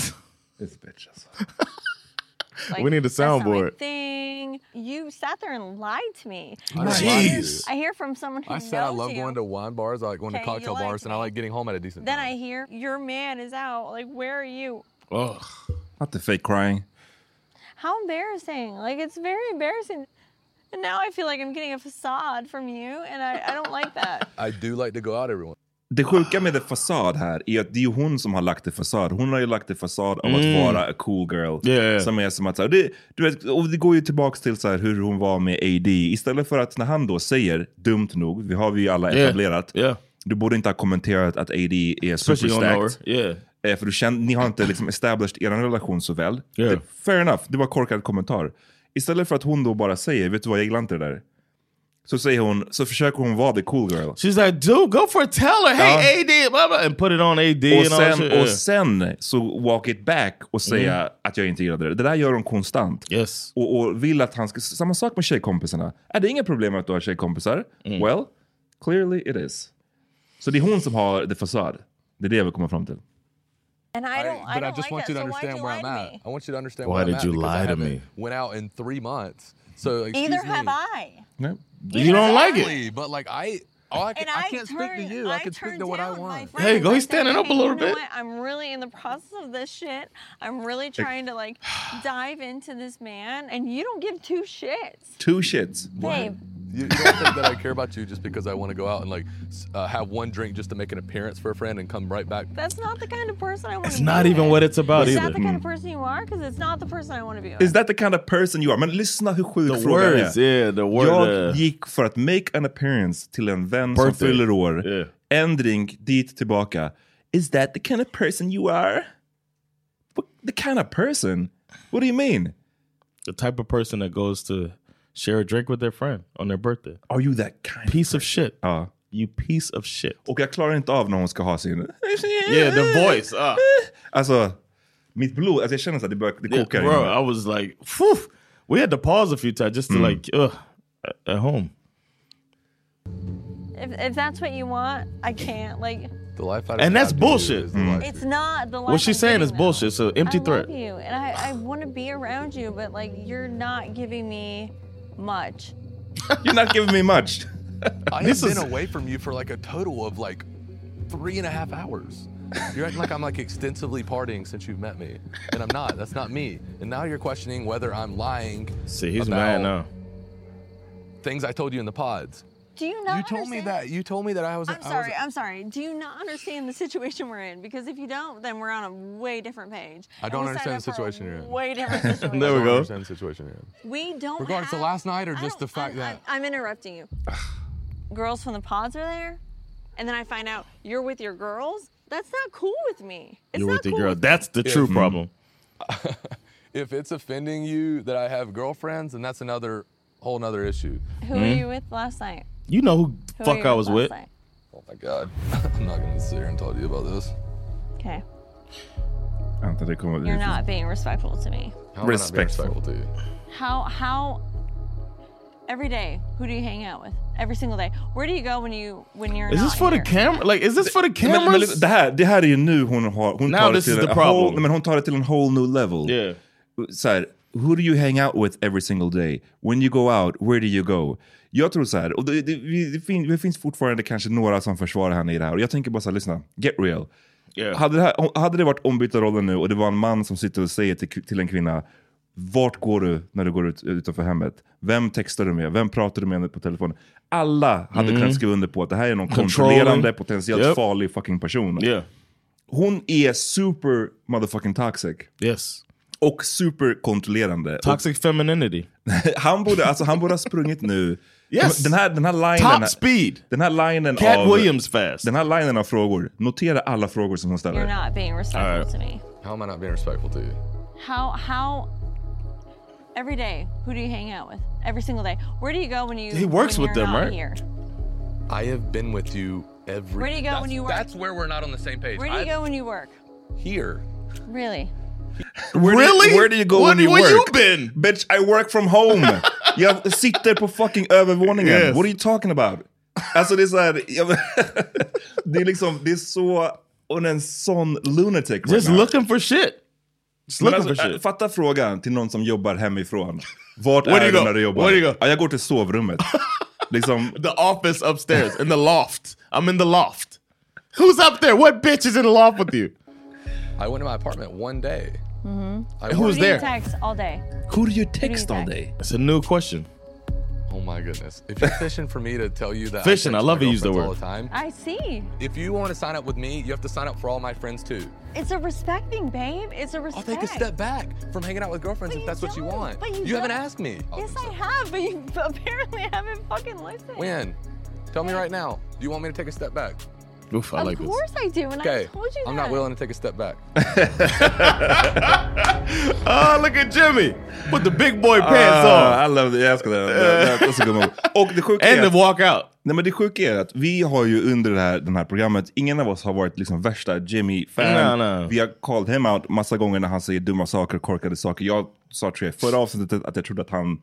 [SPEAKER 1] [laughs] This bitch.
[SPEAKER 2] [laughs]
[SPEAKER 8] Like,
[SPEAKER 2] we need a
[SPEAKER 8] that's not my
[SPEAKER 2] soundboard.
[SPEAKER 8] Thing. You sat there and lied to me.
[SPEAKER 18] I
[SPEAKER 8] I
[SPEAKER 18] lied to
[SPEAKER 8] hear-
[SPEAKER 18] you.
[SPEAKER 8] I hear from someone who
[SPEAKER 18] I
[SPEAKER 8] knows
[SPEAKER 18] said I love
[SPEAKER 8] you.
[SPEAKER 18] going to wine bars. I like going
[SPEAKER 8] Okay,
[SPEAKER 18] to
[SPEAKER 8] you
[SPEAKER 18] cocktail
[SPEAKER 8] lied to
[SPEAKER 18] bars and I like getting home at a decent
[SPEAKER 8] Then I hear your man is out. Like, where are you?
[SPEAKER 2] Ugh.
[SPEAKER 1] Not the fake crying.
[SPEAKER 8] How embarrassing. Like, it's very embarrassing. And now I feel like I'm getting a facade from you, and I, I don't like that.
[SPEAKER 18] time. I do like to go out everyone.
[SPEAKER 1] Det sjuka med the fasad här är att det är ju hon som har lagt det fasad. Hon har ju lagt det fasad av
[SPEAKER 2] Mm.
[SPEAKER 1] att vara a cool girl.
[SPEAKER 2] Yeah, yeah.
[SPEAKER 1] Som är som att, så här, det, du vet, och det går ju tillbaks till så här, hur hon var med AD. Istället för att när han då säger, dumt nog, vi har vi ju alla
[SPEAKER 2] Yeah,
[SPEAKER 1] etablerat. Du borde inte ha kommenterat att AD är
[SPEAKER 2] Especially on
[SPEAKER 1] superstacked.
[SPEAKER 2] our- yeah.
[SPEAKER 1] Eh, För du känner, ni har inte liksom established er relation så väl.
[SPEAKER 2] Yeah.
[SPEAKER 1] Det, fair enough, det var korkad kommentar. Istället för att hon då bara säger, vet du vad, jag gillar inte det där. Så säger hon, så försöker hon vara the cool girl.
[SPEAKER 2] She's like, dude, go for it. Tell her, hey, AD, blah, blah, and put it on AD.
[SPEAKER 1] Och
[SPEAKER 2] and all that
[SPEAKER 1] sen,
[SPEAKER 2] shit.
[SPEAKER 1] och sen
[SPEAKER 2] Yeah.
[SPEAKER 1] så walk it back och säga
[SPEAKER 2] Mm.
[SPEAKER 1] att jag inte gillade det. Det där gör hon konstant.
[SPEAKER 2] Yes.
[SPEAKER 1] Och, och vill att han ska... Samma sak med tjejkompisarna. Är det inga problem att du har tjejkompisar?
[SPEAKER 2] Mm.
[SPEAKER 1] Well, clearly it is. Så det är hon som har the facade. Det är det jag vill komma fram till.
[SPEAKER 8] And I don't, I
[SPEAKER 18] but I, just
[SPEAKER 8] don't like
[SPEAKER 18] want
[SPEAKER 8] that.
[SPEAKER 18] you to
[SPEAKER 8] So why'd
[SPEAKER 18] understand
[SPEAKER 8] you
[SPEAKER 18] where
[SPEAKER 8] lie
[SPEAKER 18] I'm
[SPEAKER 8] to
[SPEAKER 18] at.
[SPEAKER 8] me?
[SPEAKER 18] I want you to understand
[SPEAKER 2] Why
[SPEAKER 18] where I'm
[SPEAKER 2] did
[SPEAKER 18] at
[SPEAKER 2] you
[SPEAKER 18] because I
[SPEAKER 2] lie to
[SPEAKER 18] haven't
[SPEAKER 2] me?
[SPEAKER 18] Went out in three months, so [laughs] excuse
[SPEAKER 8] Either
[SPEAKER 18] me.
[SPEAKER 8] have I.
[SPEAKER 2] You don't like it.
[SPEAKER 18] Exactly, But like I, all Oh, I, can,
[SPEAKER 8] And
[SPEAKER 18] I,
[SPEAKER 8] I
[SPEAKER 18] can't speak to
[SPEAKER 8] turned-
[SPEAKER 18] you. I,
[SPEAKER 8] I
[SPEAKER 18] can speak to what I
[SPEAKER 5] [laughs]
[SPEAKER 18] want.
[SPEAKER 2] Hey, go. He's standing up a
[SPEAKER 8] Hey,
[SPEAKER 2] little
[SPEAKER 8] you know
[SPEAKER 2] bit.
[SPEAKER 8] what? I'm really in the process of this shit. I'm really trying to
[SPEAKER 18] [sighs]
[SPEAKER 8] like dive into this man, and you don't give two shits.
[SPEAKER 1] Two shits.
[SPEAKER 8] Babe,
[SPEAKER 9] You, you don't think that I care about you just because I want to go out and like s- uh, have one drink just to make an appearance for a friend and come right
[SPEAKER 2] [laughs]
[SPEAKER 9] back.
[SPEAKER 8] That's not the kind of person I want
[SPEAKER 9] It's
[SPEAKER 8] to be.
[SPEAKER 9] not even
[SPEAKER 8] with.
[SPEAKER 9] what it's about
[SPEAKER 8] is
[SPEAKER 9] either.
[SPEAKER 8] that the kind of
[SPEAKER 18] Hmm.
[SPEAKER 9] Mm.
[SPEAKER 8] person you are? Because it's not the person I want to be with.
[SPEAKER 1] Is that the kind of person you are? Men lyssna hur sjuk
[SPEAKER 2] The
[SPEAKER 1] frågan
[SPEAKER 2] words,
[SPEAKER 1] är.
[SPEAKER 2] yeah, the word,
[SPEAKER 1] jag
[SPEAKER 2] uh,
[SPEAKER 1] gick för att make an appearance till en vän som
[SPEAKER 2] Birthday.
[SPEAKER 1] fyller år. En drink, dit, tillbaka. Is that the kind of person you are? What, the kind of person? What do you mean?
[SPEAKER 2] The type of person that goes to share a drink with their friend on their birthday.
[SPEAKER 1] Are you that kind? Uh-huh.
[SPEAKER 2] Piece of shit.
[SPEAKER 1] Ja.
[SPEAKER 2] You piece of shit.
[SPEAKER 1] Och jag klarar inte av när hon ska ha sin...
[SPEAKER 2] Yeah, the voice. Uh,
[SPEAKER 1] Alltså, mitt blod, alltså jag känner så att det, börjar, det
[SPEAKER 2] yeah,
[SPEAKER 1] kokar.
[SPEAKER 2] bro, I was like, Phew. we had to pause a few times just to
[SPEAKER 1] Mm.
[SPEAKER 2] like, ugh, at- at home.
[SPEAKER 8] If, if that's what you want, I can't. Like,
[SPEAKER 9] The life I
[SPEAKER 2] And that's bullshit.
[SPEAKER 8] it's not the life.
[SPEAKER 2] What she's
[SPEAKER 8] I'm
[SPEAKER 2] saying
[SPEAKER 8] living
[SPEAKER 2] is bullshit. So empty
[SPEAKER 8] Mm. I
[SPEAKER 2] threat.
[SPEAKER 8] love you, and I, I want to be around you, but like you're not giving me much.
[SPEAKER 1] You're not giving me much.
[SPEAKER 9] [laughs] I
[SPEAKER 1] This
[SPEAKER 9] have
[SPEAKER 1] is-
[SPEAKER 9] been away from you for like a total of like three and a half hours. You're acting like I'm like extensively partying since you've met me, and I'm not. That's not me. And now you're questioning whether I'm lying.
[SPEAKER 2] See, he's
[SPEAKER 9] about
[SPEAKER 2] mad now.
[SPEAKER 9] Things I told you in the pods.
[SPEAKER 8] Do you not?
[SPEAKER 9] you told me that. You told me that I was.
[SPEAKER 8] I'm sorry. I'm sorry. Do you not understand the situation we're in? Because if you don't, then we're on a way different page.
[SPEAKER 9] I don't
[SPEAKER 8] And we signed
[SPEAKER 9] understand the
[SPEAKER 8] up for a
[SPEAKER 9] situation you're in.
[SPEAKER 8] Way
[SPEAKER 9] [laughs]
[SPEAKER 8] different situation.
[SPEAKER 9] I don't
[SPEAKER 2] go.
[SPEAKER 9] Understand the situation you're in.
[SPEAKER 8] We don't.
[SPEAKER 9] Regardless to
[SPEAKER 8] have-
[SPEAKER 9] last night or just the fact that
[SPEAKER 8] I'm interrupting
[SPEAKER 9] [sighs]
[SPEAKER 8] you. girls from the pods are there, and then I find out you're with your girls. That's not cool with me.
[SPEAKER 2] You're with the girl. That's the
[SPEAKER 9] Yeah.
[SPEAKER 2] true
[SPEAKER 1] Mm-hmm.
[SPEAKER 9] Mm.
[SPEAKER 2] problem.
[SPEAKER 9] if it's offending you that I have girlfriends, then that's another whole nother issue.
[SPEAKER 8] Who were you with last night?
[SPEAKER 2] You know who
[SPEAKER 8] Who
[SPEAKER 9] the
[SPEAKER 8] were you last night?
[SPEAKER 9] Oh my god. [laughs] I'm not gonna sit here and talk to you about this.
[SPEAKER 8] Okay.
[SPEAKER 1] Vänta, det kommer
[SPEAKER 8] You're not being respectful to
[SPEAKER 9] How am
[SPEAKER 8] me.
[SPEAKER 9] I not being
[SPEAKER 1] Respectful.
[SPEAKER 9] respectful to you?
[SPEAKER 8] How how every day, who do you hang out with? Every single day. Where do you go when you when you're
[SPEAKER 2] Is
[SPEAKER 8] not
[SPEAKER 2] this for the camera? Like, is this for the
[SPEAKER 1] Men, men,
[SPEAKER 2] cameras?
[SPEAKER 1] det, här, det här är ju nu hon har... Hon
[SPEAKER 2] Now
[SPEAKER 1] tar det
[SPEAKER 2] this is
[SPEAKER 1] till
[SPEAKER 2] the
[SPEAKER 1] a
[SPEAKER 2] problem.
[SPEAKER 1] whole, nej, men hon tar det till en whole new level.
[SPEAKER 2] Yeah.
[SPEAKER 1] Så här, who do you hang out with every single day? When you go out, where do you go? Jag tror så här, och det, det, vi- det, fin, det finns fortfarande kanske några som försvarar henne i det här. Och jag tänker bara så här, lyssna, get real. Hade, det här, hade det varit ombytta roller nu och det var en man som sitter och säger till, till en kvinna, vart går du när du går ut, utanför hemmet? Vem textar du med? Vem pratar du med på telefon? Alla hade
[SPEAKER 2] Mm.
[SPEAKER 1] kunnat skriva under på att det här är någon
[SPEAKER 2] Controlling.
[SPEAKER 1] kontrollerande, potentiellt
[SPEAKER 2] Yep.
[SPEAKER 1] farlig fucking person.
[SPEAKER 2] Yeah.
[SPEAKER 1] Hon är super motherfucking toxic.
[SPEAKER 2] Yes.
[SPEAKER 1] Och super kontrollerande.
[SPEAKER 2] Toxic femininity.
[SPEAKER 1] Och [laughs] han, borde, alltså, han borde ha sprungit nu.
[SPEAKER 2] Yes.
[SPEAKER 1] Den här, den här linen.
[SPEAKER 2] Top speed.
[SPEAKER 1] Den här linen
[SPEAKER 2] Cat
[SPEAKER 1] av...
[SPEAKER 2] Williams fast.
[SPEAKER 1] Den här linen av frågor. Notera alla frågor som hon ställer.
[SPEAKER 8] You're not being respectful to me.
[SPEAKER 9] How am I not being respectful to you?
[SPEAKER 8] How how every day, who do you hang out with? Every single day. Where do you go when you
[SPEAKER 9] He works
[SPEAKER 8] when
[SPEAKER 9] with
[SPEAKER 8] you're
[SPEAKER 9] them,
[SPEAKER 8] not
[SPEAKER 9] right?
[SPEAKER 8] Here?
[SPEAKER 9] I have been with you every
[SPEAKER 8] Where do you go when
[SPEAKER 9] That's-
[SPEAKER 8] you work?
[SPEAKER 9] That's where we're not on the same page.
[SPEAKER 8] Where do you
[SPEAKER 9] I've-
[SPEAKER 8] go when you work?
[SPEAKER 9] Here.
[SPEAKER 8] Really?
[SPEAKER 1] Where Do,
[SPEAKER 2] Really?
[SPEAKER 1] where do you go
[SPEAKER 2] Where-
[SPEAKER 1] when you
[SPEAKER 2] where
[SPEAKER 1] work?
[SPEAKER 2] you been?
[SPEAKER 1] Bitch, I work from
[SPEAKER 2] [laughs]
[SPEAKER 1] home. jag sitter på fucking övervåningen.
[SPEAKER 2] Yes.
[SPEAKER 1] What are you talking about? Alltså det är så här, jag, [laughs] det är liksom, det är så, hon är en sån lunatic right
[SPEAKER 2] Just
[SPEAKER 1] now.
[SPEAKER 2] looking for shit. Just
[SPEAKER 1] Men
[SPEAKER 2] looking
[SPEAKER 1] alltså,
[SPEAKER 2] for shit.
[SPEAKER 1] äh, fatta frågan till någon som jobbar hemifrån. Vart
[SPEAKER 2] Where do
[SPEAKER 1] är
[SPEAKER 2] you
[SPEAKER 1] du
[SPEAKER 2] go?
[SPEAKER 1] när du jobbar?
[SPEAKER 2] Where do you go?
[SPEAKER 1] Ja, jag går till
[SPEAKER 2] [laughs]
[SPEAKER 1] sovrummet. liksom,
[SPEAKER 2] The office upstairs in the loft. I'm in the loft. Who's up there? What bitch is in the loft with you?
[SPEAKER 9] I went to my apartment one day.
[SPEAKER 8] Mm-hmm.
[SPEAKER 9] I
[SPEAKER 2] Who was
[SPEAKER 8] do you
[SPEAKER 2] there?
[SPEAKER 8] text all day?
[SPEAKER 1] Who do you
[SPEAKER 8] text all
[SPEAKER 9] day?
[SPEAKER 2] It's a new question.
[SPEAKER 9] Oh my goodness. If
[SPEAKER 2] [laughs]
[SPEAKER 9] you're fishing for me to tell you that
[SPEAKER 2] Fishing,
[SPEAKER 9] text
[SPEAKER 2] I love
[SPEAKER 9] my
[SPEAKER 2] to use the
[SPEAKER 9] girlfriends all
[SPEAKER 2] word.
[SPEAKER 9] the time.
[SPEAKER 8] I see.
[SPEAKER 9] If you want to sign up with me, you have to sign up for all my friends too.
[SPEAKER 8] It's a respect thing, babe. It's a respect.
[SPEAKER 9] Take a step back from hanging out with girlfriends if that's what you want.
[SPEAKER 8] but you
[SPEAKER 9] haven't
[SPEAKER 8] don't.
[SPEAKER 9] asked me.
[SPEAKER 8] Yes, I have, but you [laughs] apparently haven't fucking listened.
[SPEAKER 9] When? Tell me right now. Do you want me to take a step back?
[SPEAKER 2] Oof,
[SPEAKER 8] of course I do, and I
[SPEAKER 9] Okay.
[SPEAKER 8] told you
[SPEAKER 9] I'm
[SPEAKER 8] that.
[SPEAKER 9] not willing to take a
[SPEAKER 6] [laughs]
[SPEAKER 9] step back.
[SPEAKER 2] Oh, look at Jimmy. Put the big boy pants
[SPEAKER 1] Ah,
[SPEAKER 2] on.
[SPEAKER 1] I love Oh, it. Jag älskar det. That- That's a good move. Och det sjuka
[SPEAKER 2] And
[SPEAKER 1] är...
[SPEAKER 2] the walk out.
[SPEAKER 1] Nej, men det sjuka är att vi har ju under det här, den här programmet, ingen av oss har varit liksom värsta Jimmy-fan.
[SPEAKER 2] Nej, nej.
[SPEAKER 1] Vi har called him out massa gånger när han säger dumma saker, korkade saker. Jag sa tror jag i förra avsnittet att jag trodde att han,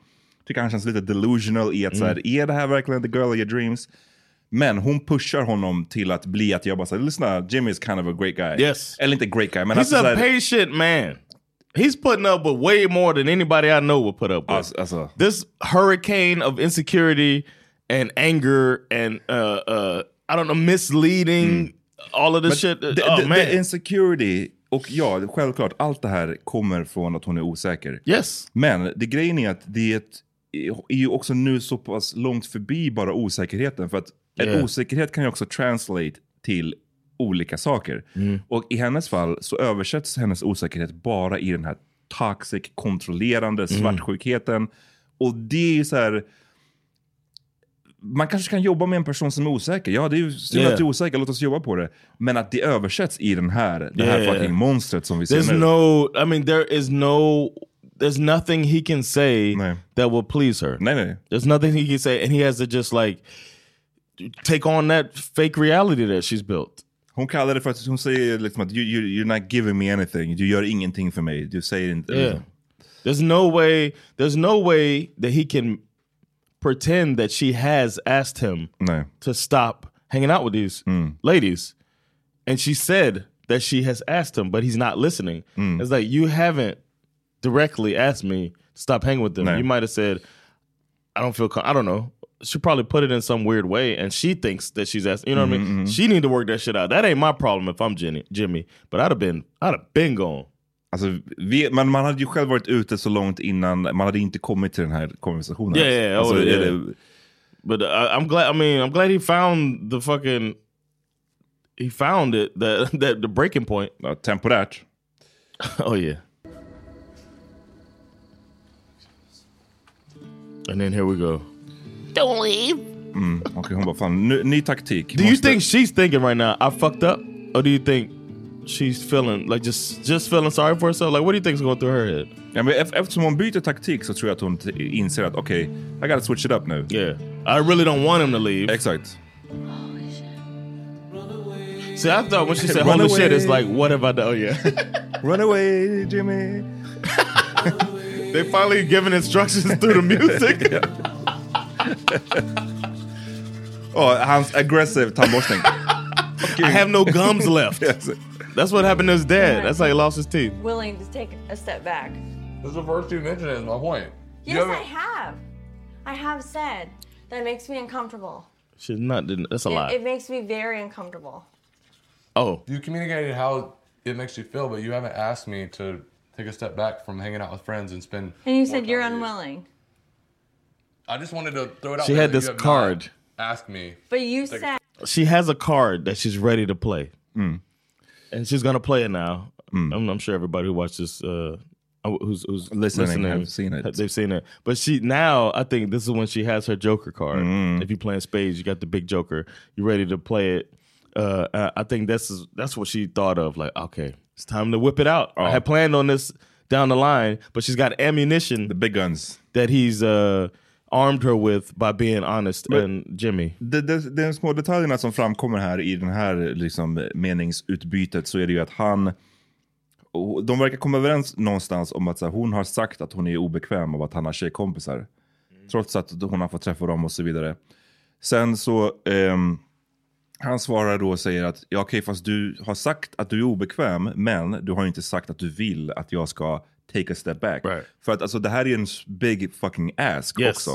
[SPEAKER 1] tycker han känns lite delusional i att så
[SPEAKER 2] Mm.
[SPEAKER 1] här, är det här verkligen the girl of your dreams? Men hon pushar honom till att bli att jag bara säger, lyssna, Jimmy is kind of a great guy.
[SPEAKER 2] Yes.
[SPEAKER 1] Eller inte great guy, men
[SPEAKER 2] He's
[SPEAKER 1] alltså så
[SPEAKER 2] a
[SPEAKER 1] här-
[SPEAKER 2] patient man. He's putting up with way more than anybody I know would put up with. This hurricane of insecurity and anger and uh, uh, I don't know, misleading, all of this shit.
[SPEAKER 1] Mm. the,
[SPEAKER 2] oh
[SPEAKER 1] the,
[SPEAKER 2] man,
[SPEAKER 1] the insecurity, och ja, självklart, allt det här kommer från att hon är osäker.
[SPEAKER 2] Yes.
[SPEAKER 1] Men det grejen är att det är ett är ju också nu så pass långt förbi bara osäkerheten. För att en
[SPEAKER 2] Yeah.
[SPEAKER 1] osäkerhet kan ju också translate till olika saker.
[SPEAKER 2] Mm.
[SPEAKER 1] Och i hennes fall så översätts hennes osäkerhet bara i den här toxic, kontrollerande
[SPEAKER 2] Mm.
[SPEAKER 1] svartsjukheten. Och det är ju så här... Man kanske kan jobba med en person som är osäker. Ja, det är ju synd
[SPEAKER 2] Yeah.
[SPEAKER 1] att du är osäker, låt oss jobba på det. Men att det översätts i den här, det här
[SPEAKER 2] Yeah.
[SPEAKER 1] fucking monstret som vi ser
[SPEAKER 2] There's
[SPEAKER 1] nu.
[SPEAKER 2] no, I mean, there is no, there's nothing he can say that will please her. There's nothing he can say, and he has to just like take on that fake reality that she's built.
[SPEAKER 1] Hon kallar det för att hon säger liksom att you, you, you're not giving me anything. Du gör ingenting för mig. Du säger inte... liksom.
[SPEAKER 2] Yeah. There's no way. There's no way that he can pretend that she has asked him to stop hanging out with these ladies, and she said that she has asked him, but he's not listening. It's like you haven't directly asked me to stop hanging with them.
[SPEAKER 1] No.
[SPEAKER 2] You might have said, "I don't feel. Com- I don't know." She probably put it in some weird way, and she thinks that she's asking. You know what I mean?
[SPEAKER 1] Mhm, mhm.
[SPEAKER 2] She need to work that shit out. That ain't my problem if I'm Jenny, Jimmy. But I'd have been, I'd have been gone.
[SPEAKER 1] Alltså, vi, man, man hade ju själv varit ute så långt innan, man hade inte kommit till den här konversationen.
[SPEAKER 2] Yeah, yeah, yeah.
[SPEAKER 1] Alltså,
[SPEAKER 2] oh,
[SPEAKER 1] är
[SPEAKER 2] yeah.
[SPEAKER 1] det-
[SPEAKER 2] but I, I'm glad. I mean, I'm glad he found the fucking. He found it [laughs] the the, the breaking point.
[SPEAKER 1] Uh, temporärt.
[SPEAKER 2] [laughs] oh yeah. And then here we go.
[SPEAKER 14] Don't leave.
[SPEAKER 1] Mm, Okej, hon bara fan, ny, ny taktik.
[SPEAKER 2] Do you think she's thinking right now? I fucked up, or do you think she's feeling like just just feeling sorry for herself? Like, what do you think's going through her head?
[SPEAKER 1] Ja, men ef- eftersom hon byter taktik så tror jag att hon t- inser att okej, I gotta switch it up nu.
[SPEAKER 2] Yeah. I really don't want him to leave.
[SPEAKER 1] Exakt.
[SPEAKER 2] See, I thought when she
[SPEAKER 1] [laughs]
[SPEAKER 2] said
[SPEAKER 1] Run
[SPEAKER 2] "holy shit,"
[SPEAKER 1] away.
[SPEAKER 2] it's like, what have I done? Oh yeah.
[SPEAKER 1] [laughs]
[SPEAKER 2] [laughs]
[SPEAKER 1] Run away Jimmy.
[SPEAKER 2] they finally giving instructions through the
[SPEAKER 1] [laughs]
[SPEAKER 2] music.
[SPEAKER 1] Oh, hans aggressive tandborstning.
[SPEAKER 2] I have
[SPEAKER 6] [laughs]
[SPEAKER 2] no gums left. That's what happened to his dad. That's how he lost his teeth.
[SPEAKER 5] Willing to take a step back.
[SPEAKER 6] This is the first you mentioned it, is my point. You
[SPEAKER 5] Yes, I
[SPEAKER 6] haven't-
[SPEAKER 5] have. I have said that makes me uncomfortable.
[SPEAKER 2] She's not. Didn't, that's a
[SPEAKER 5] it,
[SPEAKER 2] lie.
[SPEAKER 5] It makes me very uncomfortable.
[SPEAKER 2] Oh.
[SPEAKER 6] You communicated how it makes you feel, but you haven't asked me to take a step back from hanging out with friends and spend.
[SPEAKER 5] And you said you're unwilling,
[SPEAKER 6] I just wanted to throw it out
[SPEAKER 2] She
[SPEAKER 6] there
[SPEAKER 2] had
[SPEAKER 6] that
[SPEAKER 2] this
[SPEAKER 6] you have not
[SPEAKER 2] card.
[SPEAKER 6] asked me.
[SPEAKER 5] but you
[SPEAKER 6] Take a
[SPEAKER 5] said
[SPEAKER 2] She has a card that she's ready to play,
[SPEAKER 1] Mm.
[SPEAKER 2] and she's gonna play it now. I'm, I'm sure everybody who watches, uh, who's who's
[SPEAKER 1] Listening
[SPEAKER 2] listening,
[SPEAKER 1] have seen it.
[SPEAKER 2] They've seen it. But she now, I think this is when she has her Joker card.
[SPEAKER 1] Mm.
[SPEAKER 2] If you playing spades, you got the big Joker. You ready to play it? Uh, I- I think that's that's what she thought of. Like, okay, it's time to whip it out. I
[SPEAKER 1] Oh.
[SPEAKER 2] had planned on this down the line, but she's got ammunition, the
[SPEAKER 1] big guns
[SPEAKER 2] that he's uh, armed her with by being honest
[SPEAKER 1] But-
[SPEAKER 2] and Jimmy.
[SPEAKER 1] De, de, de små detaljerna som framkommer här i den här liksom, meningsutbytet så är det ju att han... och De verkar komma överens någonstans om att så här, hon har sagt att hon är obekväm av att han har tjejkompisar. Trots att hon har fått träffa dem och så vidare. Sen så... ehm, han svarar då och säger att ja, okej, fast du har sagt att du är obekväm, men du har ju inte sagt att du vill att jag ska take a step back. För att alltså, det här är ju en s- big fucking ask också.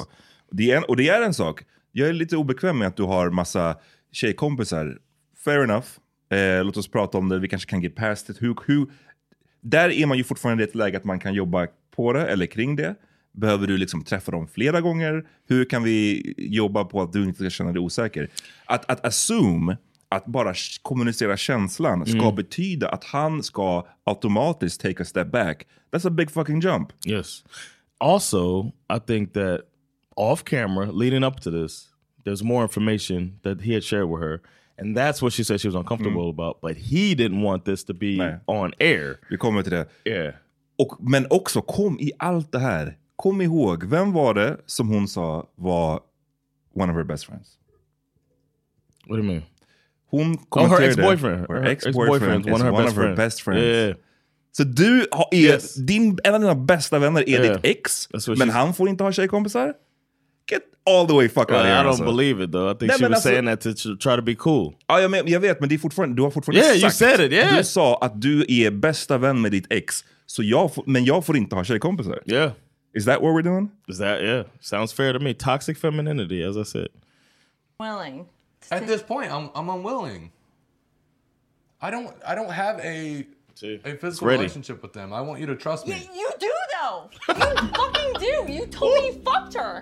[SPEAKER 1] Det är en, och det är en sak. Jag är lite obekväm med att du har massa tjejkompisar. Fair enough. Eh, låt oss prata om det. Vi kanske kan get past it. Hur, hur, där är man ju fortfarande i ett läge att man kan jobba på det eller kring det. Behöver du liksom träffa dem flera gånger? Hur kan vi jobba på att du inte ska känna dig osäker? Att, att assume, att bara sh- kommunicera känslan ska
[SPEAKER 2] Mm.
[SPEAKER 1] betyda att han ska automatiskt take a step back. That's a big fucking jump.
[SPEAKER 2] Yes. Also, I think that off camera, leading up to this, there's more information that he had shared with her. And that's what she said she was uncomfortable
[SPEAKER 1] Mm-hmm.
[SPEAKER 2] about. But he didn't want this to be on air.
[SPEAKER 1] Vi kommer till det.
[SPEAKER 2] Yeah.
[SPEAKER 1] Och, men också, kom i allt det här, kom ihåg, vem var det som hon sa var one of her best friends?
[SPEAKER 2] What do you mean?
[SPEAKER 1] Hon
[SPEAKER 2] Oh, her
[SPEAKER 1] kommenterade...
[SPEAKER 2] ex-boyfriend.
[SPEAKER 1] Her
[SPEAKER 2] Her
[SPEAKER 1] ex-boyfriend
[SPEAKER 2] ex-boyfriend
[SPEAKER 1] is one of her best, friends.
[SPEAKER 2] Yeah.
[SPEAKER 1] Så du har, är, din, en av dina bästa vänner är
[SPEAKER 2] Yeah.
[SPEAKER 1] ditt ex, men
[SPEAKER 2] what she's-
[SPEAKER 1] han får inte ha tjejkompisar? Get all the way fuck out of
[SPEAKER 2] Well,
[SPEAKER 1] here
[SPEAKER 2] I don't
[SPEAKER 1] alltså.
[SPEAKER 2] believe it though. I think
[SPEAKER 1] Nej,
[SPEAKER 2] she
[SPEAKER 1] men
[SPEAKER 2] was
[SPEAKER 1] alltså-
[SPEAKER 2] saying that to tr- try to be cool.
[SPEAKER 1] Ja, jag, men, jag vet, men det är fortfarande, du har fortfarande
[SPEAKER 2] Yeah,
[SPEAKER 1] sagt...
[SPEAKER 2] you said it, yeah.
[SPEAKER 1] Du sa att du är bästa vän med ditt ex, så jag får, men jag får inte ha tjejkompisar.
[SPEAKER 2] Yeah.
[SPEAKER 1] Is that what we're doing?
[SPEAKER 2] Is that yeah? Sounds fair to me. Toxic femininity, as I said.
[SPEAKER 5] willing.
[SPEAKER 6] At this point, I'm I'm unwilling. I don't I don't have a
[SPEAKER 2] too.
[SPEAKER 9] a
[SPEAKER 2] It's
[SPEAKER 9] physical
[SPEAKER 2] ready.
[SPEAKER 9] relationship with them. I want you to trust me.
[SPEAKER 19] You do though. You fucking do. You totally fucked her.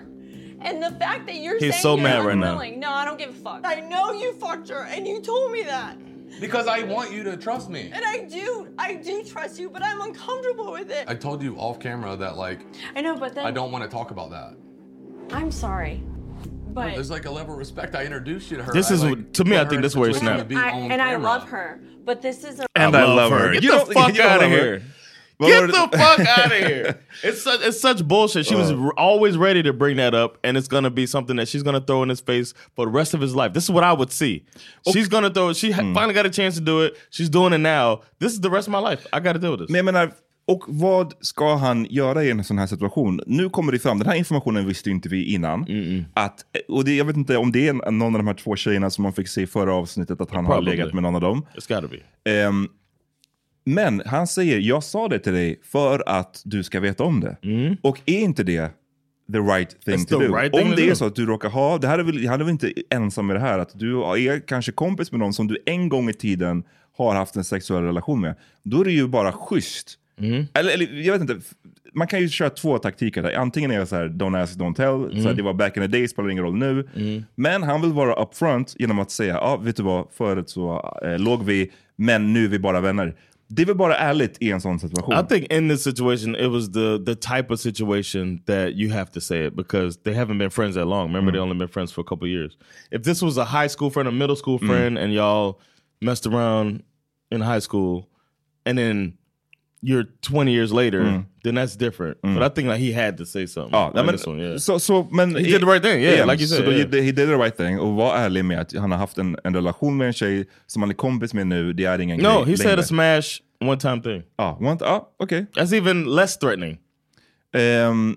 [SPEAKER 19] And the fact that you're saying
[SPEAKER 2] He's so
[SPEAKER 19] you're
[SPEAKER 2] mad right now.
[SPEAKER 19] unwilling, no, I don't give a fuck. I know you fucked her, and you told me that.
[SPEAKER 9] Because I want you to trust me.
[SPEAKER 8] And I do, I do trust you, but I'm uncomfortable with it.
[SPEAKER 9] I told you off camera that like
[SPEAKER 8] I know, but then
[SPEAKER 9] I don't want to talk about that.
[SPEAKER 8] I'm sorry, but
[SPEAKER 9] There's like a level of respect. I introduced you to her.
[SPEAKER 2] This
[SPEAKER 9] I,
[SPEAKER 2] is
[SPEAKER 9] like,
[SPEAKER 2] to me. I
[SPEAKER 9] put her
[SPEAKER 2] think
[SPEAKER 9] in
[SPEAKER 2] this where it's
[SPEAKER 9] situation to
[SPEAKER 2] not.
[SPEAKER 9] be
[SPEAKER 8] I,
[SPEAKER 9] on
[SPEAKER 8] and I
[SPEAKER 9] camera.
[SPEAKER 8] love her, but this is a
[SPEAKER 2] And I love her. Get the fuck outta here. Get [laughs] the fuck out of here. It's such, it's such bullshit. She was r- always ready to bring that up, and it's gonna be something that she's gonna throw in his face for the rest of his life. This is what I would see. She's gonna throw. She ha- finally got a chance to do it. She's doing it now. This is the rest of my life. I got to deal with this.
[SPEAKER 1] Men jag menar, och vad ska han göra i en sån här situation? Nu kommer det fram, den här informationen visste ju inte vi innan. Att, och det, jag vet inte om det är en- någon av de här två tjejerna som man fick se i förra avsnittet, att han
[SPEAKER 2] Probably.
[SPEAKER 1] har legat med någon av dem.
[SPEAKER 2] It's gotta be.
[SPEAKER 1] Ehm, men han säger, jag sa det till dig för att du ska veta om det. Och är inte det the right thing
[SPEAKER 2] Mm. It's
[SPEAKER 1] to
[SPEAKER 2] the
[SPEAKER 1] do?
[SPEAKER 2] right thing
[SPEAKER 1] om
[SPEAKER 2] to
[SPEAKER 1] det
[SPEAKER 2] do.
[SPEAKER 1] är så att du råkar ha, det här är väl, han är väl inte ensam i det här, att du är kanske kompis med någon som du en gång i tiden har haft en sexuell relation med. Då är det ju bara schysst.
[SPEAKER 2] Mm.
[SPEAKER 1] Eller, eller jag vet inte, f- man kan ju köra två taktiker där. Antingen är det så här, don't ask, don't tell. Så här,
[SPEAKER 2] Mm.
[SPEAKER 1] det var back in the day, spelar ingen roll nu.
[SPEAKER 2] Mm-hmm.
[SPEAKER 1] Men han vill vara upfront genom att säga, ja vet du vad, förut så eh, låg vi, men nu är vi bara vänner. Det är väl bara ärligt i en sån situation.
[SPEAKER 2] I think in this situation, it was the the type of situation that you have to say it because they haven't been friends that long. Remember,
[SPEAKER 1] Mm.
[SPEAKER 2] they only been friends for a couple years. If this was a high school friend, a middle school
[SPEAKER 1] Mm.
[SPEAKER 2] friend, and y'all messed around in high school, and then you're 20 years later,
[SPEAKER 1] Mm.
[SPEAKER 2] then that's different.
[SPEAKER 1] Mm. Oh,
[SPEAKER 2] But I think like he had to say something.
[SPEAKER 1] Ja, nej,
[SPEAKER 2] like
[SPEAKER 1] men,
[SPEAKER 2] this one, yeah.
[SPEAKER 1] så, så, men,
[SPEAKER 2] He did the right thing, yeah, like you
[SPEAKER 1] så
[SPEAKER 2] said,
[SPEAKER 1] då-
[SPEAKER 2] yeah.
[SPEAKER 1] he did the right thing och var ärlig med att han har haft en, en relation med en tjej som han är kompis med nu. Det är ingen
[SPEAKER 2] no,
[SPEAKER 1] grej
[SPEAKER 2] he said
[SPEAKER 1] längre.
[SPEAKER 2] a smash one time thing.
[SPEAKER 1] Ah, one. Ah, okay.
[SPEAKER 2] That's even less threatening.
[SPEAKER 1] Ehm,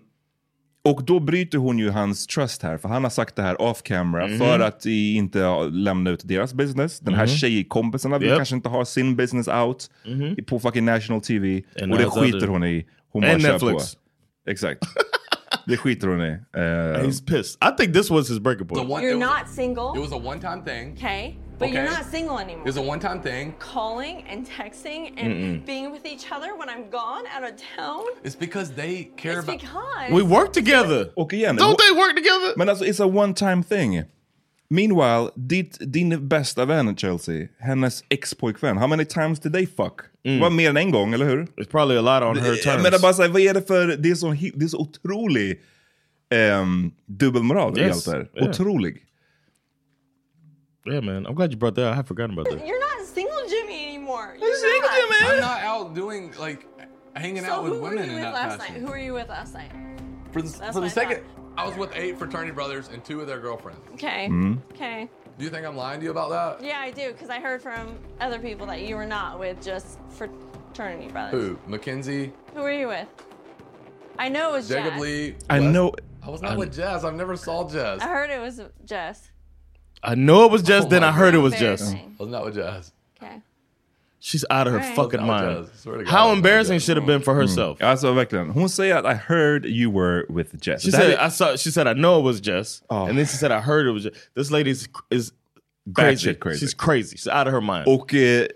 [SPEAKER 1] och då bryter hon ju hans trust här, för han har sagt det här off camera
[SPEAKER 2] Mhm.
[SPEAKER 1] för att i- inte ja, lämna ut deras business. Den här
[SPEAKER 2] Mhm.
[SPEAKER 1] tjejkompisarna vill
[SPEAKER 2] Yep.
[SPEAKER 1] kanske inte ha sin business out
[SPEAKER 2] Mhm.
[SPEAKER 1] i- på fucking national TV.
[SPEAKER 2] And
[SPEAKER 1] och det
[SPEAKER 2] that's other-
[SPEAKER 1] skiter hon i. Hon
[SPEAKER 2] And
[SPEAKER 1] bara
[SPEAKER 2] Netflix.
[SPEAKER 1] kör på.
[SPEAKER 2] [laughs]
[SPEAKER 1] Exakt. det skiter hon i. Ehm,
[SPEAKER 2] He's pissed. I think this was his breaking point.
[SPEAKER 8] you're not single.
[SPEAKER 9] It was a one-time thing.
[SPEAKER 8] Okay, but you're
[SPEAKER 9] Okay.
[SPEAKER 8] not single anymore.
[SPEAKER 9] It was a one-time thing.
[SPEAKER 8] Calling and texting and
[SPEAKER 9] Mm-mm.
[SPEAKER 8] being with each other when I'm gone out of town.
[SPEAKER 9] It's because they care
[SPEAKER 8] It's
[SPEAKER 9] about.
[SPEAKER 8] because
[SPEAKER 2] work together.
[SPEAKER 1] Och igen,
[SPEAKER 8] Don't
[SPEAKER 1] wh-
[SPEAKER 8] they work together?
[SPEAKER 1] Men alltså, it's a one time thing. Meanwhile, ditt, din bästa vän Chelsea, hennes ex-pojkvän, how many times did they fuck? Det var mer än en gång, eller hur?
[SPEAKER 2] It's probably a lot on her terms.
[SPEAKER 1] Eh, Men jag bara, så här, vad är det för, det är så, hi- det är så otrolig ehm, dubbelmoral i
[SPEAKER 2] Yes,
[SPEAKER 1] allt det här.
[SPEAKER 2] yeah.
[SPEAKER 1] Otrolig.
[SPEAKER 2] Yeah, man. I'm glad you brought that. up. I had forgotten about that.
[SPEAKER 8] You're not single, Jimmy, anymore.
[SPEAKER 9] I'm single,
[SPEAKER 8] not.
[SPEAKER 9] Jimmy. I'm not out doing like hanging
[SPEAKER 8] So
[SPEAKER 9] out with
[SPEAKER 8] who were
[SPEAKER 9] women in
[SPEAKER 8] you with
[SPEAKER 9] that
[SPEAKER 8] last
[SPEAKER 9] fashion.
[SPEAKER 8] night? Who were you with last night?
[SPEAKER 9] For the,
[SPEAKER 8] That's
[SPEAKER 9] for
[SPEAKER 8] what
[SPEAKER 9] the
[SPEAKER 8] I
[SPEAKER 9] second, I was with eight fraternity brothers and two of their girlfriends.
[SPEAKER 8] Okay.
[SPEAKER 9] Mm.
[SPEAKER 8] Okay.
[SPEAKER 9] Do you think I'm lying to you about that?
[SPEAKER 8] Yeah, I do, because I heard from other people that you were not with just fraternity brothers.
[SPEAKER 9] Who? Mackenzie,
[SPEAKER 8] Who were you with? I know it was
[SPEAKER 9] Jacob
[SPEAKER 8] Jess.
[SPEAKER 9] Lee.
[SPEAKER 2] I
[SPEAKER 9] Wes-
[SPEAKER 2] know-
[SPEAKER 9] I was not
[SPEAKER 2] I-
[SPEAKER 9] with Jazz. I've never saw Jazz.
[SPEAKER 8] I heard it was Jess.
[SPEAKER 2] I know it was Jess. then I heard it was Jess.
[SPEAKER 8] Embarrassing.
[SPEAKER 9] I was not with Jazz.
[SPEAKER 8] Okay.
[SPEAKER 2] She's out of her
[SPEAKER 8] Right.
[SPEAKER 2] fucking
[SPEAKER 1] That was
[SPEAKER 2] mind.
[SPEAKER 1] Jess. Swear to God, that
[SPEAKER 2] How
[SPEAKER 1] was
[SPEAKER 2] embarrassing should have been for herself.
[SPEAKER 1] Mm. Alltså verkligen. Hon säger att I heard you were with Jess.
[SPEAKER 2] She
[SPEAKER 1] Det här
[SPEAKER 2] said
[SPEAKER 1] är- Ah.
[SPEAKER 2] I saw. She said I know it was Jess, and then she said I heard it was. Jess. This lady is is crazy.
[SPEAKER 1] Batshit crazy.
[SPEAKER 2] She's crazy. She's out of her mind.
[SPEAKER 1] Och eh,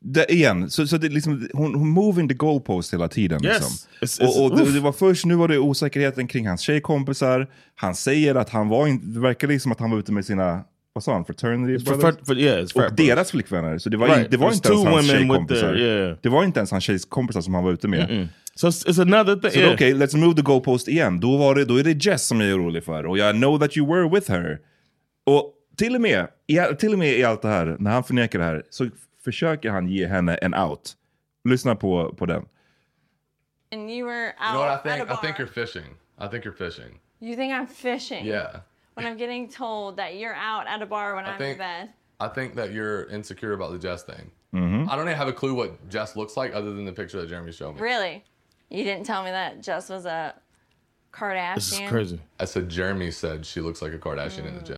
[SPEAKER 1] det, igen, så, så det är liksom, hon, hon moving the goalpost hela tiden.
[SPEAKER 2] Yes.
[SPEAKER 1] Liksom.
[SPEAKER 2] It's- it's-
[SPEAKER 1] och och det,
[SPEAKER 2] oof.
[SPEAKER 1] det var först nu var det osäkerheten kring hans tjejkompisar. Han säger att han var in, det verkade som att han var ute med sina, vad sa han, fraternity
[SPEAKER 2] For-
[SPEAKER 1] brothers?
[SPEAKER 2] for- yeah, it's frat
[SPEAKER 1] och
[SPEAKER 2] brothers.
[SPEAKER 1] deras flickvänner. Så det var,
[SPEAKER 2] Right.
[SPEAKER 1] in, det var
[SPEAKER 2] There's
[SPEAKER 1] inte ens
[SPEAKER 2] two
[SPEAKER 1] hans
[SPEAKER 2] women with
[SPEAKER 1] tjejkompisar.
[SPEAKER 2] the- yeah.
[SPEAKER 1] Det var inte ens hans tjejkompisar som han var ute med.
[SPEAKER 2] Mm-mm. So it's, it's another thing.
[SPEAKER 1] Så då,
[SPEAKER 2] yeah.
[SPEAKER 1] okej, let's move the goalpost igen. Då, var det, då är det Jess som jag är orolig för. Och jag know that you were with her. Och till och med i, all- till och med i allt det här, när han förnekar det här, så f- försöker han ge henne en out. Lyssna på, på den.
[SPEAKER 8] And you were
[SPEAKER 9] You
[SPEAKER 8] out
[SPEAKER 9] know what I
[SPEAKER 8] at Oh, a
[SPEAKER 9] think? I
[SPEAKER 8] bar.
[SPEAKER 9] think you're fishing. I think you're fishing.
[SPEAKER 8] You think I'm fishing?
[SPEAKER 9] Yeah.
[SPEAKER 8] When I'm getting told that you're out at a bar when
[SPEAKER 9] I
[SPEAKER 8] I'm in
[SPEAKER 9] think-
[SPEAKER 8] bed.
[SPEAKER 9] I think that you're insecure about the Jess thing.
[SPEAKER 1] Mhm.
[SPEAKER 9] I don't even have a clue what Jess looks like other than the picture that Jeremy showed me.
[SPEAKER 8] Really? You didn't tell me that Jess was a Kardashian.
[SPEAKER 9] I said Jeremy said she looks like a Kardashian in the gym.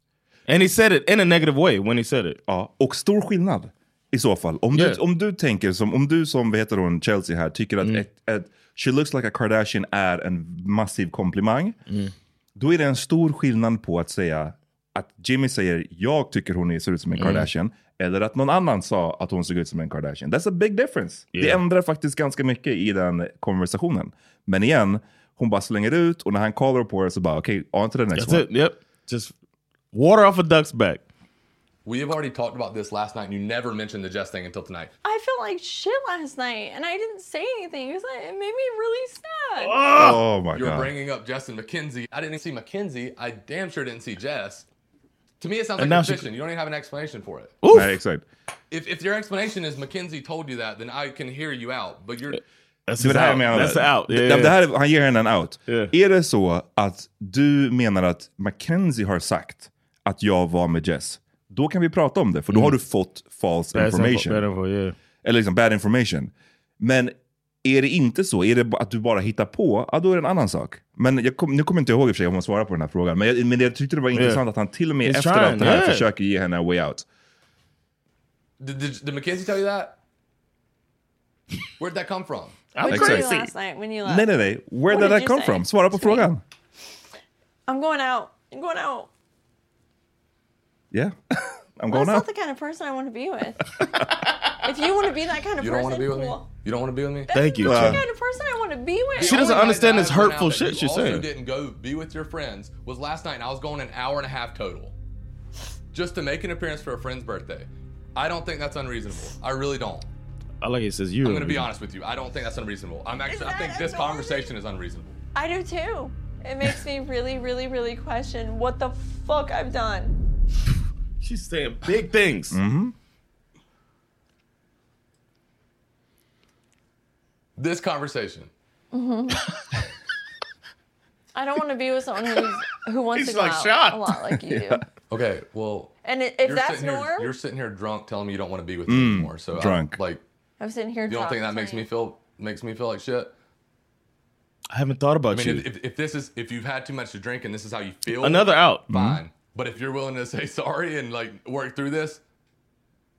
[SPEAKER 2] And he said it in a negative way when he said it.
[SPEAKER 1] Ja, och stor skillnad i så fall. Om, du,
[SPEAKER 2] Yeah. Mm.
[SPEAKER 1] om du tänker som, om du som, vad heter hon, Chelsea här, tycker att ett, ett, she looks like a Kardashian är en massiv komplimang. Då är det en stor skillnad på att säga att Jimmy säger jag tycker hon ser ut som en
[SPEAKER 2] Mm.
[SPEAKER 1] Kardashian eller att någon annan sa att hon såg ut som en Kardashian. That's a big difference. Det
[SPEAKER 2] Yeah.
[SPEAKER 1] ändrar faktiskt ganska mycket i den konversationen. Men igen, hon bara slänger ut och när han kollar på her så bara okej, on to the next
[SPEAKER 2] That's
[SPEAKER 1] one.
[SPEAKER 2] it. Yep. Just water off a duck's back.
[SPEAKER 9] We have already talked about this last night, and you never mentioned the Jess thing until tonight.
[SPEAKER 8] I felt like shit last night, and I didn't say anything. It, was like, it made me really sad.
[SPEAKER 1] Oh, my
[SPEAKER 9] You're
[SPEAKER 1] God.
[SPEAKER 9] bringing up Jess and McKenzie. I didn't see McKenzie. I damn sure didn't see Jess. To me, it sounds
[SPEAKER 1] And
[SPEAKER 9] like
[SPEAKER 1] now she-
[SPEAKER 9] fiction. You don't even have an explanation for it.
[SPEAKER 1] Nej, exakt.
[SPEAKER 9] If, if your explanation is McKenzie told you that, then I can hear you out. But you're
[SPEAKER 1] Det var det här jag menade. Det- det här, är- han ger henne en out. Är det så att du menar att Mackenzie har sagt att jag var med Jess, då kan vi prata om det. För då har du fått false
[SPEAKER 2] Bad info-
[SPEAKER 1] information.
[SPEAKER 2] bad info, yeah.
[SPEAKER 1] Eller liksom bad information. Men är det inte så, är det ba- att du bara hittar på, ja, då är det en annan sak. Men jag kom, nu kommer jag inte ihåg i och för sig om hon svarar på den här frågan. Men jag, men jag tyckte det var
[SPEAKER 9] Yeah.
[SPEAKER 1] intressant att han till och med
[SPEAKER 9] He's
[SPEAKER 1] efter
[SPEAKER 9] trying,
[SPEAKER 1] allt det här
[SPEAKER 9] yeah.
[SPEAKER 1] försöker ge henne a way out.
[SPEAKER 9] Did, did, did McKenzie tell you that? Where'd that come from?
[SPEAKER 8] I'm What did you do crazy. last night when you left?
[SPEAKER 1] Nej, nej, nej. Where
[SPEAKER 8] What
[SPEAKER 1] did
[SPEAKER 8] did
[SPEAKER 1] that
[SPEAKER 8] you
[SPEAKER 1] come
[SPEAKER 8] say?
[SPEAKER 1] from? Svara på frågan.
[SPEAKER 8] I'm going out. I'm going out.
[SPEAKER 1] Yeah. I'm
[SPEAKER 8] Well,
[SPEAKER 1] going
[SPEAKER 8] that's not
[SPEAKER 1] out.
[SPEAKER 8] the kind of person I want to
[SPEAKER 9] [laughs]
[SPEAKER 8] be with. if you want to be that kind of
[SPEAKER 9] You don't
[SPEAKER 8] person,
[SPEAKER 9] want to be with me?
[SPEAKER 8] cool.
[SPEAKER 9] You don't want to be with me?
[SPEAKER 8] That's not the kind of person I want to be with.
[SPEAKER 9] The only night that Oh I went out that you
[SPEAKER 2] she's
[SPEAKER 9] also
[SPEAKER 2] saying.
[SPEAKER 9] didn't go be with your friends was last night, and I was going an hour and a half total just to make an appearance for a friend's birthday. I don't think that's unreasonable. I really don't.
[SPEAKER 2] I like it says you.
[SPEAKER 9] I'm going to be honest with you. I don't think that's unreasonable. I'm actually, I think this conversation is unreasonable.
[SPEAKER 8] I do too. It makes me really, really, really question what the fuck I've done.
[SPEAKER 2] She's saying big things.
[SPEAKER 1] Mm-hmm.
[SPEAKER 9] This conversation.
[SPEAKER 8] hmm [laughs] I don't want to be with someone who's, who wants to go out a lot like
[SPEAKER 1] [laughs]
[SPEAKER 8] you
[SPEAKER 2] [laughs]
[SPEAKER 8] do.
[SPEAKER 9] Okay, well.
[SPEAKER 8] And i- if
[SPEAKER 9] you're
[SPEAKER 8] that's
[SPEAKER 9] sitting here-
[SPEAKER 8] norm-
[SPEAKER 9] you're sitting here drunk, telling me you don't want to be with
[SPEAKER 1] Mm,
[SPEAKER 9] me anymore. So I'm,
[SPEAKER 1] drunk.
[SPEAKER 9] like,
[SPEAKER 8] I'm sitting here.
[SPEAKER 9] you don't
[SPEAKER 8] drunk.
[SPEAKER 9] think that makes me feel makes me feel like shit?
[SPEAKER 2] I haven't thought
[SPEAKER 9] I
[SPEAKER 2] about
[SPEAKER 9] mean,
[SPEAKER 2] you.
[SPEAKER 9] if, if, if this is if you've had too much to drink and this is how you feel,
[SPEAKER 2] Another out. Mm-hmm.
[SPEAKER 9] fine. But if you're willing to say [laughs] sorry and like work through this,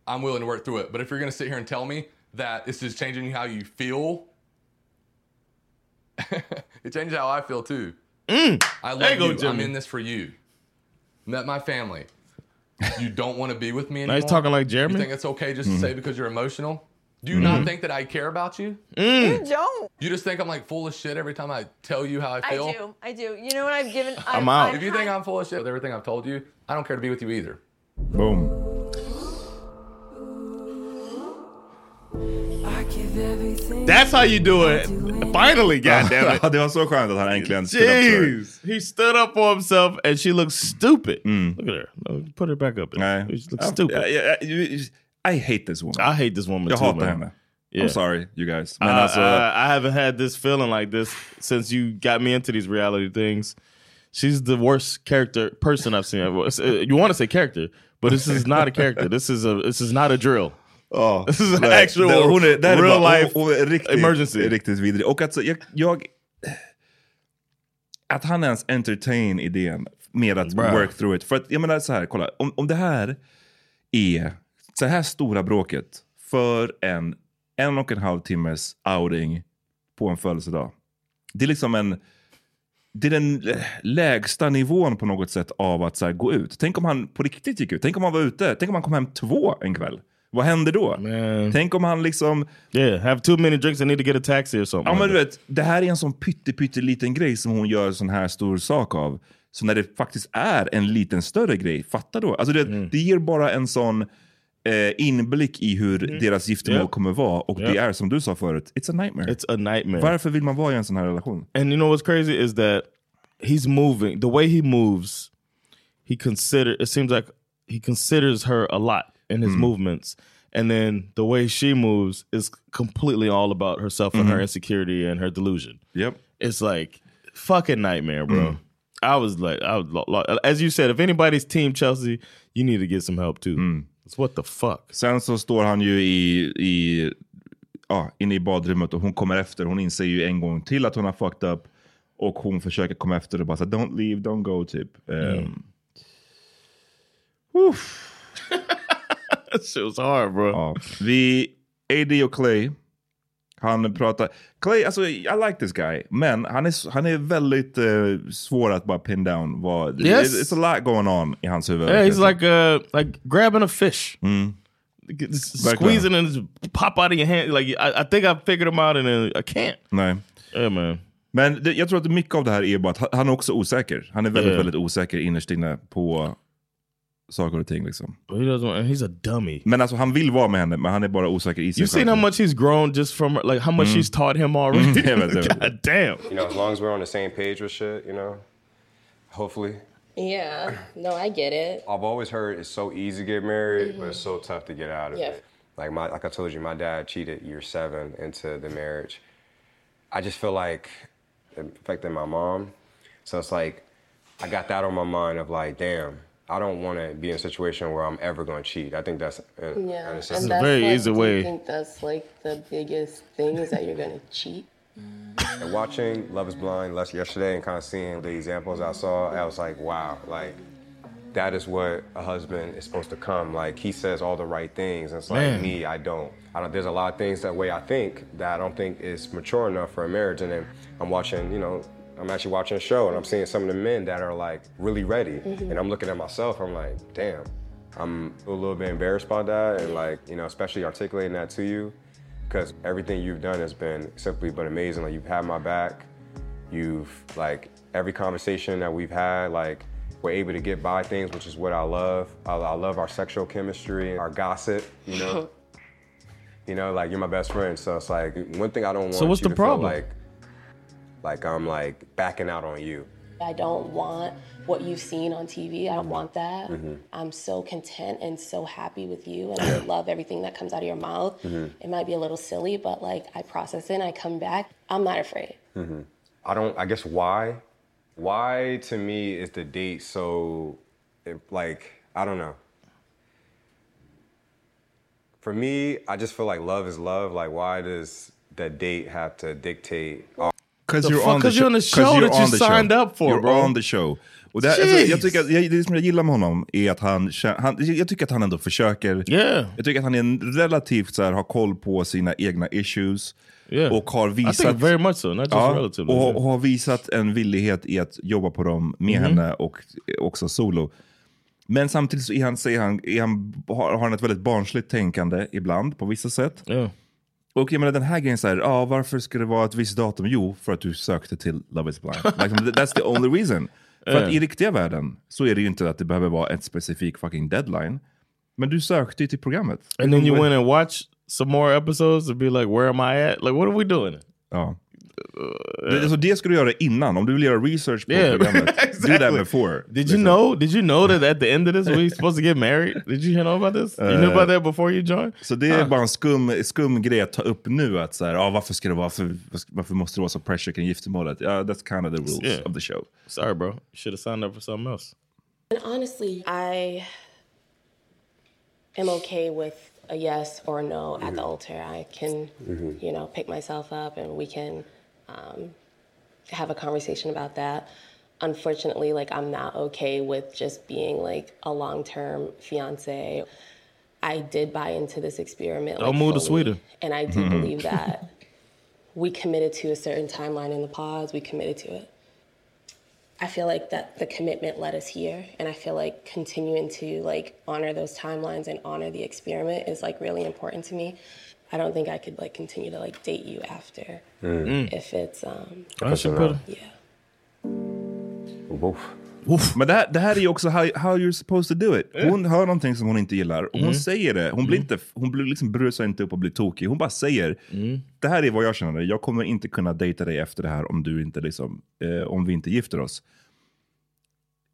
[SPEAKER 9] I'm willing to work through it. But if you're gonna sit here and tell me that this is changing how you feel, [laughs] it changes how I feel too. I
[SPEAKER 2] There
[SPEAKER 9] love
[SPEAKER 2] you go,
[SPEAKER 9] you. I'm
[SPEAKER 2] Jimmy.
[SPEAKER 9] in this for you. Met my family. You don't want to be with me
[SPEAKER 2] Now
[SPEAKER 9] anymore.
[SPEAKER 2] he's talking like Jeremy?
[SPEAKER 9] You think it's okay just
[SPEAKER 2] Mhm.
[SPEAKER 9] to say because you're emotional? Do you not
[SPEAKER 2] Mhm.
[SPEAKER 9] think that I care about you?
[SPEAKER 8] You
[SPEAKER 2] Mm.
[SPEAKER 8] don't.
[SPEAKER 9] You just think I'm like full of shit every time I tell you how I
[SPEAKER 8] I
[SPEAKER 9] feel.
[SPEAKER 8] do. I do. You know what I've given? I've,
[SPEAKER 9] If you think I'm full of shit with everything I've told you, I don't care to be with you either.
[SPEAKER 1] Boom.
[SPEAKER 2] That's how you do it.
[SPEAKER 1] [laughs] Oh,
[SPEAKER 2] Finally, goddammit.
[SPEAKER 1] Ja, det var så skönt att han äntligen stood up to her.
[SPEAKER 2] Jeez. Mm. He stood up for himself and she looks stupid. Look at her. No, Put her back up.
[SPEAKER 1] Nej.
[SPEAKER 2] She looks
[SPEAKER 1] Ja,
[SPEAKER 2] stupid.
[SPEAKER 1] ja, ja, ja, I hate this woman.
[SPEAKER 2] I hate this woman
[SPEAKER 1] Jag
[SPEAKER 2] too,
[SPEAKER 1] hatar
[SPEAKER 2] man.
[SPEAKER 1] henne.
[SPEAKER 2] Yeah.
[SPEAKER 1] I'm sorry you guys.
[SPEAKER 2] I,
[SPEAKER 1] Men alltså,
[SPEAKER 2] Uh, I, I haven't had this feeling like this since you got me into these reality things. She's the worst character person I've seen. ever. It's, uh, You want to say character, but this is not a character. This is a this is not a drill.
[SPEAKER 1] Oh,
[SPEAKER 2] this is an
[SPEAKER 1] nej,
[SPEAKER 2] actual
[SPEAKER 1] det- hon är- det här är
[SPEAKER 2] real
[SPEAKER 1] bara-
[SPEAKER 2] life
[SPEAKER 1] hon- hon är riktigt,
[SPEAKER 2] emergency.
[SPEAKER 1] Riktigt vidrig. Och att, så- jag, jag, att han ens entertain idén med att
[SPEAKER 2] Bruh.
[SPEAKER 1] work through it. För att jag menar så här, kolla. Om, om det här är så här stora bråket för en en och en halv timmes outing på en födelsedag. Det är liksom en... Det är den lägsta nivån på något sätt av att så här, gå ut. Tänk om han på riktigt gick ut. Tänk om han var ute. Tänk om han kom hem två en kväll. Vad händer då? Tänk om han liksom...
[SPEAKER 2] Yeah, have too many drinks and need to get a taxi or something.
[SPEAKER 1] Ja, men
[SPEAKER 2] like
[SPEAKER 1] du vet, det här är en sån pytte, pytteliten grej som hon gör sån här stor sak av. Så när det faktiskt är en liten större grej, fatta då. Alltså det,
[SPEAKER 2] Mm.
[SPEAKER 1] det ger bara en sån eh, inblick i hur
[SPEAKER 2] Mm.
[SPEAKER 1] deras giftermål
[SPEAKER 2] Ja.
[SPEAKER 1] kommer vara. Och det
[SPEAKER 2] Ja.
[SPEAKER 1] är som du sa förut, it's a nightmare.
[SPEAKER 2] It's a nightmare.
[SPEAKER 1] Varför vill man vara i en sån här relation?
[SPEAKER 2] And you know what's crazy is that he's moving. The way he moves, he consider. It seems like he considers her a lot in his movements, and then the way she moves is completely all about herself and her
[SPEAKER 1] Mhm.
[SPEAKER 2] insecurity and her delusion.
[SPEAKER 1] Yep,
[SPEAKER 2] it's like fucking nightmare, bro. I was like, I was lo- lo- as you said, if anybody's team Chelsea, you need to get some help too. It's what the fuck.
[SPEAKER 1] Sen så står han ju i, i, ja, inne i badrummet och hon kommer efter. Hon inser ju en gång till att hon har fucked up. Och hon försöker komma efter och bara så här, don't leave, don't go typ.
[SPEAKER 2] Mm.
[SPEAKER 1] Ehm,
[SPEAKER 2] [laughs] That shit was hard, bro.
[SPEAKER 1] Ja. Vi, AD och Clay Han pratar... Clay, alltså I like this guy, men han är, han är väldigt eh, svår att bara pin down. Vad,
[SPEAKER 2] Yes.
[SPEAKER 1] it's, it's a lot going on i Mm. hans huvud.
[SPEAKER 2] Yeah, he's like uh like grabbing a fish. Squeezing and just pop out of your hand. Like I, I think I figured him out and then I can't.
[SPEAKER 1] Nej.
[SPEAKER 2] man.
[SPEAKER 1] Men det, jag tror att mycket av det här är bara att han- han är också osäker. Han är väldigt,
[SPEAKER 2] Yeah.
[SPEAKER 1] väldigt osäker innerst inne på saker och ting. Liksom.
[SPEAKER 2] But he doesn't want, he's a dummy.
[SPEAKER 1] Men alltså han vill vara med henne, men han är bara osäker i sig
[SPEAKER 2] You've seen how much he's grown just from like how much
[SPEAKER 1] Mm.
[SPEAKER 2] she's taught
[SPEAKER 1] [laughs]
[SPEAKER 13] [laughs]
[SPEAKER 2] him [laughs] already.
[SPEAKER 1] Mm, yeah, but-
[SPEAKER 2] God damn.
[SPEAKER 13] You know, as long as we're on the same page with shit, you know, hopefully.
[SPEAKER 20] Yeah. No, I get it.
[SPEAKER 13] I've always heard it's so easy to get married, but it's so tough to get out of
[SPEAKER 20] Mm-hmm. Yeah.
[SPEAKER 13] it. Like my, like I told you, my dad cheated year seven into the marriage. I just feel like it affected my mom, so it's like I got that on my mind of like, damn, I don't want to be in a situation where I'm ever going to cheat. I think that's uh,
[SPEAKER 20] Yeah.
[SPEAKER 13] and
[SPEAKER 20] and that's like, do you think that's like the biggest thing is that you're gonna cheat.
[SPEAKER 13] And watching Love Is Blind last yesterday and kind of seeing the examples I saw, I was like, wow, like that is what a husband is supposed to come. Like he says all the right things. And it's like
[SPEAKER 2] Man.
[SPEAKER 13] me, I don't. I don't. There's a lot of things that way I think that I don't think is mature enough for a marriage. And then I'm watching, you know, I'm actually watching a show and I'm seeing some of the men that are like really ready.
[SPEAKER 9] Mhm.
[SPEAKER 13] And I'm looking at myself. I'm like, damn, I'm a little bit embarrassed by that. And like, you know, especially articulating that to you because everything you've done has been simply but amazing. Like you've had my back. You've like every conversation that we've had, like we're able to get by things, which is what I love. I, I love our sexual chemistry, our gossip. You know, you know, like you're my best friend. So it's like one thing I don't want.
[SPEAKER 2] So what's
[SPEAKER 13] you to
[SPEAKER 2] the
[SPEAKER 13] feel
[SPEAKER 2] problem?
[SPEAKER 13] Like, like I'm like backing out on you.
[SPEAKER 20] I don't want what you've seen on TV. I don't want that.
[SPEAKER 13] Mhm.
[SPEAKER 20] I'm so content and so happy with you, and I love everything that comes out of your mouth.
[SPEAKER 13] Mhm.
[SPEAKER 20] It might be a little silly, but like I process it and I come back. I'm not afraid.
[SPEAKER 13] Mm-hmm. I don't. I guess why? Why to me is the date so, it- like I don't know. For me, I just feel like love is love. Like why does the date have to dictate? all-
[SPEAKER 1] Because
[SPEAKER 13] The
[SPEAKER 1] you're,
[SPEAKER 13] fuck?
[SPEAKER 1] on the
[SPEAKER 13] 'Cause
[SPEAKER 1] show.
[SPEAKER 13] you're on the show
[SPEAKER 1] 'Cause you're
[SPEAKER 13] that you
[SPEAKER 1] on the
[SPEAKER 13] signed
[SPEAKER 1] show.
[SPEAKER 13] up for,
[SPEAKER 1] you're
[SPEAKER 13] bro.
[SPEAKER 1] on the show. Och det, alltså, jag,
[SPEAKER 13] Jeez.
[SPEAKER 1] tycker att, jag, det som jag gillar med honom är att han, kä- han jag tycker att han ändå försöker. Jag tycker att han är en relativt så här, har koll på sina egna issues.
[SPEAKER 2] Yeah.
[SPEAKER 1] Och har
[SPEAKER 2] I
[SPEAKER 1] visat...
[SPEAKER 2] think very much so, not just relatively,
[SPEAKER 1] och,
[SPEAKER 2] yeah.
[SPEAKER 1] och har visat en villighet i att jobba på dem med
[SPEAKER 13] Mm-hmm.
[SPEAKER 2] Mhm.
[SPEAKER 1] henne och också solo. Men samtidigt så är han, säger han, är han, har, har han ett väldigt barnsligt tänkande ibland på vissa sätt. Och jag menar den här grejen såhär, ah, varför ska det vara ett visst datum? Jo, för att du sökte till Love is
[SPEAKER 2] [laughs]
[SPEAKER 1] blind. Like, th- that's the only reason. För att
[SPEAKER 2] Ja.
[SPEAKER 1] i riktiga världen så är det ju inte att det behöver vara ett specifik fucking deadline. Men du sökte ju till programmet.
[SPEAKER 2] And then you went and watched some more episodes and be like, where am I at? Like, what are we doing?
[SPEAKER 1] Ja. Det, så det ska du göra innan, om du vill göra research på
[SPEAKER 2] Yeah, [laughs]
[SPEAKER 1] programmet. Do that
[SPEAKER 2] exactly.
[SPEAKER 1] before.
[SPEAKER 2] Did you know? Did you know that at the end of this we supposed to get married? Did you know about this? You
[SPEAKER 1] Uh,
[SPEAKER 2] knew about that before you joined?
[SPEAKER 1] Så det är
[SPEAKER 2] Ah.
[SPEAKER 1] bara en skum, skum grej att ta upp nu. Att så här, ah, varför, ska det vara, för, varför måste det vara så pressure kring giftermålet? Ja, that's kind of the rules
[SPEAKER 2] Yeah.
[SPEAKER 1] of the show.
[SPEAKER 2] Sorry bro, you should have signed up for something else.
[SPEAKER 20] And honestly, I am okay with a yes or a no
[SPEAKER 2] Mm-hmm.
[SPEAKER 20] at the altar. I can,
[SPEAKER 13] Mm-hmm.
[SPEAKER 21] Mhm.
[SPEAKER 20] you know, pick myself up and we can um, have a conversation about that. Unfortunately, like, I'm not okay with just being like a long term fiance. I did buy into this experiment.
[SPEAKER 2] Don't
[SPEAKER 20] like, oh.
[SPEAKER 2] move to
[SPEAKER 20] fully,
[SPEAKER 2] Sweden.
[SPEAKER 20] And I do
[SPEAKER 2] Mhm.
[SPEAKER 20] believe that we committed to a certain timeline in the pause, we committed to it. I feel like that the commitment led us here, and I feel like continuing to like honor those timelines and honor the experiment is like really important to me. I don't think I could like continue to like date you after
[SPEAKER 1] Mm.
[SPEAKER 20] if it's um
[SPEAKER 1] I should put-
[SPEAKER 20] yeah.
[SPEAKER 1] Men det här, det här är ju också how, how you're supposed to do it. Hon hör någonting som hon inte gillar och hon
[SPEAKER 2] Mm.
[SPEAKER 1] säger det. Hon, blir inte, hon blir liksom brusar inte upp och blir tokig. Hon bara säger det här är vad jag känner. Jag kommer inte kunna dejta dig efter det här om, du inte liksom, eh, om vi inte gifter oss.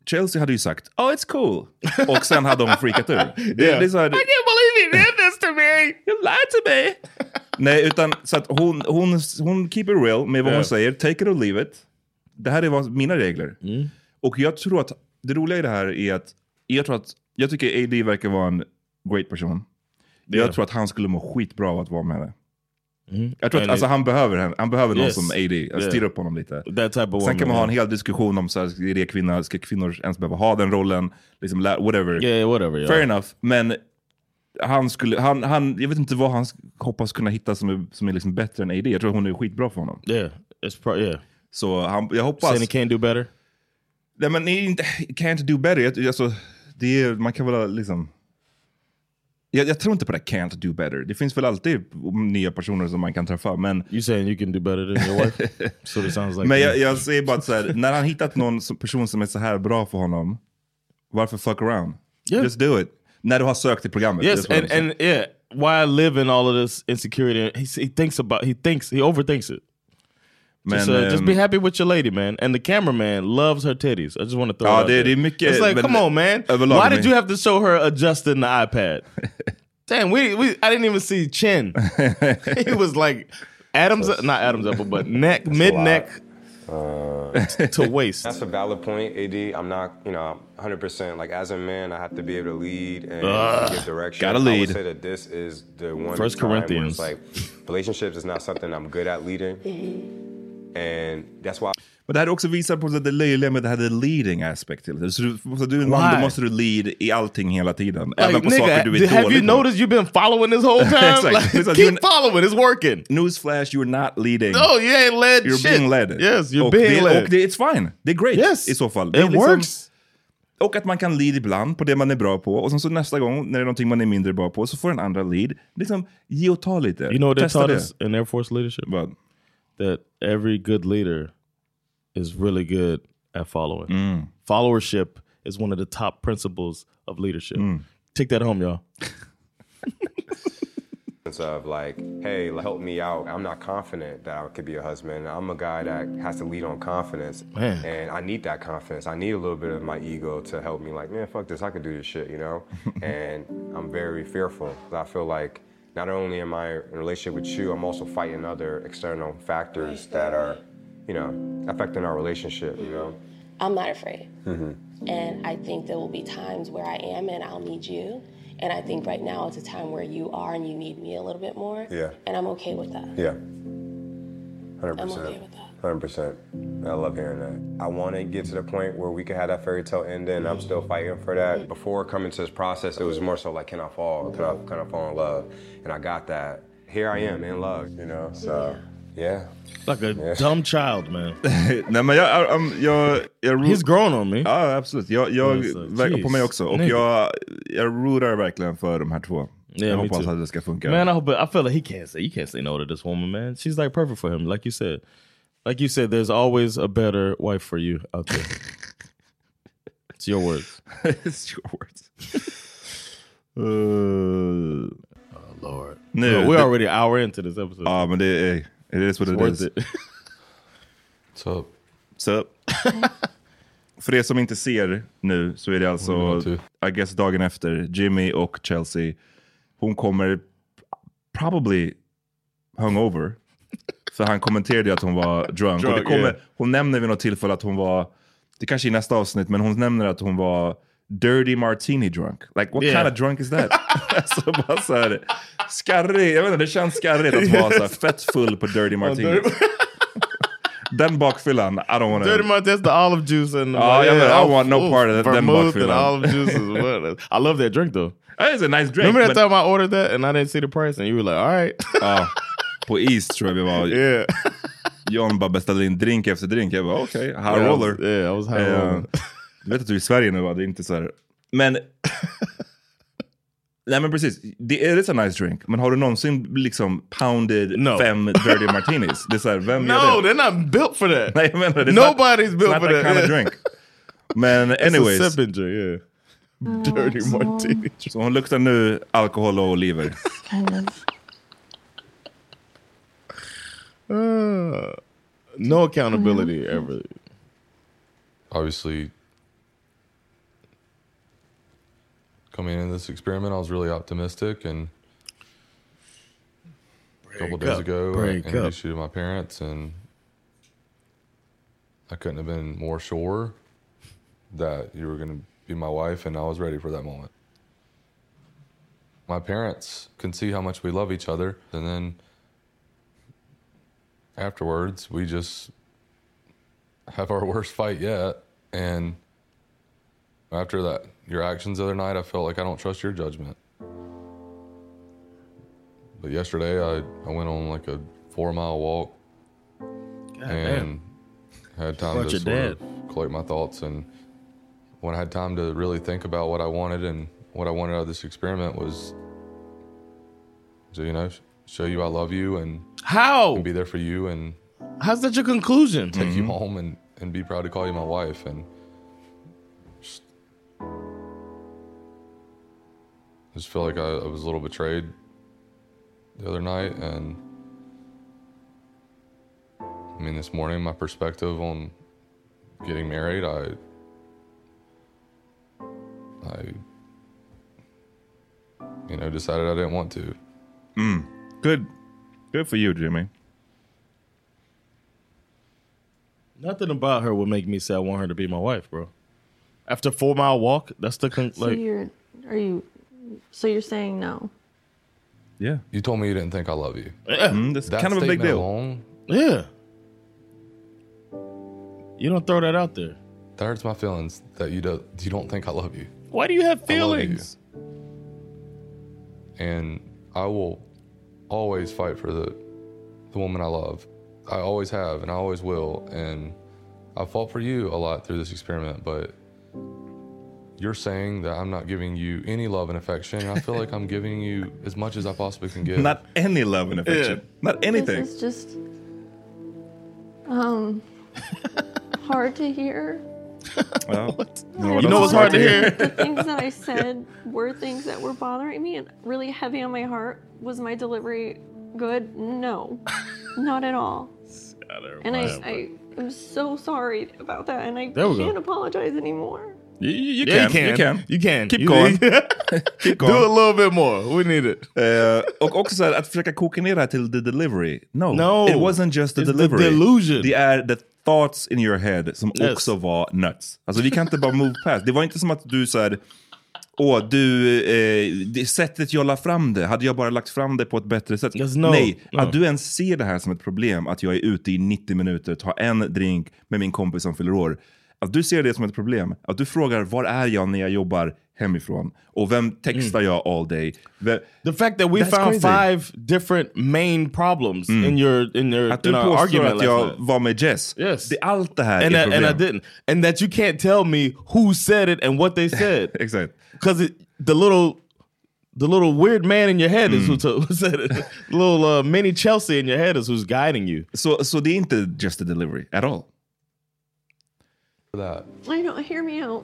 [SPEAKER 1] Chelsea hade ju sagt oh it's
[SPEAKER 2] [laughs]
[SPEAKER 1] cool och sen hade hon freakat ur. Det, det är liksom- så här,
[SPEAKER 2] I can't believe you did this to me. You lied to me.
[SPEAKER 1] nej, utan så att hon, hon, hon keep it real med vad
[SPEAKER 2] Ja.
[SPEAKER 1] hon säger. Take it or leave it. Det här är vad, mina regler.
[SPEAKER 2] Mm.
[SPEAKER 1] Och jag tror att det roliga i det här är att jag tror att jag tycker AD verkar vara en great person.
[SPEAKER 2] Ja.
[SPEAKER 1] Jag tror att han skulle må skitbra av att vara med henne.
[SPEAKER 2] Mhm.
[SPEAKER 1] Jag tror att
[SPEAKER 2] And
[SPEAKER 1] alltså,
[SPEAKER 2] it-
[SPEAKER 1] han behöver henne. Han behöver någon
[SPEAKER 2] Yes.
[SPEAKER 1] som AD.
[SPEAKER 2] Yeah.
[SPEAKER 1] Jag styr upp honom lite.
[SPEAKER 2] That type of
[SPEAKER 1] Sen kan
[SPEAKER 2] woman,
[SPEAKER 1] man ha
[SPEAKER 2] yeah.
[SPEAKER 1] en hel diskussion om så här, är det kvinnor, ska kvinnor ens behöva ha den rollen? Liksom, la- whatever.
[SPEAKER 2] Yeah, whatever, yeah.
[SPEAKER 1] Fair enough. Men han skulle, han, han, jag vet inte vad han hoppas kunna hitta som är, som är liksom bättre än AD. Jag tror hon är skitbra för honom.
[SPEAKER 2] Yeah, it's pro- yeah.
[SPEAKER 1] Så han, jag hoppas...
[SPEAKER 2] Saying he can't do better?
[SPEAKER 1] Nej men det är inte, can't do better. Jag, alltså, det är, man kan väl liksom... Jag, jag tror inte på det här can't do better. Det finns väl alltid nya personer som man kan träffa. Men...
[SPEAKER 2] You saying you can do better than
[SPEAKER 1] [laughs]
[SPEAKER 2] your wife? so it sounds like
[SPEAKER 1] Men jag,
[SPEAKER 2] that.
[SPEAKER 1] jag säger bara att så här, när han hittat någon som, person som är så här bra för honom, varför fuck around?
[SPEAKER 2] Yeah.
[SPEAKER 1] Just do it. När du har sökt till programmet.
[SPEAKER 2] Yes,
[SPEAKER 1] just vad jag
[SPEAKER 2] and,
[SPEAKER 1] säger.
[SPEAKER 2] and yeah, why I live in all of this insecurity? He, he thinks about he thinks he overthinks it. just,
[SPEAKER 1] Men,
[SPEAKER 2] uh, just be
[SPEAKER 1] ehm,
[SPEAKER 2] happy with your lady, man. And the cameraman loves her titties. I just want to throw.
[SPEAKER 1] Ja,
[SPEAKER 2] it out
[SPEAKER 1] det-
[SPEAKER 2] there.
[SPEAKER 1] det är mycket-
[SPEAKER 2] It's like,
[SPEAKER 1] men-
[SPEAKER 2] come on, man.
[SPEAKER 1] överlag
[SPEAKER 2] Why
[SPEAKER 1] men-
[SPEAKER 2] did you have to show her adjusting the [laughs] iPad? Damn, we, we I didn't even see [laughs] chin. it was like Adam's, not Adam's
[SPEAKER 1] [laughs]
[SPEAKER 2] apple, but neck,
[SPEAKER 13] That's a
[SPEAKER 2] mid
[SPEAKER 13] lot.
[SPEAKER 2] neck. Uh,
[SPEAKER 13] to waste. That's a valid point, AD. I'm not, you know, 100%. Like, as a man, I have to be able to lead and
[SPEAKER 2] Ugh,
[SPEAKER 13] give direction.
[SPEAKER 2] gotta
[SPEAKER 13] I
[SPEAKER 2] lead.
[SPEAKER 13] would say that this is the one
[SPEAKER 2] First
[SPEAKER 13] time where it's
[SPEAKER 2] Corinthians.
[SPEAKER 13] like, relationships is not something I'm good at leading. And that's why.
[SPEAKER 1] Men det här också visar på det löjliga med det här the leading aspect till det. Så du, så du är en man, då
[SPEAKER 2] Why?
[SPEAKER 1] måste du lead i allting hela tiden.
[SPEAKER 2] Like,
[SPEAKER 1] även på saker du är
[SPEAKER 2] nigga, have
[SPEAKER 1] dålig
[SPEAKER 2] you
[SPEAKER 1] på.
[SPEAKER 2] noticed you've been following this
[SPEAKER 1] [laughs]
[SPEAKER 2] [laughs] whole time?
[SPEAKER 1] Exakt.
[SPEAKER 2] Like,
[SPEAKER 1] Det är så att
[SPEAKER 2] keep
[SPEAKER 1] du-
[SPEAKER 2] following, it's working.
[SPEAKER 1] Newsflash, you're not leading.
[SPEAKER 2] No, you ain't led
[SPEAKER 1] You're
[SPEAKER 2] shit.
[SPEAKER 1] being led.
[SPEAKER 2] Yes, you're
[SPEAKER 1] och
[SPEAKER 2] being
[SPEAKER 1] det,
[SPEAKER 2] led.
[SPEAKER 1] Och det, it's fine. Det är great
[SPEAKER 2] Yes,
[SPEAKER 1] i så fall.
[SPEAKER 2] it
[SPEAKER 1] Det är liksom-
[SPEAKER 2] works.
[SPEAKER 1] Och att man kan lead ibland på det man är bra på. Och sen så nästa gång, när det är någonting man är mindre bra på, så får den andra lead. Liksom, ge och ta lite.
[SPEAKER 2] You know what they
[SPEAKER 1] Testa
[SPEAKER 2] taught
[SPEAKER 1] det.
[SPEAKER 2] us in Air Force leadership? That every good leader is really good at following. Followership is one of the top principles of leadership. Take that home, [laughs] y'all.
[SPEAKER 13] sense of like, hey, like, help me out. I'm not confident that I could be a husband. I'm a guy that has to lead on confidence,
[SPEAKER 2] Man.
[SPEAKER 13] and I need that confidence. I need a little bit of my ego to help me. Like, man, fuck this. I could do this shit, you know. and I'm very fearful. I feel like not only am I in a relationship with you, I'm also fighting other external factors that are, you know, affecting our relationship. You know.
[SPEAKER 20] I'm not afraid. Mm-hmm. And I think there will be times where I am and I'll need you. And I think right now it's a time where you are and you need me a little bit more.
[SPEAKER 13] Yeah.
[SPEAKER 20] And I'm okay with that.
[SPEAKER 13] Yeah. Hundred
[SPEAKER 20] I'm okay
[SPEAKER 13] percent. Hundred percent. I love hearing that. I want to get to the point where we can have that fairy tale ending. and I'm
[SPEAKER 20] Mm-hmm.
[SPEAKER 13] still fighting for that. Before coming to this process, it was more so like, can I fall? Can I, can I fall in love? And I got that. Here I am in love. You know. So yeah.
[SPEAKER 2] Like a dumb child, [laughs] man.
[SPEAKER 1] Nej, men jag, jag, jag, jag
[SPEAKER 2] He's grown on me.
[SPEAKER 1] Ja, absolut. Jag, jag
[SPEAKER 2] Yes, uh,
[SPEAKER 1] verkar på
[SPEAKER 2] jeez.
[SPEAKER 1] mig också. Och
[SPEAKER 2] Nigga.
[SPEAKER 1] jag, jag rootar verkligen för de här två. jag
[SPEAKER 2] me
[SPEAKER 1] hoppas
[SPEAKER 2] too.
[SPEAKER 1] att det ska funka.
[SPEAKER 2] Man, I hope. I feel like he can't say. You can't say no to this woman, man. She's like perfect for him. Like you said, like you said, there's always a better wife for you
[SPEAKER 1] [laughs]
[SPEAKER 2] out there. it's your words.
[SPEAKER 1] it's your words. [laughs] Uh,
[SPEAKER 2] Oh, Lord.
[SPEAKER 1] Nu,
[SPEAKER 2] No, we're
[SPEAKER 1] det-
[SPEAKER 2] already an hour into
[SPEAKER 1] [laughs]
[SPEAKER 2] this episode.
[SPEAKER 1] Ja, men det är... It is what
[SPEAKER 2] It's
[SPEAKER 1] it
[SPEAKER 2] worth
[SPEAKER 1] is.
[SPEAKER 2] it.
[SPEAKER 1] What's up? [laughs] För er som inte ser nu så är det alltså, I guess dagen efter, Jimmy och Chelsea. Hon kommer probably
[SPEAKER 2] [laughs]
[SPEAKER 1] hungover. För han kommenterade ju att hon var drunk. och det
[SPEAKER 2] Drunk,
[SPEAKER 1] kommer,
[SPEAKER 2] yeah.
[SPEAKER 1] Hon nämner vid något tillfälle att hon var, det kanske är i nästa avsnitt, men hon nämner att hon var dirty martini drunk. Like what
[SPEAKER 2] Yeah.
[SPEAKER 1] kind of drunk is
[SPEAKER 2] [laughs]
[SPEAKER 1] that? alltså bara så här, skarrig, jag vet inte, det känns skarrigt att vara så här fett full på dirty martini.
[SPEAKER 2] dirty-
[SPEAKER 1] [laughs] Den bakfyllan, I don't wanna...
[SPEAKER 2] Dirty Mart, that's the olive juice and
[SPEAKER 1] Oh, yeah, man, I want no
[SPEAKER 2] oh,
[SPEAKER 1] part of that- them
[SPEAKER 2] vermouth
[SPEAKER 1] motherfucker.
[SPEAKER 2] and olive juice.
[SPEAKER 1] [laughs]
[SPEAKER 2] Is what I love that drink though.
[SPEAKER 1] That is a nice drink.
[SPEAKER 2] Remember that
[SPEAKER 1] but- Oh,
[SPEAKER 2] time I ordered that and I didn't see the price and you were like, all
[SPEAKER 1] [laughs]
[SPEAKER 2] right.
[SPEAKER 1] Ja, på is tror jag vi var.
[SPEAKER 2] Yeah.
[SPEAKER 1] [laughs] John bara beställde in drink efter drink. Jag bara okej, high
[SPEAKER 2] Yeah, I was-
[SPEAKER 1] roller.
[SPEAKER 2] yeah, I was high
[SPEAKER 1] Eh,
[SPEAKER 2] roller.
[SPEAKER 1] Du vet att du är i Sverige nu va? Det är inte så här.
[SPEAKER 2] [laughs]
[SPEAKER 1] Men... Nej men precis, det är en nice drink. Men har du någonsin liksom pounded fem
[SPEAKER 2] [laughs]
[SPEAKER 1] dirty martinis? Det är så här, vem gör
[SPEAKER 2] no,
[SPEAKER 1] det?
[SPEAKER 2] they're not built for
[SPEAKER 1] [laughs]
[SPEAKER 2] that.
[SPEAKER 1] Nej, jag menar, det är
[SPEAKER 2] Nobody's
[SPEAKER 1] not-
[SPEAKER 2] built
[SPEAKER 1] it's
[SPEAKER 2] for
[SPEAKER 1] not that
[SPEAKER 2] that.
[SPEAKER 1] kind
[SPEAKER 2] [laughs]
[SPEAKER 1] of drink. Men
[SPEAKER 2] It's a
[SPEAKER 1] anyways.
[SPEAKER 2] sip and drink, yeah. Dirty martini.
[SPEAKER 1] Så hon luktar nu alkohol och oliver.
[SPEAKER 2] Uh, no accountability ever.
[SPEAKER 9] Obviously, coming into this experiment, I was really optimistic, and a couple
[SPEAKER 2] Break
[SPEAKER 9] days
[SPEAKER 2] up,
[SPEAKER 9] ago, I
[SPEAKER 2] break up.
[SPEAKER 9] introduced you to my parents, and I couldn't have been more sure that you were going to be my wife, and I was ready for that moment. My parents can see how much we love each other, and then afterwards, we just have our worst fight yet. And after that, your actions the other night, I felt like I don't trust your judgment. But yesterday, I, I went on like a four mile walk and had time
[SPEAKER 2] Bunch
[SPEAKER 9] to
[SPEAKER 2] of
[SPEAKER 9] sort of collect my thoughts. And when I had time to really think about what I wanted and what I wanted out of this experiment was to, you know, sh- show you I love you and
[SPEAKER 2] how
[SPEAKER 9] and be there for you and
[SPEAKER 2] How's that your conclusion? Mm-hmm.
[SPEAKER 9] take you home and, and be proud to call you my wife and just, just feel like I, I was a little betrayed the other night and I mean this morning my perspective on getting married I I you know decided I didn't want to
[SPEAKER 2] Hmm.
[SPEAKER 1] Mm. Good. Good for you, Jimmy.
[SPEAKER 2] Nothing about her would make me say I want her to be my wife, bro. After a four mile walk, that's the con-
[SPEAKER 8] So
[SPEAKER 2] like.
[SPEAKER 8] you're are you? So you're saying no?
[SPEAKER 1] yeah
[SPEAKER 9] you told me you didn't think I love you
[SPEAKER 2] Yeah. Mm, that's kind of a big
[SPEAKER 9] statement
[SPEAKER 2] deal.
[SPEAKER 9] alone,
[SPEAKER 2] Yeah. You don't throw that out there.
[SPEAKER 9] That hurts my feelings that you don't you don't think I love you.
[SPEAKER 2] Why do you have
[SPEAKER 9] I love you.
[SPEAKER 2] feelings?
[SPEAKER 9] And I will always fight for the the woman I love. I always have and I always will. And I fought for you a lot through this experiment, but you're saying that I'm not giving you any love and affection. I feel like I'm giving you as much as I possibly can give.
[SPEAKER 1] Not any love and affection. Not anything.
[SPEAKER 8] This is just
[SPEAKER 2] [laughs]
[SPEAKER 8] um hard to hear.
[SPEAKER 1] Well,
[SPEAKER 2] You know what's hard to
[SPEAKER 8] [laughs]
[SPEAKER 2] hear?
[SPEAKER 8] The things
[SPEAKER 2] [laughs]
[SPEAKER 8] that I said were things that were bothering me and really heavy on my heart. Was my delivery good? No, not at all. And I, I am so sorry about that, and I
[SPEAKER 2] There we go.
[SPEAKER 8] can't apologize anymore.
[SPEAKER 1] You, you
[SPEAKER 2] Yeah,
[SPEAKER 1] can,
[SPEAKER 2] you
[SPEAKER 1] you
[SPEAKER 2] can.
[SPEAKER 1] can.
[SPEAKER 2] You can.
[SPEAKER 1] Keep
[SPEAKER 2] You-
[SPEAKER 1] going. [laughs] Keep
[SPEAKER 2] Do
[SPEAKER 1] going. Eh,
[SPEAKER 2] a little bit more. We need it.
[SPEAKER 1] och också så här, att försöka koka ner det här till the delivery. No,
[SPEAKER 2] No.
[SPEAKER 1] it wasn't just the
[SPEAKER 2] It's the
[SPEAKER 1] delivery.
[SPEAKER 2] delusion.
[SPEAKER 1] Det är the thoughts in your head som
[SPEAKER 2] Yes.
[SPEAKER 1] också var nuts. Alltså vi kan inte bara move past. Det var inte som att du så här, åh du, eh, det sättet jag la fram det, hade jag bara lagt fram det på ett bättre sätt?
[SPEAKER 2] no,
[SPEAKER 1] Nej,
[SPEAKER 2] no.
[SPEAKER 1] att du ens ser det här som ett problem, att jag är ute i 90 minuter, tar en drink med min kompis som fyller år. Att du ser det som ett problem, att du frågar var är jag när jag jobbar hemifrån? Och vem textar jag all day? Ve-
[SPEAKER 2] Mm. The fact that we
[SPEAKER 1] That's
[SPEAKER 2] found
[SPEAKER 1] crazy. Mm.
[SPEAKER 2] five different main problems in your in your
[SPEAKER 1] Att du
[SPEAKER 2] in our
[SPEAKER 1] påstår
[SPEAKER 2] argument
[SPEAKER 1] att
[SPEAKER 2] last
[SPEAKER 1] jag
[SPEAKER 2] night.
[SPEAKER 1] var med Jess.
[SPEAKER 2] Yes.
[SPEAKER 1] Det, allt det här
[SPEAKER 2] and
[SPEAKER 1] är
[SPEAKER 2] that, and I
[SPEAKER 1] problem.
[SPEAKER 2] didn't, and that you can't tell me who said it
[SPEAKER 1] [laughs]
[SPEAKER 2] and what they said.
[SPEAKER 1] exactly,
[SPEAKER 2] because the little the little weird man in your head is who,
[SPEAKER 1] Mm.
[SPEAKER 2] to, [laughs] who said it. little uh, mini Chelsea in your head is who's guiding you.
[SPEAKER 1] So so they ain't just the delivery at all.
[SPEAKER 9] That
[SPEAKER 8] I know. Hear me out.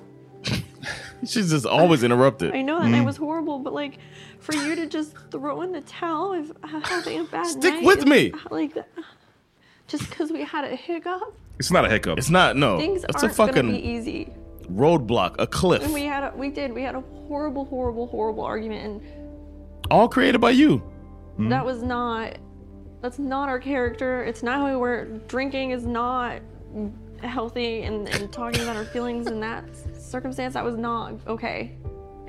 [SPEAKER 2] she's just always interrupted.
[SPEAKER 8] I know that
[SPEAKER 1] Mm.
[SPEAKER 8] I was horrible, but like for you to just throw in the towel if I'm having a bad
[SPEAKER 2] Stick
[SPEAKER 8] night,
[SPEAKER 2] with
[SPEAKER 8] is-
[SPEAKER 2] me.
[SPEAKER 8] [laughs] Like uh, just because we had a hiccup,
[SPEAKER 2] It's not a hiccup. It's not. No,
[SPEAKER 8] things
[SPEAKER 2] it's a
[SPEAKER 8] aren't
[SPEAKER 2] fucking
[SPEAKER 8] gonna be easy.
[SPEAKER 2] roadblock, a cliff,
[SPEAKER 8] And we had a, we did we had a horrible, horrible, horrible argument, and
[SPEAKER 2] all created by you. Mm-hmm.
[SPEAKER 8] that was not that's not our character. It's not how we were. Drinking is not healthy, and, and talking about our feelings in that circumstance that was not okay.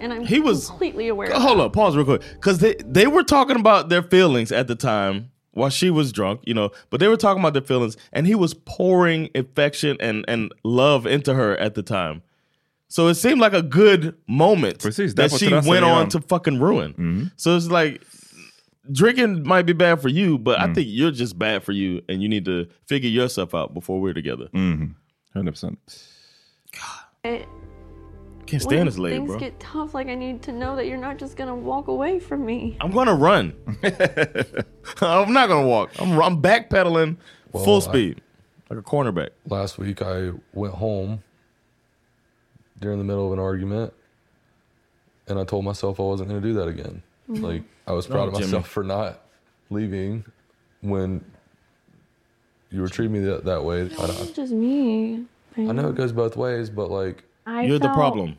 [SPEAKER 8] And I'm
[SPEAKER 2] He was-
[SPEAKER 8] completely aware. of
[SPEAKER 2] Hold
[SPEAKER 8] that.
[SPEAKER 2] up, pause real quick, because they they were talking about their feelings at the time while she was drunk, you know. But they were talking about their feelings, and he was pouring affection and and love into her at the time. So it seemed like a good moment that
[SPEAKER 1] var
[SPEAKER 2] she
[SPEAKER 1] terrassen
[SPEAKER 2] went on
[SPEAKER 1] redan.
[SPEAKER 2] to fucking ruin. So it's like drinking might be bad for you, but
[SPEAKER 1] Mm.
[SPEAKER 2] I think you're just bad for you, and you need to figure yourself out before we're together.
[SPEAKER 1] Mm-hmm. Hundred percent.
[SPEAKER 8] I-
[SPEAKER 2] Can't
[SPEAKER 8] when
[SPEAKER 2] stand this lady,
[SPEAKER 8] things
[SPEAKER 2] bro.
[SPEAKER 8] get tough, like I need to know that you're not just gonna walk away from me.
[SPEAKER 2] I'm
[SPEAKER 1] [laughs]
[SPEAKER 2] gonna run.
[SPEAKER 1] Mm-hmm.
[SPEAKER 2] I'm not gonna walk. I'm I'm backpedaling
[SPEAKER 9] Well,
[SPEAKER 2] full
[SPEAKER 9] I-
[SPEAKER 2] speed, like a cornerback.
[SPEAKER 9] last week I went home during the middle of an argument and I told myself I wasn't going to do that again.
[SPEAKER 8] Mm-hmm.
[SPEAKER 2] Mhm.
[SPEAKER 9] Like I was
[SPEAKER 2] No,
[SPEAKER 9] proud of myself
[SPEAKER 2] Jimmy.
[SPEAKER 9] for not leaving when you were treating me that, that way. I,
[SPEAKER 8] It's just me.
[SPEAKER 9] I know it goes both ways, but like
[SPEAKER 8] I You're the felt- problem.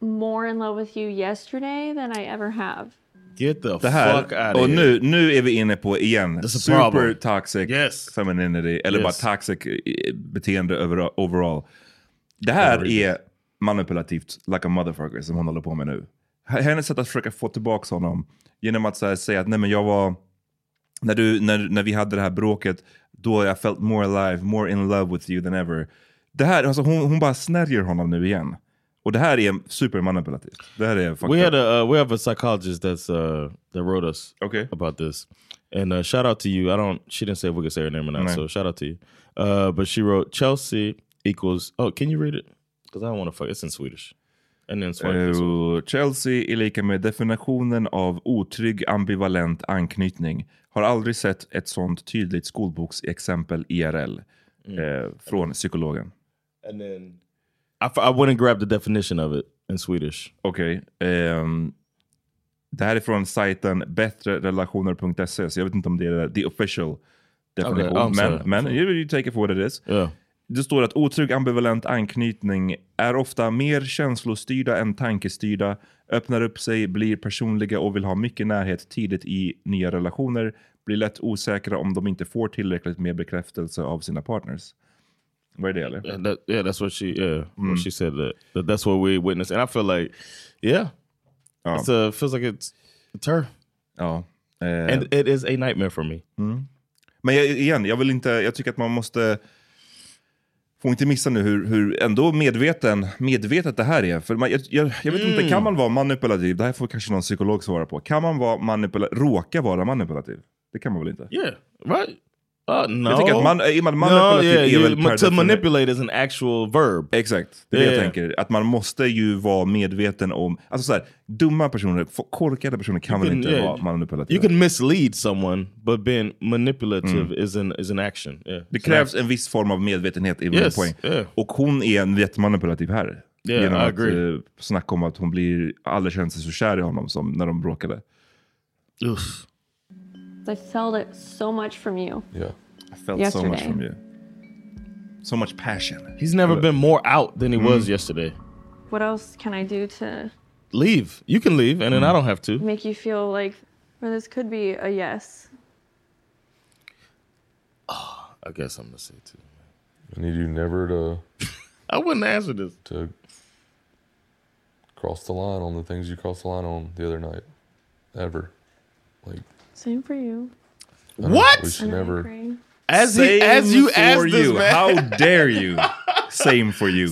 [SPEAKER 8] More in love with you yesterday than I ever have.
[SPEAKER 2] Get the
[SPEAKER 1] Det här,
[SPEAKER 2] fuck out
[SPEAKER 1] och
[SPEAKER 2] of
[SPEAKER 1] nu, nu är vi inne på igen,
[SPEAKER 2] That's a
[SPEAKER 1] super
[SPEAKER 2] problem.
[SPEAKER 1] toxic femininity, eller
[SPEAKER 2] Yes.
[SPEAKER 1] bara toxic eh, beteende över- overall. Det här
[SPEAKER 2] Overrated.
[SPEAKER 1] är manipulativt, like a motherfucker, som hon håller på med nu. H- Hennes sätt att försöka få tillbaka honom genom att så här, säga att nej men jag var, när, du, när, när vi hade det här bråket, då I felt more alive, more in love with you than ever. Det här, alltså hon, hon bara snärjer honom nu igen. Och det här är supermanipulativt. Det här är fucked
[SPEAKER 2] we
[SPEAKER 1] up.
[SPEAKER 2] had a uh, we have a psychologist that's uh that wrote us
[SPEAKER 1] okay
[SPEAKER 2] about this and uh, shout out to you i don't she didn't say if we could say her name or not
[SPEAKER 1] No.
[SPEAKER 2] so shout out to you uh but she wrote chelsea equals oh can you read it because i don't want to fuck it's in swedish and then swedish
[SPEAKER 1] Eh, Chelsea är lika med definitionen av otrygg ambivalent anknytning. Har aldrig sett ett sånt tydligt skolboksexempel IRL. Eh, från psykologen.
[SPEAKER 2] and then
[SPEAKER 1] I, I wouldn't grab the definition of it in Swedish. Okej. ehm, det här är från sajten bättrerelationer.se, så jag vet inte om det är the official definition.
[SPEAKER 2] Okay, I'm sorry.
[SPEAKER 1] men men you, you take it for what it is. Det står att otrygg ambivalent anknytning är ofta mer känslostyrda än tankestyrda, öppnar upp sig, blir personliga och vill ha mycket närhet tidigt i nya relationer, blir lätt osäkra om de inte får tillräckligt med bekräftelse av sina partners. Vad är det eller?
[SPEAKER 2] and that, yeah that's what she yeah
[SPEAKER 1] Mm.
[SPEAKER 2] what she said that, that that's what we witnessed and i feel like yeah it's uh feels like it's it's her
[SPEAKER 1] oh
[SPEAKER 2] and it is a nightmare for me
[SPEAKER 1] Mm. Men jag, igen, jag vill inte, jag tycker att man måste, får inte missa nu hur, hur ändå medveten, medvetet det här är. För man, jag, jag, jag vet inte,
[SPEAKER 2] Mm.
[SPEAKER 1] kan man vara manipulativ? Det här får kanske någon psykolog svara på. Kan man vara manipula, råka vara manipulativ? Det kan man väl inte?
[SPEAKER 2] Yeah, right. Uh, no.
[SPEAKER 1] Jag tycker att man, är man
[SPEAKER 2] No,
[SPEAKER 1] manipulativ
[SPEAKER 2] yeah,
[SPEAKER 1] är
[SPEAKER 2] you-
[SPEAKER 1] väl per
[SPEAKER 2] To
[SPEAKER 1] definition-
[SPEAKER 2] manipulate is an actual verb.
[SPEAKER 1] Exakt, det är det jag
[SPEAKER 2] Yeah.
[SPEAKER 1] tänker. Att man måste ju vara medveten om, alltså så här, dumma personer, f- korkade personer kan väl
[SPEAKER 2] can-
[SPEAKER 1] inte
[SPEAKER 2] yeah,
[SPEAKER 1] vara manipulativa?
[SPEAKER 2] You can mislead someone, but being manipulative is an is an action. Yeah.
[SPEAKER 1] Mm. Det krävs en viss form av medvetenhet i yes,
[SPEAKER 2] Yes,
[SPEAKER 1] poäng.
[SPEAKER 2] yeah.
[SPEAKER 1] Och hon är en jättemanipulativ herre.
[SPEAKER 2] Yeah,
[SPEAKER 1] genom
[SPEAKER 2] I
[SPEAKER 1] att
[SPEAKER 2] agree.
[SPEAKER 1] eh, snacka om att hon blir, alla känner sig så kär i honom som när de bråkade.
[SPEAKER 8] I felt it so much from you.
[SPEAKER 1] Yeah. I felt so
[SPEAKER 8] Yesterday.
[SPEAKER 1] much from you. So much passion.
[SPEAKER 2] He's never been more out than he
[SPEAKER 1] Mm.
[SPEAKER 2] was yesterday.
[SPEAKER 8] What else can I do to
[SPEAKER 2] Leave. You can leave, and then
[SPEAKER 1] Mm.
[SPEAKER 2] I don't have to.
[SPEAKER 8] make you feel like, or this could be a yes?
[SPEAKER 2] I got something to say too.
[SPEAKER 9] I need you never to.
[SPEAKER 2] I wouldn't answer this.
[SPEAKER 9] To cross the line on the things you crossed the line on the other night, ever. Like
[SPEAKER 8] Same for you.
[SPEAKER 9] I don't-
[SPEAKER 8] What?
[SPEAKER 9] We should
[SPEAKER 8] And I
[SPEAKER 9] never.
[SPEAKER 8] agree.
[SPEAKER 2] As he- as you asked
[SPEAKER 1] for
[SPEAKER 2] this
[SPEAKER 1] you.
[SPEAKER 2] man.
[SPEAKER 1] How
[SPEAKER 2] [laughs]
[SPEAKER 1] dare you? Same for you.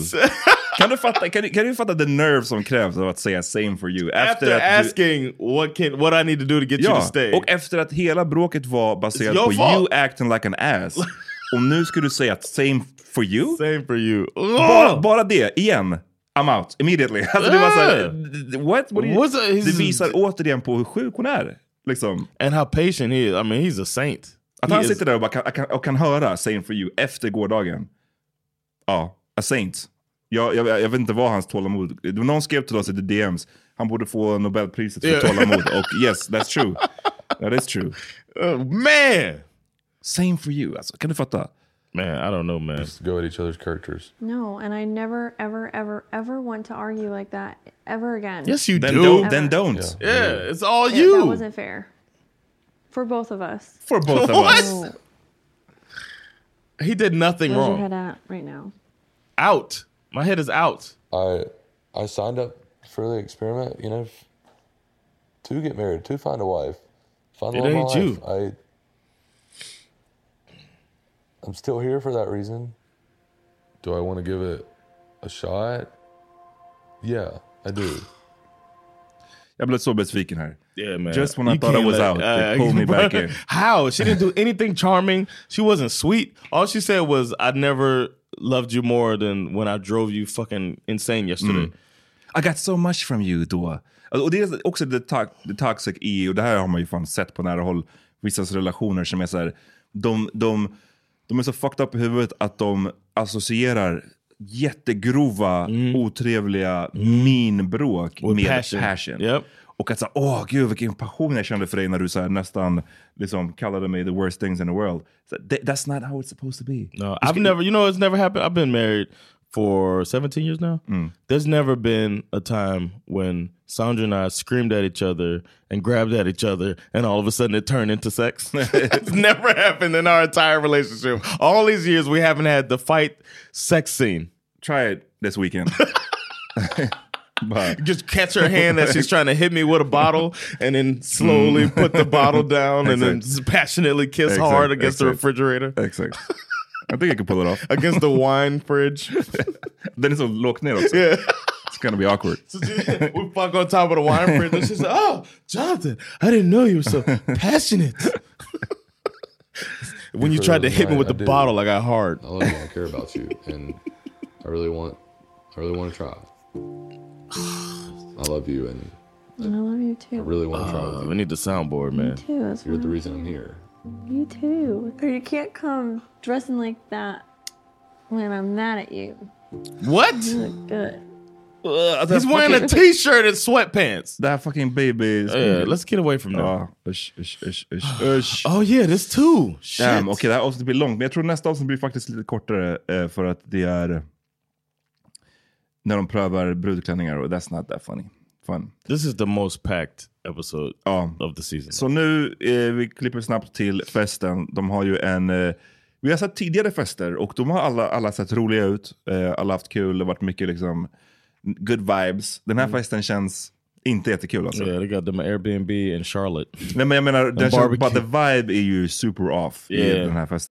[SPEAKER 1] kan, du fatta, kan, du, kan du fatta the nerve som krävs av att säga same for you?
[SPEAKER 2] After,
[SPEAKER 1] att du-
[SPEAKER 2] asking what can what I need to do to get you
[SPEAKER 1] Ja,
[SPEAKER 2] to stay.
[SPEAKER 1] och efter att hela bråket var baserat
[SPEAKER 2] It's your
[SPEAKER 1] på
[SPEAKER 2] fault.
[SPEAKER 1] you acting like an ass. Och nu ska du säga att same for you?
[SPEAKER 2] Same for you.
[SPEAKER 1] Bara, bara det, igen. I'm out, immediately. [laughs] Alltså det var så här, what? what are you,
[SPEAKER 2] What's that?
[SPEAKER 1] det visar återigen på hur sjuk hon är. Liksom.
[SPEAKER 2] And how patient he is. I mean, he's a saint.
[SPEAKER 1] Att
[SPEAKER 2] He
[SPEAKER 1] han
[SPEAKER 2] is-
[SPEAKER 1] sitter där och, bara kan, kan, och kan höra same for you efter gårdagen. Ja, a saint. Jag, jag, jag vet inte vad hans tålamod... det var Någon skrev till oss i the DMs, han borde få Nobelpriset för
[SPEAKER 2] Yeah.
[SPEAKER 1] tålamod. Och yes, that's true. That is
[SPEAKER 2] [laughs]
[SPEAKER 1] true.
[SPEAKER 2] Oh, man!
[SPEAKER 1] Same for you. Alltså, kan du fatta?
[SPEAKER 2] Man, I don't know man.
[SPEAKER 9] Just go at each other's characters.
[SPEAKER 8] No, and I never, ever, ever, ever want to argue like that ever again.
[SPEAKER 1] then
[SPEAKER 8] Ever.
[SPEAKER 1] Don't, then don't.
[SPEAKER 2] Yeah, it's all
[SPEAKER 8] Yeah, That
[SPEAKER 2] you.
[SPEAKER 8] wasn't fair. For both of us. [laughs]
[SPEAKER 1] For both of
[SPEAKER 2] What?
[SPEAKER 1] us.
[SPEAKER 2] He did nothing
[SPEAKER 8] Where's your
[SPEAKER 2] wrong.
[SPEAKER 8] head at right now?
[SPEAKER 2] Out. My head is out.
[SPEAKER 9] I I signed up for the experiment, you know, f- to get married, to find a wife, find the
[SPEAKER 2] It
[SPEAKER 9] love of my
[SPEAKER 2] ain't
[SPEAKER 9] life. I I'm still here for that reason.
[SPEAKER 13] Do I want to give it a shot?
[SPEAKER 9] Yeah, I
[SPEAKER 2] [sighs]
[SPEAKER 9] do.
[SPEAKER 1] Jag blev så besviken här.
[SPEAKER 2] Yeah, man.
[SPEAKER 1] Just when I thought I
[SPEAKER 2] can't
[SPEAKER 1] was
[SPEAKER 2] let-
[SPEAKER 1] out, they pulled
[SPEAKER 2] [laughs]
[SPEAKER 1] me back in.
[SPEAKER 2] How? She didn't do anything charming. She wasn't sweet. All she said was, I never loved you more than when I drove you fucking insane yesterday.
[SPEAKER 1] I got so much from you då. Alltså, och det är också det, to det toxic i, och det här har man ju fan sett på nära håll, vissas relationer som är så här, de, de, de är så fucked up i huvudet att de associerar jättegrova, otrevliga minbråk
[SPEAKER 2] With
[SPEAKER 1] med passion.
[SPEAKER 2] Mm. passion.
[SPEAKER 1] Och att så här, åh gud vilken passion jag kände för dig när du så här, nästan liksom, kallade mig the worst things in the world. Så, that, that's not how it's supposed to be.
[SPEAKER 2] No, I've never, you know, it's never happened. I've been married for 17 years now.
[SPEAKER 1] Mm.
[SPEAKER 2] There's never been a time when Sandra and I screamed at each other and grabbed at each other, and all of a sudden it turned into sex. [laughs] it's never happened in our entire relationship. All these years, we haven't had the fight sex scene.
[SPEAKER 1] Try it this
[SPEAKER 2] [laughs]
[SPEAKER 1] weekend. Bye.
[SPEAKER 2] Just catch her hand as she's trying to hit me with a bottle, and then slowly
[SPEAKER 1] Mm.
[SPEAKER 2] put the
[SPEAKER 1] [laughs]
[SPEAKER 2] bottle down, and then
[SPEAKER 1] Exact.
[SPEAKER 2] passionately kiss
[SPEAKER 1] Exakt,
[SPEAKER 2] hard against the
[SPEAKER 1] exakt.
[SPEAKER 2] refrigerator.
[SPEAKER 1] Exakt.
[SPEAKER 2] [laughs]
[SPEAKER 1] I think I could pull it off. [laughs]
[SPEAKER 2] Against the wine fridge.
[SPEAKER 1] Den är så lågt ner också. gonna be
[SPEAKER 2] [laughs]
[SPEAKER 1] awkward.
[SPEAKER 2] we fuck on top of the wine fridge. And she's like, oh, Jonathan, I didn't know you were [laughs] so passionate. when you tried to hit me with the bottle, I got hard.
[SPEAKER 9] I love you. I care about you, and I really want, I really want to try. I love you, and
[SPEAKER 8] I love you too.
[SPEAKER 9] I really want to try. With
[SPEAKER 2] Uh, we need the soundboard, man.
[SPEAKER 8] too, that's
[SPEAKER 9] You're the reason I'm here.
[SPEAKER 8] Uh, You too. Or you can't come dressing like that when I'm mad at you.
[SPEAKER 2] What?
[SPEAKER 8] You look good.
[SPEAKER 2] Ugh,
[SPEAKER 8] He's
[SPEAKER 2] He's wearing a
[SPEAKER 8] fucking-
[SPEAKER 2] t-shirt and sweatpants.
[SPEAKER 1] That fucking baby is.
[SPEAKER 2] Yeah, let's get away from that.
[SPEAKER 1] Uh,
[SPEAKER 2] [gasps]
[SPEAKER 1] oh
[SPEAKER 2] yeah, this too.
[SPEAKER 1] Damn, Okej, det här avsnittet blir långt, men jag tror nästa avsnitt blir faktiskt lite kortare eh, för att det är när de prövar brudklänningar och that's not that funny. Fun.
[SPEAKER 2] This is the most packed episode of the season.
[SPEAKER 1] Så nu, eh, vi klipper snabbt till festen. De har ju en... Eh, vi har sett tidigare fester och de har alla, alla sett roliga ut. Eh, alla haft kul, det har varit mycket liksom good vibes. Den här
[SPEAKER 2] Mm.
[SPEAKER 1] festen känns inte jättekul alltså.
[SPEAKER 2] Yeah, they got them Airbnb in Charlotte.
[SPEAKER 1] Nej men jag menar, den
[SPEAKER 2] And
[SPEAKER 1] känns, but
[SPEAKER 2] barbecue.
[SPEAKER 1] the vibe är ju super off i
[SPEAKER 2] Yeah.
[SPEAKER 1] den här festen.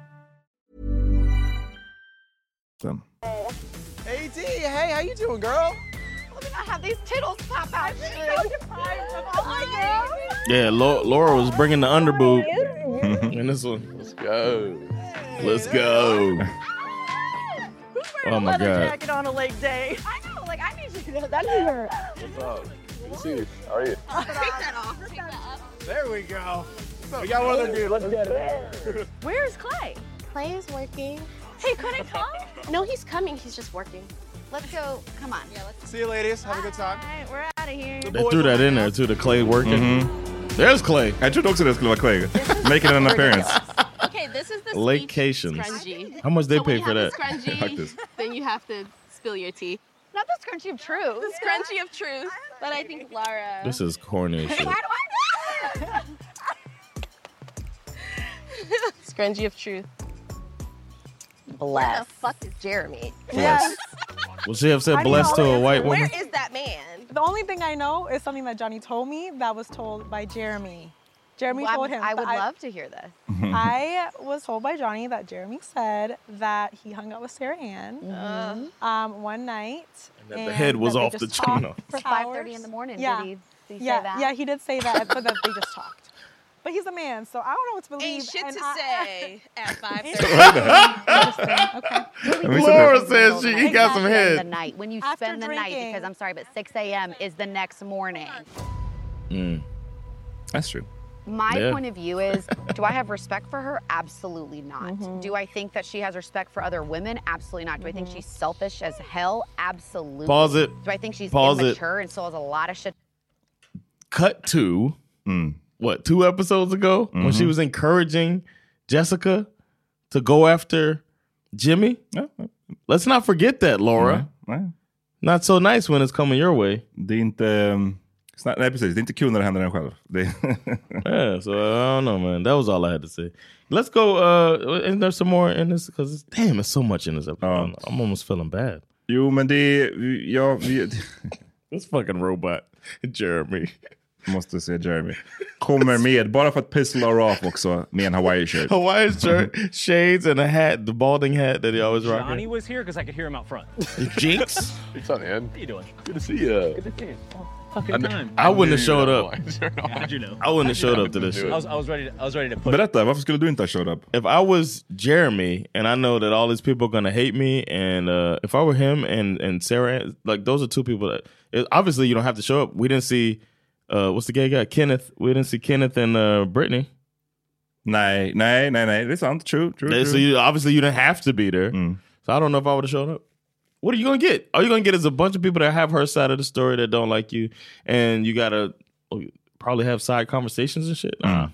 [SPEAKER 22] AT, hey, how you doing, girl?
[SPEAKER 5] Look at I have these tittles pop out. I'm so deprived of all my girls.
[SPEAKER 2] Yeah, Lau- Laura was bringing the underboob [laughs] in this one. Let's go. Let's go.
[SPEAKER 5] Wearing
[SPEAKER 2] Oh
[SPEAKER 5] a
[SPEAKER 2] my
[SPEAKER 5] leather
[SPEAKER 2] god.
[SPEAKER 5] jacket on a leg day. I know, like I need you to know that. What's
[SPEAKER 22] up? Good to see you. How are you?
[SPEAKER 5] [laughs] There we go.
[SPEAKER 22] We got one other dude. Let's get it.
[SPEAKER 11] Where's Clay? Clay is working. Hey, couldn't come? [laughs] no, he's coming. He's just working. Let's go. Come on. Yeah, let's
[SPEAKER 22] See you, ladies. Have a good time.
[SPEAKER 11] We're out of here.
[SPEAKER 2] They threw that in there too, the clay working. There's clay.
[SPEAKER 1] I trodde också det skulle vara
[SPEAKER 2] [laughs]
[SPEAKER 1] clay.
[SPEAKER 20] [laughs]
[SPEAKER 1] Making an
[SPEAKER 11] [laughs]
[SPEAKER 1] appearance.
[SPEAKER 20] Okay, this is the
[SPEAKER 2] Lake
[SPEAKER 20] speech
[SPEAKER 2] Cations.
[SPEAKER 20] scrunchie.
[SPEAKER 2] How much they
[SPEAKER 20] so
[SPEAKER 2] pay
[SPEAKER 20] when
[SPEAKER 2] for
[SPEAKER 20] you
[SPEAKER 2] that?
[SPEAKER 20] have the Scrunchie, then you have to spill your tea.
[SPEAKER 7] Not the scrunchie of truth.
[SPEAKER 20] The scrunchie of truth. But I think Laura.
[SPEAKER 2] This is corny as shit.
[SPEAKER 20] [laughs] Scrunchie of truth.
[SPEAKER 7] Bless. Where the fuck is Jeremy?
[SPEAKER 2] Bless. Would she have said bless to a white woman?
[SPEAKER 23] is that man? The only thing I know is something that Johnny told me that was told by Jeremy. Jeremy
[SPEAKER 7] Well, I
[SPEAKER 23] told
[SPEAKER 7] would-
[SPEAKER 23] him.
[SPEAKER 7] I would
[SPEAKER 23] that
[SPEAKER 7] love to hear this.
[SPEAKER 2] [laughs]
[SPEAKER 23] I was told by Johnny that Jeremy said that he hung out with Sarah Ann
[SPEAKER 7] Mm-hmm.
[SPEAKER 23] um, one night. And
[SPEAKER 2] that the head was
[SPEAKER 23] that they
[SPEAKER 2] off
[SPEAKER 23] just
[SPEAKER 2] the channel.
[SPEAKER 23] talked
[SPEAKER 2] For
[SPEAKER 23] 5:30
[SPEAKER 7] in the morning, did
[SPEAKER 23] Yeah.
[SPEAKER 7] he- did he
[SPEAKER 23] yeah.
[SPEAKER 7] say that?
[SPEAKER 23] Yeah, he did say that, but that they just talked. But he's a man, so I don't know what to believe.
[SPEAKER 20] shit
[SPEAKER 23] and
[SPEAKER 20] to
[SPEAKER 23] I- [laughs]
[SPEAKER 20] say at
[SPEAKER 2] [laughs] Laura says she he
[SPEAKER 7] It's
[SPEAKER 2] got
[SPEAKER 7] not
[SPEAKER 2] some
[SPEAKER 7] spend
[SPEAKER 2] head.
[SPEAKER 7] The night when you spend the night, because I'm sorry, but 6 a.m. is the next morning.
[SPEAKER 2] Mm.
[SPEAKER 1] That's true.
[SPEAKER 7] My
[SPEAKER 1] Yeah.
[SPEAKER 7] point of view is: Do I have respect for her? Absolutely not. Do I think that she has respect for other women? Absolutely not. Do I think she's selfish as hell? Absolutely.
[SPEAKER 2] Pause it.
[SPEAKER 7] Do I think she's
[SPEAKER 2] Pause it.
[SPEAKER 7] immature and still has a lot of shit?
[SPEAKER 2] Cut to
[SPEAKER 1] Mm.
[SPEAKER 2] what two episodes ago when
[SPEAKER 1] Mm-hmm.
[SPEAKER 2] she was encouraging Jessica to go after Jimmy. Let's not forget that, Laura.
[SPEAKER 1] Nej.
[SPEAKER 2] Not so nice when it's coming your way.
[SPEAKER 1] Det är inte... um, It's not- Nej, precis. Det är inte kul när det händer en själv. Det,
[SPEAKER 2] yeah, so uh, I don't know, man. That was all I had to say. Let's go. Uh, and there's some more in this because damn, it's so much in this episode. I'm- I'm almost feeling bad.
[SPEAKER 1] [laughs] jo, men det är... Ja, vi,
[SPEAKER 2] [laughs] This fucking robot, Jeremy.
[SPEAKER 1] Måste se Jeremy. Kommer med, bara för att piss Laura off också, med en Hawaii-shirt.
[SPEAKER 2] Hawaiian shirt, shades, and a hat, the balding hat that he always
[SPEAKER 3] Johnny
[SPEAKER 2] rocking.
[SPEAKER 3] was here because I could hear him out
[SPEAKER 2] [laughs]
[SPEAKER 3] front.
[SPEAKER 2] Jinx?
[SPEAKER 3] What's up, man? How you doing?
[SPEAKER 2] Good to see you.
[SPEAKER 3] Good to see you. Oh, fucking time.
[SPEAKER 2] I wouldn't have showed up.
[SPEAKER 3] [laughs] How'd you know?
[SPEAKER 2] I wouldn't have showed up to this
[SPEAKER 3] I was,
[SPEAKER 2] shit.
[SPEAKER 3] I was ready. To, I was ready to put.
[SPEAKER 2] Berätta, varför skulle du inte ha showed up? If I was Jeremy and I know that all these people are gonna hate me and uh, if I were him and, and Sarah, like those are two people that it- obviously you don't have to show up. We didn't see, uh, what's the gay guy? Kenneth. We didn't see Kenneth and uh, Brittany.
[SPEAKER 1] Nej, nej, nej, nej. Det är sant. True, true,
[SPEAKER 2] Yeah,
[SPEAKER 1] true.
[SPEAKER 2] So you, obviously you didn't have to be there. So I don't know if I would have showed up. What are you gonna get? All you're gonna get is a bunch of people that have her side of the story that don't like you, and you gotta oh, probably have side conversations and shit. Nah.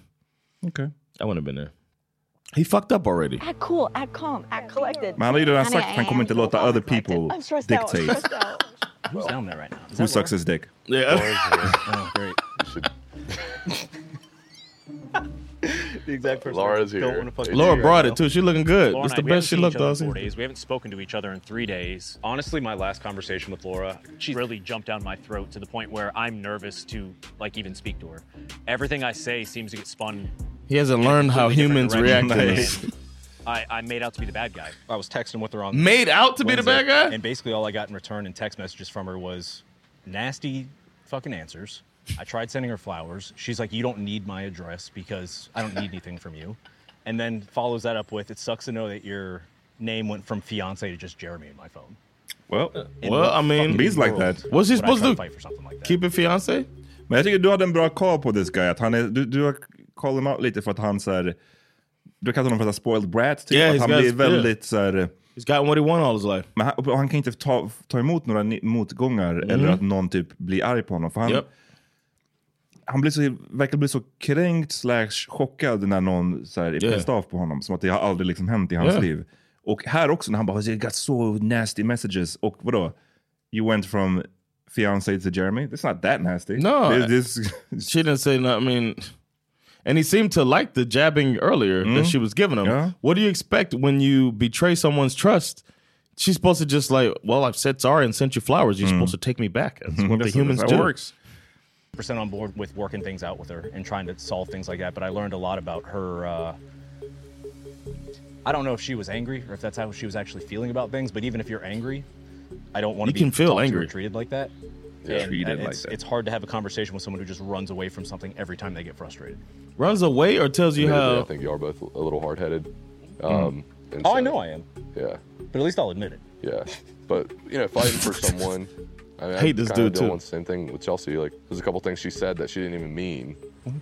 [SPEAKER 1] Okay.
[SPEAKER 2] I wouldn't have been there. He fucked up already.
[SPEAKER 5] Act cool, act calm, act collected.
[SPEAKER 1] Men han har ju redan sagt att han kommer inte låta other people
[SPEAKER 5] I'm stressed out. I'm
[SPEAKER 1] dictate
[SPEAKER 5] stressed [laughs] out.
[SPEAKER 3] Who's down there right now?
[SPEAKER 1] who sucks his dick.
[SPEAKER 2] Yeah. [laughs]
[SPEAKER 3] Oh, great.
[SPEAKER 9] The exact person.
[SPEAKER 3] Laura's
[SPEAKER 9] I
[SPEAKER 3] here.
[SPEAKER 9] Don't want to fuck
[SPEAKER 2] Laura
[SPEAKER 9] with.
[SPEAKER 2] brought it too. She looking good.
[SPEAKER 3] Laura
[SPEAKER 2] That's
[SPEAKER 3] and I, we
[SPEAKER 2] the
[SPEAKER 3] haven't
[SPEAKER 2] best she
[SPEAKER 3] seen each
[SPEAKER 2] looked
[SPEAKER 3] other
[SPEAKER 2] all
[SPEAKER 3] in Four
[SPEAKER 2] season.
[SPEAKER 3] days. We haven't spoken to each other in three days. Honestly, my last conversation with Laura, she really jumped down my throat to the point where I'm nervous to like even speak to her. Everything I say seems to get spun.
[SPEAKER 2] He hasn't learned how humans react
[SPEAKER 3] direction,
[SPEAKER 2] to this.
[SPEAKER 3] and [laughs] I, I made out to be the bad guy. I was texting with her on
[SPEAKER 2] Made out to be the
[SPEAKER 3] Wednesday,
[SPEAKER 2] bad guy?
[SPEAKER 3] and basically all I got in return in text messages from her was nasty fucking answers. I tried sending her flowers. She's like, "You don't need my address because I don't need anything from you," and then follows that up with, "It sucks to know that your name went from fiance to just Jeremy in my phone."
[SPEAKER 1] Well,
[SPEAKER 3] In well, the I mean, fucking bees like world that.
[SPEAKER 2] What's he
[SPEAKER 3] would I
[SPEAKER 2] supposed
[SPEAKER 3] try
[SPEAKER 2] to
[SPEAKER 3] to
[SPEAKER 2] do?
[SPEAKER 3] fight for something like
[SPEAKER 2] Keep it fiance?
[SPEAKER 1] Men jag tycker du hade en bra call på this guy. Att han är, du, du har call him out lite för att han så här, du kallar honom för så här spoiled brat. Typ.
[SPEAKER 2] Yeah,
[SPEAKER 1] att
[SPEAKER 2] he's
[SPEAKER 1] han
[SPEAKER 2] got-
[SPEAKER 1] blir väldigt
[SPEAKER 2] yeah.
[SPEAKER 1] så här,
[SPEAKER 2] He's gotten what he won all his life.
[SPEAKER 1] Men han, och han kan inte ta, ta emot några ni- motgångar eller att någon typ blir arg på honom. För han,
[SPEAKER 2] Mm. Yep.
[SPEAKER 1] han blir så, verkar bli så kränkt slash chockad när någon så här, är
[SPEAKER 2] Yeah.
[SPEAKER 1] pissed off på honom. Som att det har aldrig liksom hänt i hans
[SPEAKER 2] Yeah.
[SPEAKER 1] liv. Och här också när han bara “I got so nasty messages” och vadå? “You went from fiancé to Jeremy?” It's not that nasty.
[SPEAKER 2] No,
[SPEAKER 3] [laughs]
[SPEAKER 1] This- this-
[SPEAKER 2] [laughs] she didn't say no. I mean, and he seemed to like the jabbing earlier
[SPEAKER 3] Mm-hmm.
[SPEAKER 2] that she was giving him. What do you expect when you betray someone's trust? She's supposed to just like, well, I've said sorry and sent you flowers. You're supposed to take me back. That's [laughs] what the
[SPEAKER 3] Mm. Mm-hmm. That's-
[SPEAKER 2] humans
[SPEAKER 3] that's how
[SPEAKER 2] do.
[SPEAKER 3] it works. percent on board with working things out with her and trying to solve things like that. But I learned a lot about her. Uh, I don't know if she was angry or if that's how she was actually feeling about things. But even if you're angry, I don't want
[SPEAKER 2] You
[SPEAKER 3] to be
[SPEAKER 2] can feel
[SPEAKER 3] talked to or
[SPEAKER 2] angry.
[SPEAKER 3] treated like that.
[SPEAKER 2] Yeah.
[SPEAKER 3] And
[SPEAKER 2] Treated like
[SPEAKER 3] it's,
[SPEAKER 2] that.
[SPEAKER 3] it's hard to have a conversation with someone who just runs away from something every time they get frustrated.
[SPEAKER 2] Runs away or tells you
[SPEAKER 9] Admittedly,
[SPEAKER 2] how.
[SPEAKER 9] I think you are both a little hard headed.
[SPEAKER 2] Mm.
[SPEAKER 9] Um, and
[SPEAKER 3] Oh, I
[SPEAKER 9] so-
[SPEAKER 3] know I am.
[SPEAKER 9] Yeah.
[SPEAKER 3] But at least I'll admit it.
[SPEAKER 9] Yeah. But, you know, fighting for someone. I, mean,
[SPEAKER 2] [laughs] Hate
[SPEAKER 9] I
[SPEAKER 2] this
[SPEAKER 9] kinda
[SPEAKER 2] dude,
[SPEAKER 9] deal
[SPEAKER 2] too.
[SPEAKER 9] with the Same thing with Chelsea. Like, there's a couple things she said that she didn't even mean.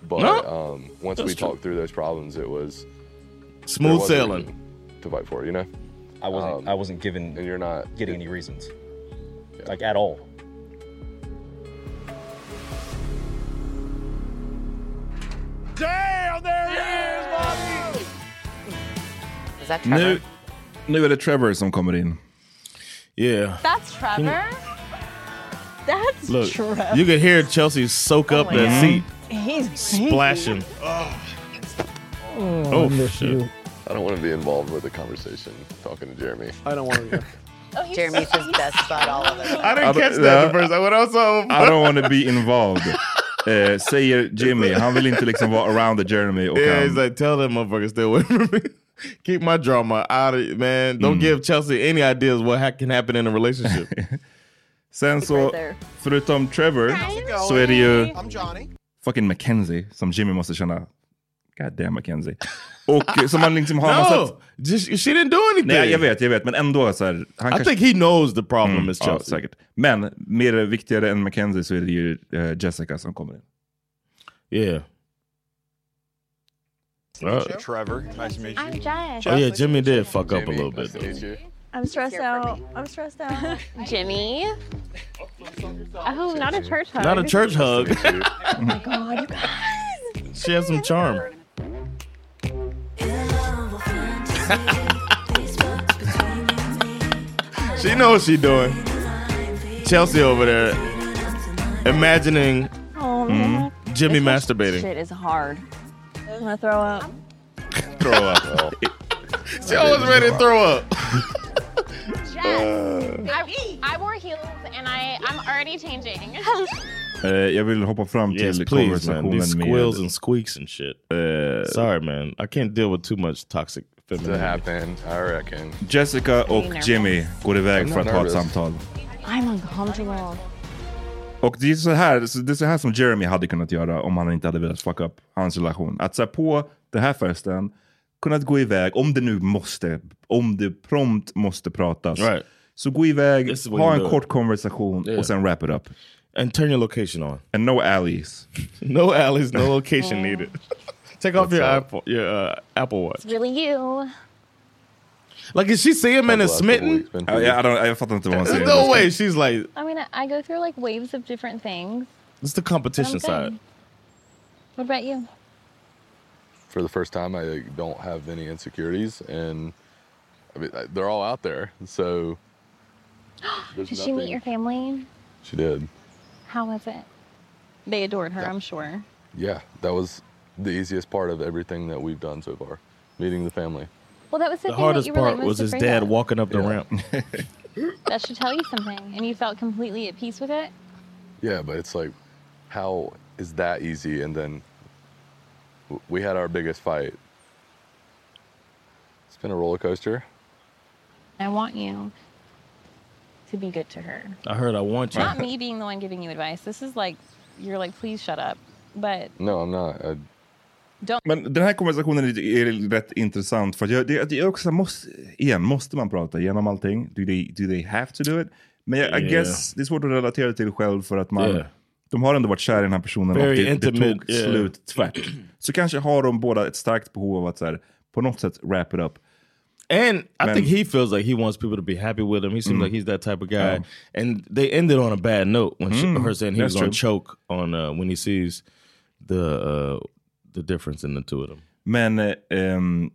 [SPEAKER 9] But
[SPEAKER 2] No.
[SPEAKER 9] um, once we
[SPEAKER 2] That's true.
[SPEAKER 9] talked through those problems, it was
[SPEAKER 2] Smooth
[SPEAKER 9] there was a
[SPEAKER 2] sailing.
[SPEAKER 9] reason To fight for it, you know.
[SPEAKER 3] I wasn't.
[SPEAKER 9] [laughs]
[SPEAKER 3] I wasn't given.
[SPEAKER 9] And you're not
[SPEAKER 3] getting any reasons, like at all.
[SPEAKER 5] Damn, there it is, Bobby!
[SPEAKER 7] Is that
[SPEAKER 1] nu, nu är det Trevor som kommer in.
[SPEAKER 2] Yeah.
[SPEAKER 5] That's Trevor? That's
[SPEAKER 2] Look,
[SPEAKER 5] Trevor.
[SPEAKER 2] you could hear Chelsea soak up
[SPEAKER 5] my
[SPEAKER 2] that
[SPEAKER 5] God.
[SPEAKER 2] seat,
[SPEAKER 5] He's [laughs]
[SPEAKER 2] splashing.
[SPEAKER 9] Oh,
[SPEAKER 2] Oh, shit.
[SPEAKER 9] I don't want to be involved with the conversation talking to Jeremy.
[SPEAKER 7] I don't want to. Jeremy's his best bud all of it.
[SPEAKER 2] I didn't
[SPEAKER 1] don't-
[SPEAKER 2] catch
[SPEAKER 1] no.
[SPEAKER 2] that the first time. What else?
[SPEAKER 1] Alltså, I don't want to be
[SPEAKER 2] [laughs]
[SPEAKER 1] involved. Eh, säger Jimmy. Han vill inte liksom vara around the Jeremy. Och
[SPEAKER 2] Yeah,
[SPEAKER 1] han,
[SPEAKER 2] he's like, tell that motherfucker stay away from me. [laughs] Keep my drama out of man.
[SPEAKER 1] Mm.
[SPEAKER 2] Don't give Chelsea any ideas what ha- can happen in a
[SPEAKER 1] [laughs]
[SPEAKER 2] relationship.
[SPEAKER 1] Sen så, förutom Trevor, så är det ju fucking Mackenzie som Jimmy måste känna. God damn Mackenzie. Och som han liksom har...
[SPEAKER 2] No,
[SPEAKER 1] massa-
[SPEAKER 2] she didn't do anything.
[SPEAKER 1] Nej, jag vet, jag vet. Men ändå så här, han Mm,
[SPEAKER 2] I think he knows the problem is
[SPEAKER 1] ja,
[SPEAKER 2] Chelsea.
[SPEAKER 1] säkert. Men mer viktigare än Mackenzie så är det ju eh, Jessica som kommer in.
[SPEAKER 2] Yeah.
[SPEAKER 9] Trevor, nice to meet
[SPEAKER 5] I'm Jess.
[SPEAKER 2] Oh yeah, Jimmy did fuck up a little
[SPEAKER 9] nice
[SPEAKER 2] bit.
[SPEAKER 9] to meet
[SPEAKER 2] though.
[SPEAKER 9] you.
[SPEAKER 5] I'm stressed
[SPEAKER 12] Oh,
[SPEAKER 5] out. I'm stressed out.
[SPEAKER 12] [laughs] Jimmy. Oh, not a church hug.
[SPEAKER 2] Not a church hug.
[SPEAKER 12] [laughs]
[SPEAKER 2] [laughs]
[SPEAKER 12] oh my god, you guys.
[SPEAKER 2] she has some charm. she knows what she doing. Chelsea over there imagining
[SPEAKER 8] Oh,
[SPEAKER 2] Mhm.
[SPEAKER 1] Mm-hmm.
[SPEAKER 2] Jimmy masturbating.
[SPEAKER 8] Shit is hard. I'm gonna throw up.
[SPEAKER 2] throw up. she always ready to throw up.
[SPEAKER 12] I, I wore heels and I, I'm already [laughs] changing.
[SPEAKER 1] [laughs] Eh, jag vill hoppa fram
[SPEAKER 2] Yes,
[SPEAKER 1] till
[SPEAKER 2] please, man.
[SPEAKER 1] konversationen
[SPEAKER 2] These squeals
[SPEAKER 1] med... Eh.
[SPEAKER 2] and squeaks and shit. Sorry, man. I can't deal with too much toxic femininity.
[SPEAKER 9] happened, I reckon.
[SPEAKER 1] Jessica och
[SPEAKER 8] Hey, nervous.
[SPEAKER 1] Jimmy går iväg
[SPEAKER 8] I'm
[SPEAKER 1] för att
[SPEAKER 8] not
[SPEAKER 1] ha ett
[SPEAKER 8] nervous.
[SPEAKER 1] samtal.
[SPEAKER 8] I'm uncomfortable.
[SPEAKER 1] Och det är, så här, så det är så här som Jeremy hade kunnat göra om han inte hade velat fucka upp hans relation. Att så här, på den här festen kunnat gå iväg, om det nu måste, om det prompt måste pratas. Så gå iväg,
[SPEAKER 2] This is what
[SPEAKER 1] ha
[SPEAKER 2] you
[SPEAKER 1] en
[SPEAKER 2] do.
[SPEAKER 1] kort konversation
[SPEAKER 2] Yeah.
[SPEAKER 1] och sen wrap it up.
[SPEAKER 2] And turn your location on.
[SPEAKER 1] And no alleys.
[SPEAKER 2] [laughs] no alleys, no location needed. Take off your
[SPEAKER 1] up?
[SPEAKER 2] Apple, your uh, Apple Watch.
[SPEAKER 12] It's really you.
[SPEAKER 2] Like, is she seeing man and
[SPEAKER 1] That's the last couple
[SPEAKER 2] smitten?
[SPEAKER 1] weeks been pretty- Uh, Yeah, I don't- I fattar inte vad hon säger.
[SPEAKER 2] There's no way. She's like,
[SPEAKER 12] I mean, I, I go through like waves of different things.
[SPEAKER 2] it's the competition
[SPEAKER 12] I'm good.
[SPEAKER 2] side.
[SPEAKER 12] What about you?
[SPEAKER 9] [laughs] For the first time, I don't have any insecurities, and I mean, I- they're all out there. So there's
[SPEAKER 12] Did she meet
[SPEAKER 9] nothing-
[SPEAKER 12] your family?
[SPEAKER 9] She did.
[SPEAKER 12] How was it? They adored her, I'm sure.
[SPEAKER 9] Yeah, that was the easiest part of everything that we've done so far, meeting the family.
[SPEAKER 12] Well, that was the,
[SPEAKER 2] The
[SPEAKER 12] thing that
[SPEAKER 2] hardest
[SPEAKER 12] you were like,
[SPEAKER 2] part
[SPEAKER 12] most
[SPEAKER 2] was his
[SPEAKER 12] afraid
[SPEAKER 2] dad
[SPEAKER 12] of.
[SPEAKER 2] walking up the ramp. [laughs]
[SPEAKER 12] That should tell you something, and you felt completely at peace with it.
[SPEAKER 9] Yeah, but it's like, how is that easy? And then w- we had our biggest fight. It's been a roller coaster.
[SPEAKER 12] I want you to be good to her.
[SPEAKER 2] I heard I want you.
[SPEAKER 12] Not me being the one giving you advice. This is like you're like, please shut up. But
[SPEAKER 9] No, I'm not. I,
[SPEAKER 12] don't.
[SPEAKER 1] Men den här konversationen är, är rätt intressant för att jag, det, det är också så här, måste, igen, måste man prata igenom allting? Do they, do they have to do it? Men jag, I
[SPEAKER 2] Yeah.
[SPEAKER 1] guess det är svårt att relatera till själv för att man,
[SPEAKER 2] Yeah.
[SPEAKER 1] de har ändå varit kära i den här personen
[SPEAKER 2] Very
[SPEAKER 1] och det, det
[SPEAKER 2] intimate,
[SPEAKER 1] tog
[SPEAKER 2] yeah.
[SPEAKER 1] slut tvärt. Så kanske har de båda ett starkt behov av att så här, på något sätt wrap it up.
[SPEAKER 2] And I
[SPEAKER 1] Man.
[SPEAKER 2] think he feels like he wants people to be happy with him. He seems
[SPEAKER 1] Mhm.
[SPEAKER 2] like he's that type of guy.
[SPEAKER 1] Yeah.
[SPEAKER 2] And they ended on a bad note when she,
[SPEAKER 1] Oh. Mm,
[SPEAKER 2] her saying he
[SPEAKER 1] that's
[SPEAKER 2] was going to
[SPEAKER 1] true.
[SPEAKER 2] choke on uh, when he sees the uh, the difference in the two of them.
[SPEAKER 1] Men eh, ehm,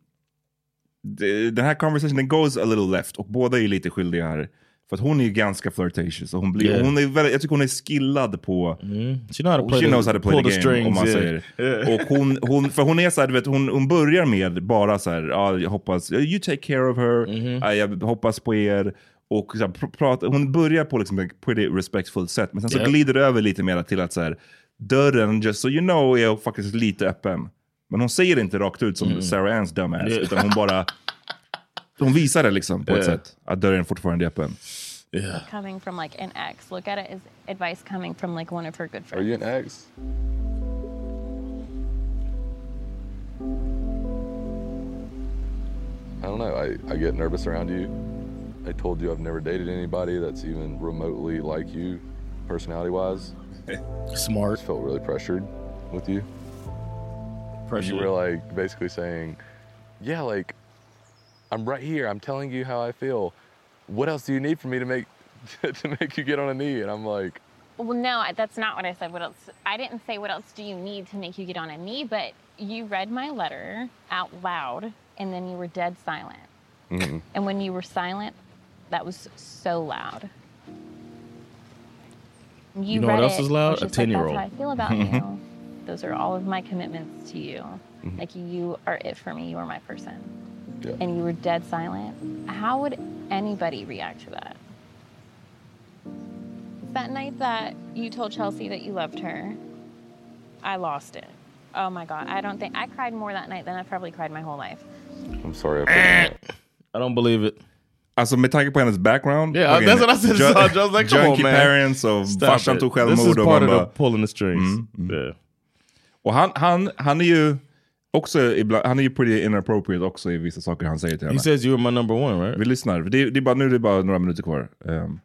[SPEAKER 1] det- den här conversationen goes a little left och båda är ju lite skyldiga här. För att hon är ju ganska flirtatious. Och hon blir,
[SPEAKER 2] Yeah.
[SPEAKER 1] hon är väldigt, jag tycker hon är skillad på...
[SPEAKER 2] Mm. She, know how to play
[SPEAKER 1] she
[SPEAKER 2] the-
[SPEAKER 1] knows how to play
[SPEAKER 2] pull
[SPEAKER 1] the,
[SPEAKER 2] the
[SPEAKER 1] game, om man
[SPEAKER 2] strings,
[SPEAKER 1] säger.
[SPEAKER 2] yeah. Yeah.
[SPEAKER 1] Och hon, hon, för hon är så här, du vet, hon, hon börjar med bara så här, ja, jag hoppas, you take care of her,
[SPEAKER 2] Mhm.
[SPEAKER 1] ja, jag hoppas på er. Och så här, pr- prata, hon börjar på liksom ett pretty respectful sätt, men sen så
[SPEAKER 2] Yeah.
[SPEAKER 1] glider det över lite mer till att så här, dörren, just so you know, är faktiskt lite öppen. Men hon säger det inte rakt ut som Sarah Anns dumbass,
[SPEAKER 2] Mm. Yeah.
[SPEAKER 1] utan hon bara, hon visar det liksom på ett
[SPEAKER 2] Yeah.
[SPEAKER 1] sätt, att dörren fortfarande är öppen.
[SPEAKER 12] coming from like an ex. Look at it as advice coming from like one of her good
[SPEAKER 9] Are
[SPEAKER 12] friends.
[SPEAKER 9] you an ex? I don't know. I, I get nervous around you. I told you I've never dated anybody that's even remotely like you, personality wise.
[SPEAKER 2] [laughs] Smart.
[SPEAKER 9] Just felt really pressured with you.
[SPEAKER 2] Pressured.
[SPEAKER 9] You were like basically saying, Yeah, like, I'm right here. I'm telling you how I feel. What else do you need from me to make [laughs] to make you get on a knee? And I'm like,
[SPEAKER 12] Well, no, I- that's not what I said. What else? I didn't say what else do you need to make you get on a knee, but you read my letter out loud and then you were dead silent.
[SPEAKER 9] mm
[SPEAKER 2] Mm-hmm.
[SPEAKER 12] And when you were silent, that was so loud. You,
[SPEAKER 2] know what
[SPEAKER 12] read
[SPEAKER 2] else
[SPEAKER 12] it,
[SPEAKER 2] is loud?
[SPEAKER 12] which
[SPEAKER 2] A
[SPEAKER 12] is like,
[SPEAKER 2] 10-year-old.
[SPEAKER 12] That's how I feel about
[SPEAKER 2] [laughs]
[SPEAKER 12] you. Those are all of my commitments to you.
[SPEAKER 2] Mm-hmm.
[SPEAKER 12] Like you are it for me. You are my person.
[SPEAKER 9] Yeah.
[SPEAKER 12] And you were dead silent. How would anybody react to that? That night that you told Chelsea that you loved her, I lost it. Oh my God. I don't think I cried more that night than I've probably cried my whole life.
[SPEAKER 9] I'm sorry.
[SPEAKER 2] Eh. I don't believe it.
[SPEAKER 1] Alltså med tanke på hennes background.
[SPEAKER 2] Yeah,
[SPEAKER 1] fucking
[SPEAKER 2] that's what I said.
[SPEAKER 1] ju-
[SPEAKER 2] So I was like, come on,
[SPEAKER 1] junkie
[SPEAKER 2] man.
[SPEAKER 1] parents och
[SPEAKER 2] Stop
[SPEAKER 1] farsan
[SPEAKER 2] it.
[SPEAKER 1] tog
[SPEAKER 2] This is
[SPEAKER 1] självmord. och
[SPEAKER 2] part
[SPEAKER 1] man
[SPEAKER 2] of
[SPEAKER 1] bara... Mm,
[SPEAKER 2] the pulling the strings.
[SPEAKER 1] Och han, han, han är ju också ibland, han är ju pretty inappropriate också i vissa saker han säger till henne.
[SPEAKER 2] He says you were my number one, right?
[SPEAKER 1] Vi lyssnar. Det, är- det är bara, nu är det bara några minuter kvar. Ehm,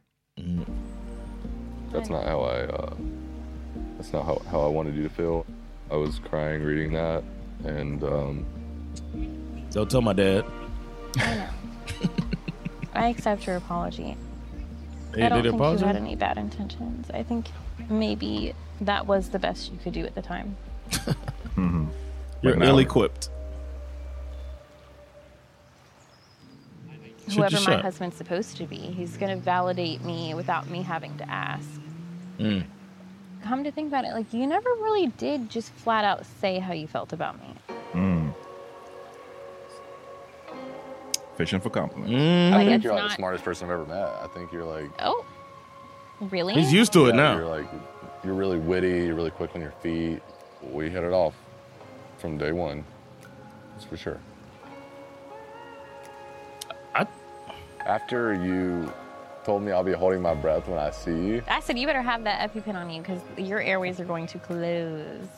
[SPEAKER 9] That's not how I. Uh, that's not how, how I wanted you to feel. I was crying reading that, and um,
[SPEAKER 2] Don't tell my dad.
[SPEAKER 12] I accept your apology.
[SPEAKER 2] Hey,
[SPEAKER 12] I don't
[SPEAKER 2] did it
[SPEAKER 12] think
[SPEAKER 2] apologize?
[SPEAKER 12] you had any bad intentions. I think maybe that was the best you could do at the time.
[SPEAKER 2] You're
[SPEAKER 1] Right now.
[SPEAKER 2] ill-equipped. Shoot your
[SPEAKER 12] Whoever my
[SPEAKER 2] shot.
[SPEAKER 12] husband's supposed to be, he's going to validate me without me having to ask. come to think about it, like you never really did just flat out say how you felt about me.
[SPEAKER 1] Mm. Fishing for compliments.
[SPEAKER 9] I
[SPEAKER 12] Like,
[SPEAKER 9] think
[SPEAKER 12] it's
[SPEAKER 9] you're like
[SPEAKER 12] not-
[SPEAKER 9] the smartest person I've ever met. I think you're like.
[SPEAKER 12] Oh, really?
[SPEAKER 2] to it
[SPEAKER 9] Yeah,
[SPEAKER 2] now.
[SPEAKER 9] You're like, you're really witty. You're really quick on your feet. We hit it off from day one. That's for sure. After you told me I'll be holding my breath when I see you,
[SPEAKER 12] I said you better have that EpiPen on you because your airways are going to close.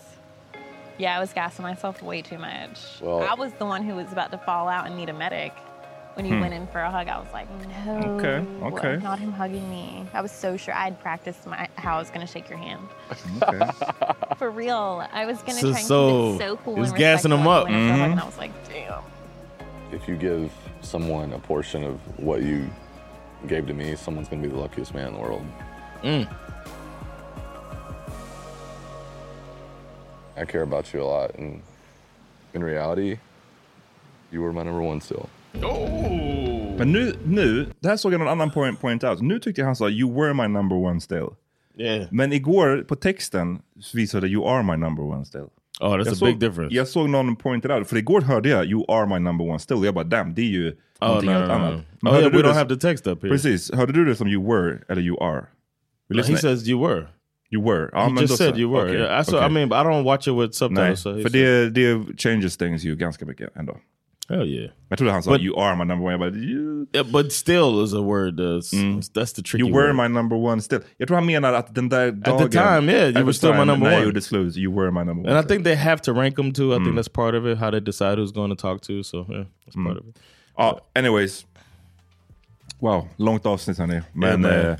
[SPEAKER 12] Yeah, I was gassing myself way too much.
[SPEAKER 9] Well-
[SPEAKER 12] I was the one who was about to fall out and need a medic. When you
[SPEAKER 9] Hmm.
[SPEAKER 12] went in for a hug, I was like, no.
[SPEAKER 9] Okay, okay.
[SPEAKER 12] Not him hugging me. I was so sure I had practiced my, how I was going to shake your hand. For real. I was going to try and keep it so cool. and respectful when I saw him,
[SPEAKER 9] Mm-hmm.
[SPEAKER 12] And I was like, damn.
[SPEAKER 9] if you give someone a portion of what you gave to me, someone's gonna be the luckiest man in the world.
[SPEAKER 2] Mm.
[SPEAKER 9] I care about you a lot, and in reality, you were my number one still.
[SPEAKER 1] Men nu, nu, det här såg jag någon annan point, point out. Nu tyckte jag han sa “You were my number one still”. Men igår på texten visade det “You are my number one still”.
[SPEAKER 2] Oh, that's
[SPEAKER 1] jag
[SPEAKER 2] a
[SPEAKER 1] såg,
[SPEAKER 2] big difference.
[SPEAKER 1] Jag såg någon pointed out, för igår hörde jag “You are my number one still” och jag bara “Damn, det är ju
[SPEAKER 2] Oh,
[SPEAKER 1] någonting
[SPEAKER 2] no,
[SPEAKER 1] helt
[SPEAKER 2] no, no.
[SPEAKER 1] annat”.
[SPEAKER 2] Oh,
[SPEAKER 1] hörde
[SPEAKER 2] yeah,
[SPEAKER 1] du
[SPEAKER 2] we
[SPEAKER 1] det
[SPEAKER 2] don't
[SPEAKER 1] s-
[SPEAKER 2] have the text up here.
[SPEAKER 1] Precis, hörde du det som “You were” eller “You are”? Vi
[SPEAKER 2] No, he
[SPEAKER 1] lyssnar-
[SPEAKER 2] says you were.
[SPEAKER 1] You were. Ja,
[SPEAKER 2] He
[SPEAKER 1] men
[SPEAKER 2] just
[SPEAKER 1] då
[SPEAKER 2] said
[SPEAKER 1] så.
[SPEAKER 2] you were.
[SPEAKER 1] Okej,
[SPEAKER 2] Yeah, I saw-
[SPEAKER 1] okej.
[SPEAKER 2] I mean, but I don't watch it with subtitles,
[SPEAKER 1] Nej,
[SPEAKER 2] so he
[SPEAKER 1] för det, det changes things ju ganska mycket ändå.
[SPEAKER 2] Hell yeah.
[SPEAKER 1] Jag trodde han sa
[SPEAKER 2] But-
[SPEAKER 1] “You are my number one”. Jag bara, "You Mm.
[SPEAKER 2] Yeah, but still is a word that's, that's the tricky
[SPEAKER 1] You were
[SPEAKER 2] word.
[SPEAKER 1] my number one still. Jag tror han menar att den där
[SPEAKER 2] the
[SPEAKER 1] dagen...
[SPEAKER 2] time, yeah, you
[SPEAKER 1] at the
[SPEAKER 2] were still my
[SPEAKER 1] time
[SPEAKER 2] number
[SPEAKER 1] när jag
[SPEAKER 2] one.
[SPEAKER 1] gjorde slut, you were my number one.
[SPEAKER 2] And I think they have to rank them too. I think that's part of it, how they decide who's going to talk to. So yeah, that's part of it.
[SPEAKER 1] Oh, anyways. Wow, långt avsnitt hörni. Men
[SPEAKER 2] man.
[SPEAKER 1] eh,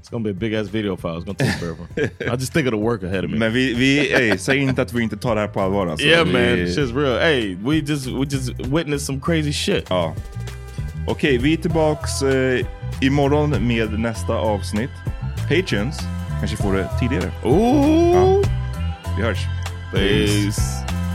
[SPEAKER 2] It's gonna be a big ass video file. It's gonna take forever. I just think of the work
[SPEAKER 1] [laughs]
[SPEAKER 2] ahead of me.
[SPEAKER 1] Men vi, vi ey, säg inte att vi inte tar det här på allvar alltså.
[SPEAKER 2] yeah,
[SPEAKER 1] vi,
[SPEAKER 2] man, it's just real. Hey, we just we just witnessed some crazy shit.
[SPEAKER 1] Ja. Okej, vi är tillbaks eh, imorgon med nästa avsnitt. Patreons kanske får det tidigare.
[SPEAKER 2] Ooh.
[SPEAKER 1] Vi hörs.
[SPEAKER 2] Peace.
[SPEAKER 5] Oh,